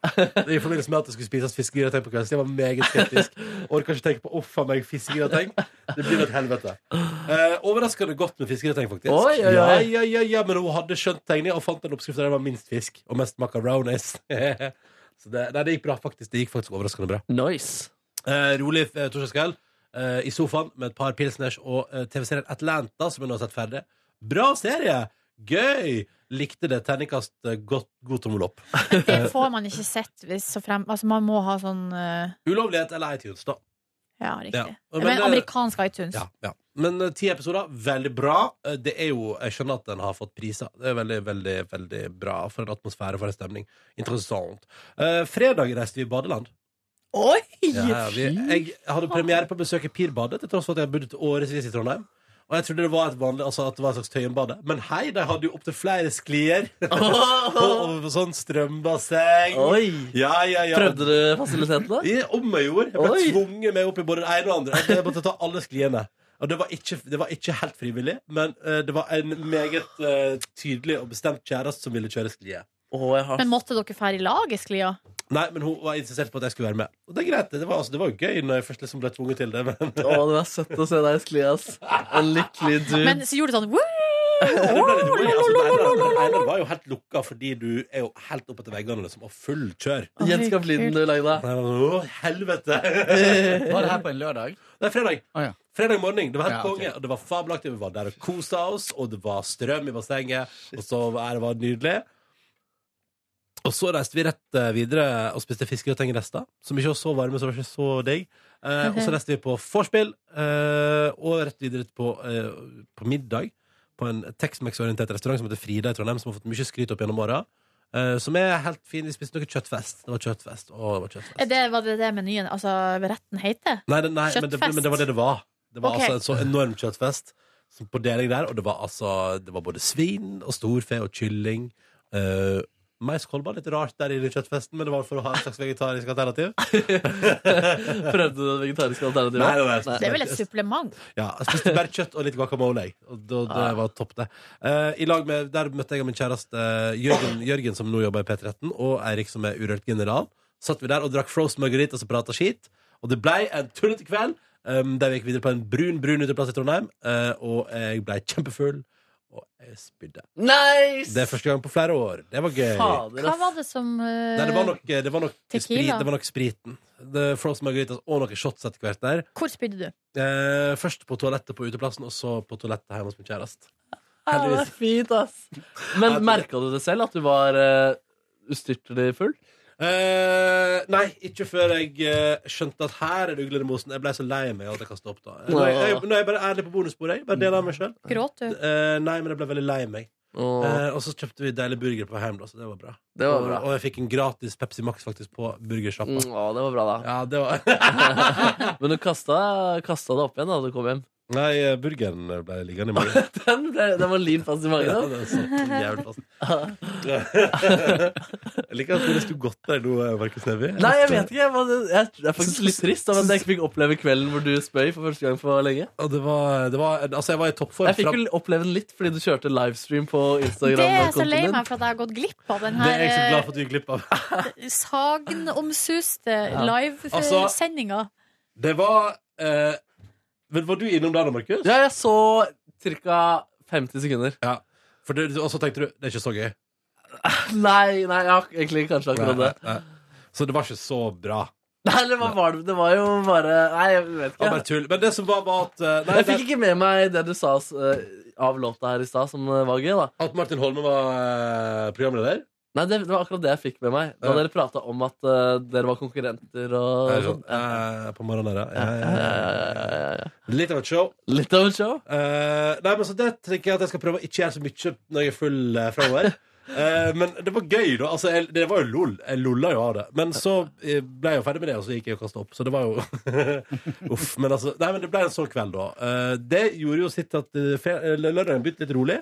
Speaker 2: I forbindelse med at det skulle spises fiskegrateng på kvelden. Så jeg var meget skeptisk. Orker ikke tenke på 'uff a meg, fiskegrateng'. Det blir et helvete. Eh, overraskende godt med fiskegrateng, faktisk.
Speaker 4: Oi, oi, oi.
Speaker 2: Ja, ja, ja, ja, men hun hadde skjønt tegninga og fant en oppskrift der det var minst fisk og mest macaronis. Så det, nei, det gikk bra, faktisk. Det gikk faktisk overraskende bra.
Speaker 4: Nice.
Speaker 2: Eh, rolig eh, torsdagskveld eh, i sofaen med et par pilsners og eh, TV-serien Atlanta, som jeg nå har sett ferdig. Bra serie! Gøy! Likte det. Terningkast eh, godt, god tommel opp. Eh,
Speaker 3: Det får man ikke sett hvis så frem Altså, man må ha sånn eh,
Speaker 2: Ulovlighet eller iTunes, da.
Speaker 3: Ja, riktig.
Speaker 2: Ja.
Speaker 3: Men,
Speaker 2: Men, eh,
Speaker 3: amerikansk iTunes.
Speaker 2: Ja, ja. Men eh, ti episoder, veldig bra. Eh, Det er jo, Jeg skjønner at den har fått priser. Det er veldig veldig, veldig bra for en atmosfære for en stemning. Interessant. Eh, fredag reiste vi i badeland.
Speaker 3: Oi!
Speaker 2: Ja, vi, jeg hadde premiere på å besøke Pirbadet, til tross for at jeg bodde årevis i Trondheim. Og jeg trodde det var et vanlig, altså at det var et slags Tøyenbade. Men hei, de hadde jo opptil flere sklier. og, og sånn strømbasseng.
Speaker 4: Oi.
Speaker 2: Ja, ja, ja.
Speaker 4: Prøvde du fasilitetene?
Speaker 2: Ja, om jeg gjorde. Jeg ble tvunget med opp i både det ene og det andre. Jeg måtte ta alle skliene. Og det var ikke, det var ikke helt frivillig, men eh, det var en meget eh, tydelig og bestemt kjæreste som ville kjøre sklie.
Speaker 3: Men måtte dere fære i lag i sklia?
Speaker 2: Nei, men hun var insistert på at jeg skulle være med. Og det er greit, det var, altså, det var jo gøy når jeg først liksom ble tvunget til det, men
Speaker 4: Å, det var søtt å se deg i skli, ass. En lykkelig dude.
Speaker 3: Men så gjorde du sånn «Woo!»
Speaker 2: Det ble litt rolig, altså, det ene- det ene var jo helt lukka fordi du er jo helt oppe til veggene liksom, og full kjør.
Speaker 4: Gjenskap lyden du lagde.
Speaker 2: Nei, nei, nei, Å, helvete!
Speaker 9: Var det her på en lørdag?
Speaker 2: Det er fredag. Fredag morgen. Det var helt
Speaker 9: Ja, ok.
Speaker 2: konge. Og det var fabelaktig. Vi var der og kosa oss, og det var strøm i bassenget, og så var det var nydelig. Og så reiste vi rett eh, videre og spiste fiskegrateng i Resta, som ikke var så varme, så det var ikke så digg. Eh, og
Speaker 9: Mhm.
Speaker 2: så reiste vi på vorspiel, eh, og rett videre på, eh, på middag på en Tex-Mex-orientert restaurant som heter Frida i Trondheim, som har fått mye skryt opp gjennom åra. eh, som er helt fin. Vi spiste noe kjøttfest. Det var kjøttfest. Å, det var kjøttfest.
Speaker 3: Er det, var det det menyen, altså retten heter?
Speaker 2: Nei, det- nei men, det,
Speaker 3: Kjøttfest.
Speaker 2: men det var det det var. Det var
Speaker 3: Ok.
Speaker 2: altså en så enorm kjøttfest som på deling der, og det var altså Det var både svin og storfe og kylling. Uh, Maiskolb var litt rart der i den kjøttfesten, men det var for å ha et slags vegetarisk alternativ.
Speaker 4: Prøvde du det vegetariske alternativet?
Speaker 2: Nei, nei, nei.
Speaker 3: Det er vel et supplement?
Speaker 2: Ja, jeg spiste bare kjøtt og litt guacamole. jeg. Og da, det
Speaker 4: Ah.
Speaker 2: var topp, det. Eh, i lag med, der møtte jeg min kjæreste eh, Jørgen, Jørgen som nå jobber i P13, og Eirik, som er urørt general. Satt vi der og drakk frozen margarita og prata skit. Og det blei en tullete kveld. Um, der vi gikk videre på en brun brun uteplass i Trondheim, eh, og jeg blei kjempefull. Og jeg spydde.
Speaker 4: Nice!
Speaker 2: Det er første gang på flere år. Det var gøy.
Speaker 3: Hva var det som eh,
Speaker 2: Nei, det var nok, det var nok,
Speaker 3: Tequila?
Speaker 2: sprit, det var nok spriten. Det- Frozen margarita og noen shots etter hvert der.
Speaker 3: Hvor spydde du?
Speaker 2: Eh, først på toalettet på uteplassen, og så på toalettet hjemme hos min kjæreste.
Speaker 4: Ja, det er fint, ass. Men merka du det selv, at du var eh, ustyrtelig full?
Speaker 2: Eh, nei, ikke før jeg eh, skjønte at her er det ugler i mosen. Jeg ble så lei meg at jeg kastet opp da. Nå er jeg, nå er jeg bare ærlig på bonusbordet. Jeg bare deler av meg sjøl.
Speaker 3: Gråt du?
Speaker 2: Eh, nei, men jeg ble veldig lei meg.
Speaker 4: Åh.
Speaker 2: Eh, og så kjøpte vi deilig burger på hjem, da, så det var bra.
Speaker 4: Det var bra.
Speaker 2: Og, og jeg fikk en gratis Pepsi Max faktisk på burgersjappa.
Speaker 4: Mm, å, det var bra, da.
Speaker 2: Ja, det var
Speaker 4: Men du kasta, kasta det opp igjen da du kom hjem?
Speaker 2: Nei, eh, burgeren ble liggende i magen.
Speaker 4: Den, ble- den var limt fast i magen.
Speaker 2: Ja,
Speaker 4: da.
Speaker 2: den satt så jævlig fast. jeg liker at det sto godt der nå, eh, Markus Neby.
Speaker 4: Nei, jeg vet ikke. Jeg, var, jeg, jeg er faktisk litt trist av at jeg ikke fikk oppleve kvelden hvor du spøy for første gang på lenge.
Speaker 2: Og det var, det var, altså, jeg var i toppform.
Speaker 4: Jeg fikk
Speaker 2: fram-
Speaker 4: jo oppleve den litt fordi du kjørte livestream på
Speaker 3: Det er jeg så
Speaker 4: Instagram-kontoen
Speaker 3: lei
Speaker 4: din.
Speaker 3: meg for at jeg har gått glipp av den
Speaker 2: Det er
Speaker 3: her
Speaker 2: jeg så glad
Speaker 3: eh,
Speaker 2: for at du gikk glipp av.
Speaker 3: sagnomsuste
Speaker 2: Ja. Altså-
Speaker 3: livesendinga.
Speaker 2: Det var eh, Men var du innom der da, Markus?
Speaker 4: Ja, jeg så ca. 50 sekunder.
Speaker 2: Ja. For det, og så tenkte du det er ikke så gøy.
Speaker 4: Nei, nei, jeg har egentlig kanskje akkurat det.
Speaker 2: Nei, nei. Så det var ikke så bra.
Speaker 4: Nei, det var, var det- det var jo bare Nei, jeg vet
Speaker 2: Det var bare
Speaker 4: ikke.
Speaker 2: tull. Men det som var, var at eh, nei,
Speaker 4: Jeg
Speaker 2: det-
Speaker 4: fikk ikke med meg det du sa eh, av låta her i stad, som eh, var gøy, da.
Speaker 2: At Martin Holme var eh, programleder?
Speaker 4: Nei, det, det var akkurat det jeg fikk med meg. Da
Speaker 2: Ja.
Speaker 4: dere prata om at eh, dere var konkurrenter og
Speaker 2: Ja,
Speaker 4: sånn.
Speaker 2: Eh, på morgenen der, ja. Ja, Litt av et show. Eh,
Speaker 4: Litt av et show.
Speaker 2: nei, men så Det tenker jeg at jeg skal prøve å ikke gjøre så mye når jeg er full uh, framover. Eh, men det var gøy, da. Altså, jeg, det var jo lol. Jeg lolla jo av det. Men så eh, ble jeg jo ferdig med det, og så gikk jeg og kasta opp. Så det var jo Uff. Men altså Nei, men det ble en sånn kveld, da. Eh, det gjorde jo sitt at eh, fe- eller lørdagen begynte litt rolig.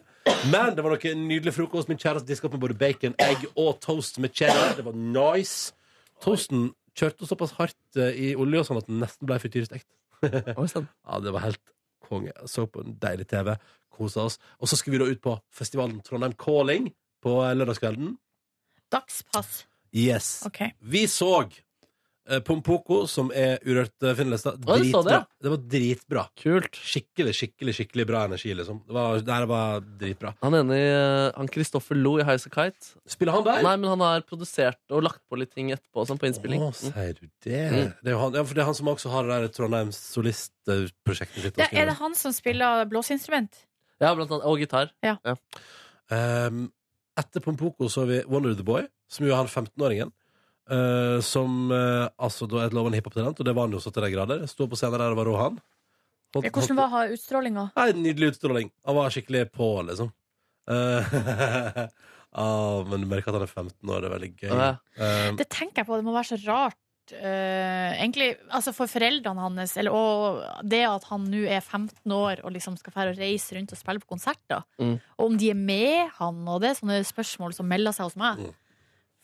Speaker 2: Men det var noe nydelig frokost. Min kjæreste diska opp med både bacon, egg og toast med cheddar. Det var nice. Toasten kjørte såpass hardt eh, i olje og sånn at den nesten ble frityrstekt. ja, det var helt konge. Så på en deilig TV, kosa oss. Og så skulle vi da ut på festivalen Trondheim Calling på eh, lørdagskvelden.
Speaker 3: Dagspass.
Speaker 2: Yes.
Speaker 3: Ok.
Speaker 2: Vi så eh, Pompoko, som er urørt eh, finnerlista.
Speaker 4: Å, du så det, ja.
Speaker 2: Dritbra. Det var dritbra.
Speaker 4: Kult.
Speaker 2: Skikkelig, skikkelig, skikkelig bra energi, liksom. Det var, det her var dritbra.
Speaker 4: Han ene i eh, Han Kristoffer Lo i Highas Kite.
Speaker 2: Spiller han der?
Speaker 4: Nei, men han har produsert og lagt på litt ting etterpå, sånn på innspilling.
Speaker 2: Å, sier du det?
Speaker 4: Mm.
Speaker 2: Det, er jo han, ja, for det er han som også har det der Trondheim solistprosjektet sitt.
Speaker 3: Det, er det han som spiller blåseinstrument?
Speaker 4: Ja, blant annet. Og gitar.
Speaker 3: Ja.
Speaker 2: Um, etter Pompoko så har vi Wonder the Boy, som jo er han 15-åringen. eh, som eh, altså da er et lovende hiphop-talent, og det var han jo så til de grader. Sto på scenen der, det var òg han. Holdt- holdt-
Speaker 3: Eh, Hvordan var utstrålinga?
Speaker 2: Nei, nydelig utstråling. Han var skikkelig på, liksom. Eh, ah, men du merker at han er 15 år, det er veldig gøy.
Speaker 4: Ja.
Speaker 2: Um,
Speaker 3: Det tenker jeg på, det må være så rart. eh, egentlig, altså For foreldrene hans, eller, og det at han nå er 15 år og liksom skal fære og reise rundt og spille på konserter,
Speaker 4: Mm.
Speaker 3: og om de er med han, og det er sånne spørsmål som melder seg hos meg.
Speaker 4: Mm.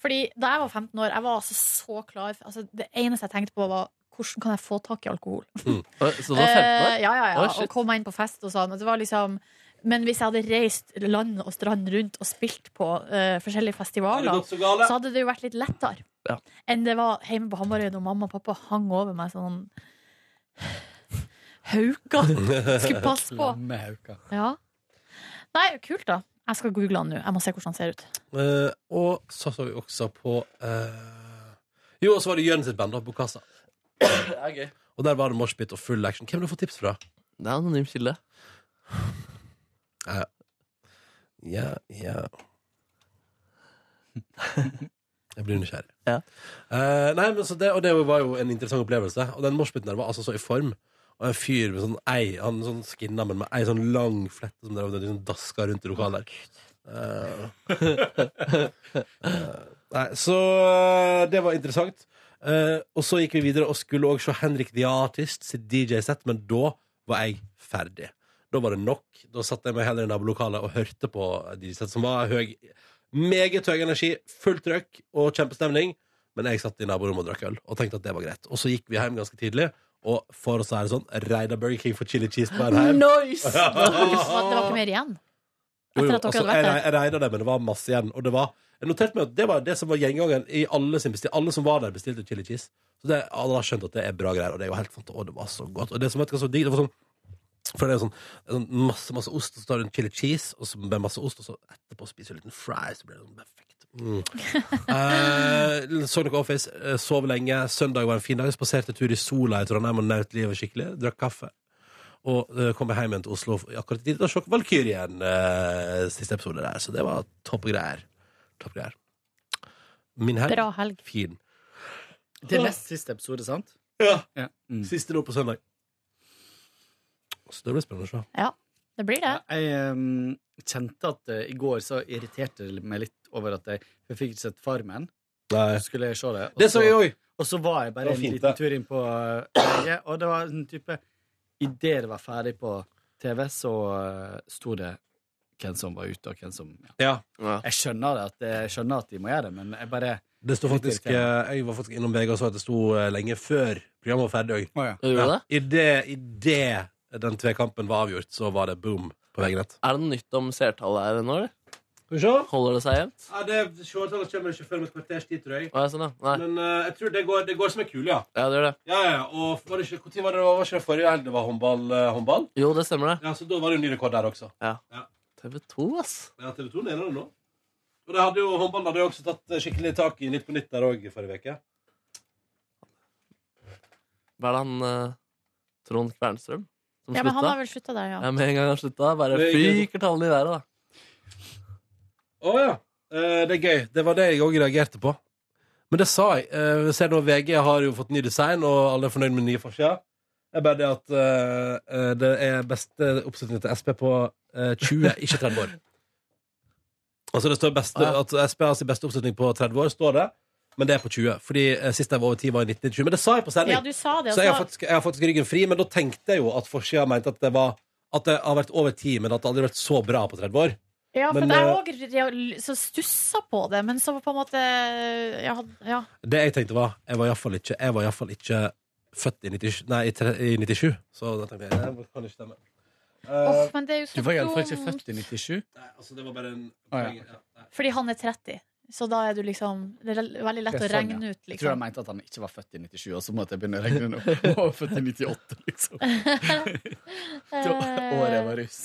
Speaker 3: Fordi da jeg var 15 år, jeg var altså så klar altså, Det eneste jeg tenkte på, var hvordan kan jeg få tak i alkohol?
Speaker 2: Mm.
Speaker 4: Oi, Så du var 15 år?
Speaker 3: Eh, ja, ja, ja.
Speaker 4: Oi, shit.
Speaker 3: og kom meg inn på fest og sånn. og Det var liksom men hvis jeg hadde reist land og strand rundt og spilt på eh, forskjellige festivaler,
Speaker 4: Har det gått så gale?
Speaker 3: så hadde det jo vært litt lettere
Speaker 4: Ja.
Speaker 3: enn det var hjemme på Hamarøy når mamma og pappa hang over meg sånn Hauka! Skulle passe på.
Speaker 9: Med hauka.
Speaker 3: Ja. Nei, kult, da. Jeg skal google han nå. Jeg må se hvordan han ser ut.
Speaker 2: eh, og så så vi også på eh, Jo, og så var det Jørn sitt band, da, Bokassa.
Speaker 4: Det er gøy.
Speaker 2: Og der var det moshpit og full action. Hvem har du fått tips fra?
Speaker 4: Det er anonym kilde.
Speaker 2: Ja, Eh, ja, ja. Jeg blir nysgjerrig. Eh, nei, men så det, og det var jo en interessant opplevelse. Og den moshpiten der var altså så i form. Og en fyr med sånn ei Han sånn skinna, men med ei sånn lang flette som drev og liksom daska rundt i lokalet der. Eh, eh, nei, så det var interessant. Eh, og så gikk vi videre og skulle òg se Henrik the Artist sitt DJ-sett, men da var jeg ferdig. Da var det nok. Da satt jeg meg heller i nabolokalet og hørte på DJ-sett, som var høy meget høy energi, fullt trøkk og kjempestemning. Men jeg satt i naborommet og drakk øl og tenkte at det var greit. Og så gikk vi hjem ganske tidlig, og for å si det sånn, reida Burger King for chili cheese på veien hjem.
Speaker 3: Nice! Det var ikke mer igjen.
Speaker 2: Jo, jo,
Speaker 3: Etter at dere
Speaker 2: altså,
Speaker 3: hadde
Speaker 2: jeg,
Speaker 3: vært
Speaker 2: jeg, jeg regna det, men det var masse igjen. Og det var, jeg noterte meg at det var det som var gjengangeren i alle sin bestil, Alle som var der, bestilte chili cheese. Så det, alle har skjønt at det er bra greier, og det er jo helt fant- Og det var så godt. Og det som vet du hva som var digg, det var sånn for det er sånn, det er sånn masse, masse ost, og så tar du en chili cheese og så med masse ost, og så etterpå spiser du en liten fry, så blir det sånn perfekt. Mm. eh, så noe Office, eh, sov lenge. Søndag var en fin dag. Spaserte tur i sola i Trondheim og nøt livet skikkelig. Drakk kaffe. Og eh, kom hjem igjen til Oslo i akkurat i tide til å se Valkyrien eh, siste episode der. Så det var topp greier. Topp greier. Min helg.
Speaker 9: Bra
Speaker 3: helg.
Speaker 2: Fin.
Speaker 9: Det er nest siste episode, sant?
Speaker 2: Ja. Mm. Siste nå på søndag. Så det blir spennende å se.
Speaker 3: Ja, det blir det.
Speaker 9: Jeg ehm, kjente at eh, i går så irriterte det meg litt over at jeg, jeg fikk ikke sett Farmen.
Speaker 2: Nei.
Speaker 9: Så skulle jeg se det. og
Speaker 2: Det så jeg òg!
Speaker 9: Og så var jeg
Speaker 2: Det var
Speaker 9: bare en
Speaker 2: fint,
Speaker 9: liten
Speaker 2: det.
Speaker 9: tur inn på eh, VG, og det var en type Idet det var ferdig på TV, så eh, sto det hvem som var ute, og hvem som
Speaker 2: Ja.
Speaker 9: Jeg skjønner det, at, jeg skjønner at de må gjøre det, men jeg bare
Speaker 2: Det sto faktisk, eh, jeg var faktisk innom VG og så at det sto eh, lenge før programmet var ferdig. også.
Speaker 9: Å, ja.
Speaker 4: Gjorde det?
Speaker 2: I det? I det den tvekampen var avgjort, så var det boom på VG-nett.
Speaker 4: Er det noe nytt om seertallet her nå, eller?
Speaker 2: Skal vi se.
Speaker 4: Holder det seg jevnt?
Speaker 2: Ja, det Seertallet kommer ikke før om et kvarters tid, tror jeg.
Speaker 4: Å, ja, sånn, ja. Nei.
Speaker 2: Men eh, jeg tror det går, det går som en kule, ja.
Speaker 4: Ja, det gjør det.
Speaker 2: Ja, ja, og var det ikke, hvor tid var det, var ikke det forrige helg det var håndball? eh, håndball?
Speaker 4: Jo, det stemmer det.
Speaker 2: Ja, Så da var det jo ny rekord der også.
Speaker 4: Ja. TV 2, ass.
Speaker 2: Ja, TV 2 deler det nå. Og det hadde jo, håndballen hadde jo også tatt eh, skikkelig tak i Nytt på Nytt der òg forrige uke.
Speaker 4: Hva er det han eh, Trond Kvernstrøm? Som
Speaker 3: Ja, men han har vel slutta der, ja.
Speaker 4: ja. Med en gang han slutta, bare
Speaker 2: Det gikk-
Speaker 4: fyker tallene i været, da.
Speaker 2: Å ja. Eh, det er gøy. Det var det jeg òg reagerte på. Men det sa jeg. Eh, ser nå VG har jo fått ny design, og alle er fornøyd med den nye forsida. Det er bare det at eh, eh, det er beste oppsetningen til SP på eh, 20, ikke 30 år. Altså det står beste,
Speaker 4: Ah, ja.
Speaker 2: at SP har sin beste oppsetning på 30 år, står det. Men det er på 20. Fordi eh, sist jeg var over 10, var i 1997. Men det sa jeg på sending.
Speaker 3: Ja, du sa det, altså. og
Speaker 2: så jeg har,
Speaker 3: så-
Speaker 2: faktisk, jeg har faktisk ryggen fri. Men da tenkte jeg jo at forsida mente at det, var, at det har vært over 10, men at det aldri har vært så bra på 30 år.
Speaker 3: Ja, for
Speaker 2: Men,
Speaker 3: jeg
Speaker 2: eh,
Speaker 3: òg rea- så stussa på det, men så på en måte Ja. ja.
Speaker 2: Det jeg tenkte var Jeg var iallfall ikke, jeg var i hvert fall ikke født i 97, nei, i tre- i 97 Så da tenkte jeg Det kan ikke stemme Eh,
Speaker 3: Åh, men det er jo så
Speaker 9: Du var iallfall ikke
Speaker 3: dumt.
Speaker 9: født i 97.
Speaker 2: Nei, altså det var bare en
Speaker 9: Ah,
Speaker 2: poeng,
Speaker 9: ja.
Speaker 3: Fordi han er 30, så da er du liksom Det er veldig lett å
Speaker 9: sånn, ja.
Speaker 3: regne ut,
Speaker 9: Jeg tror jeg
Speaker 3: liksom.
Speaker 9: mente at han ikke var født i 97, og så måtte jeg begynne å regne nå. Han var født i 98, liksom. Det var året jeg var russ.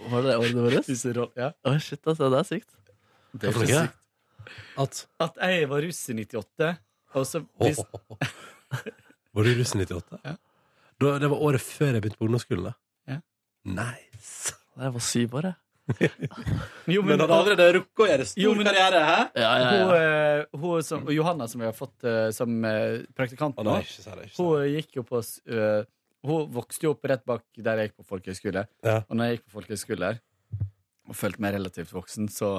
Speaker 4: Var det det året du var russ?
Speaker 9: ja.
Speaker 4: Å, shit, ass,
Speaker 2: altså,
Speaker 4: det er sykt.
Speaker 9: Det er ikke sykt.
Speaker 2: At?
Speaker 9: jeg var russ i 98, og så hvis,
Speaker 2: Var du russen i 98? Da, det var året før jeg begynte på ungdomsskolen da
Speaker 9: Ja.
Speaker 2: Nice
Speaker 4: Jeg var syv år, jeg.
Speaker 9: Jo,
Speaker 2: Men hadde allerede rukket å gjøre stor
Speaker 9: Jo, men-
Speaker 2: karriere, hæ?
Speaker 9: Hun, eh, hun som, og Johanna, som vi har fått eh, som eh, praktikant
Speaker 2: Å,
Speaker 9: nå,
Speaker 2: nei, ikke si det, ikke si
Speaker 9: hun gikk jo på s- eh, Hun vokste jo opp rett bak der jeg gikk på folkehøyskole.
Speaker 2: Ja.
Speaker 9: Og når jeg gikk på folkehøyskole der, og følte meg relativt voksen, så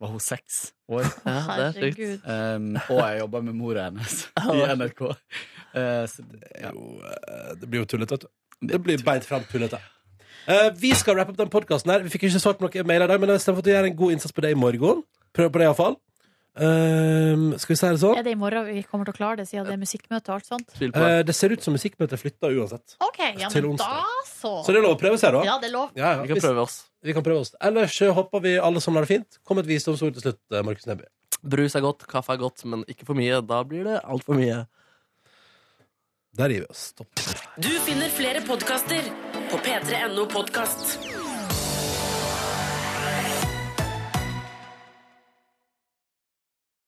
Speaker 9: var hun seks år.
Speaker 4: Ja, det er sykt.
Speaker 9: Um, og jeg jobba med mora hennes i NRK. Eh, så det, ja.
Speaker 2: eh, Det blir jo tullete, vet du. Det blir beint fram tullete. Eh, vi skal rappe opp den podkasten her. Vi fikk ikke svart på noen mailer i dag, men jeg stemmer for at du gjør en god innsats på det i morgen. Prøv på det, iallfall. Uh, skal vi si det sånn?
Speaker 3: Er det i morgen vi kommer til å klare det, siden det er musikkmøte og alt sånt? Eh,
Speaker 2: Eh, det ser ut som musikkmøtet er flytta uansett.
Speaker 3: OK, ja,
Speaker 2: Til
Speaker 3: men
Speaker 2: onsdag.
Speaker 3: da så.
Speaker 2: Så det er lov å prøve seg, da?
Speaker 3: Ja, det er lov.
Speaker 2: Ja, ja. Vi kan prøve oss. Vi kan prøve oss. Ellers eh, håper vi alle som har det fint. Kom et visdomsord til slutt, eh, Markus Neby.
Speaker 4: Brus er godt, kaffe er godt, men ikke for mye. Da blir det altfor mye.
Speaker 2: Der gir vi oss. Stopp.
Speaker 1: Du finner flere podkaster på p3.no podkast.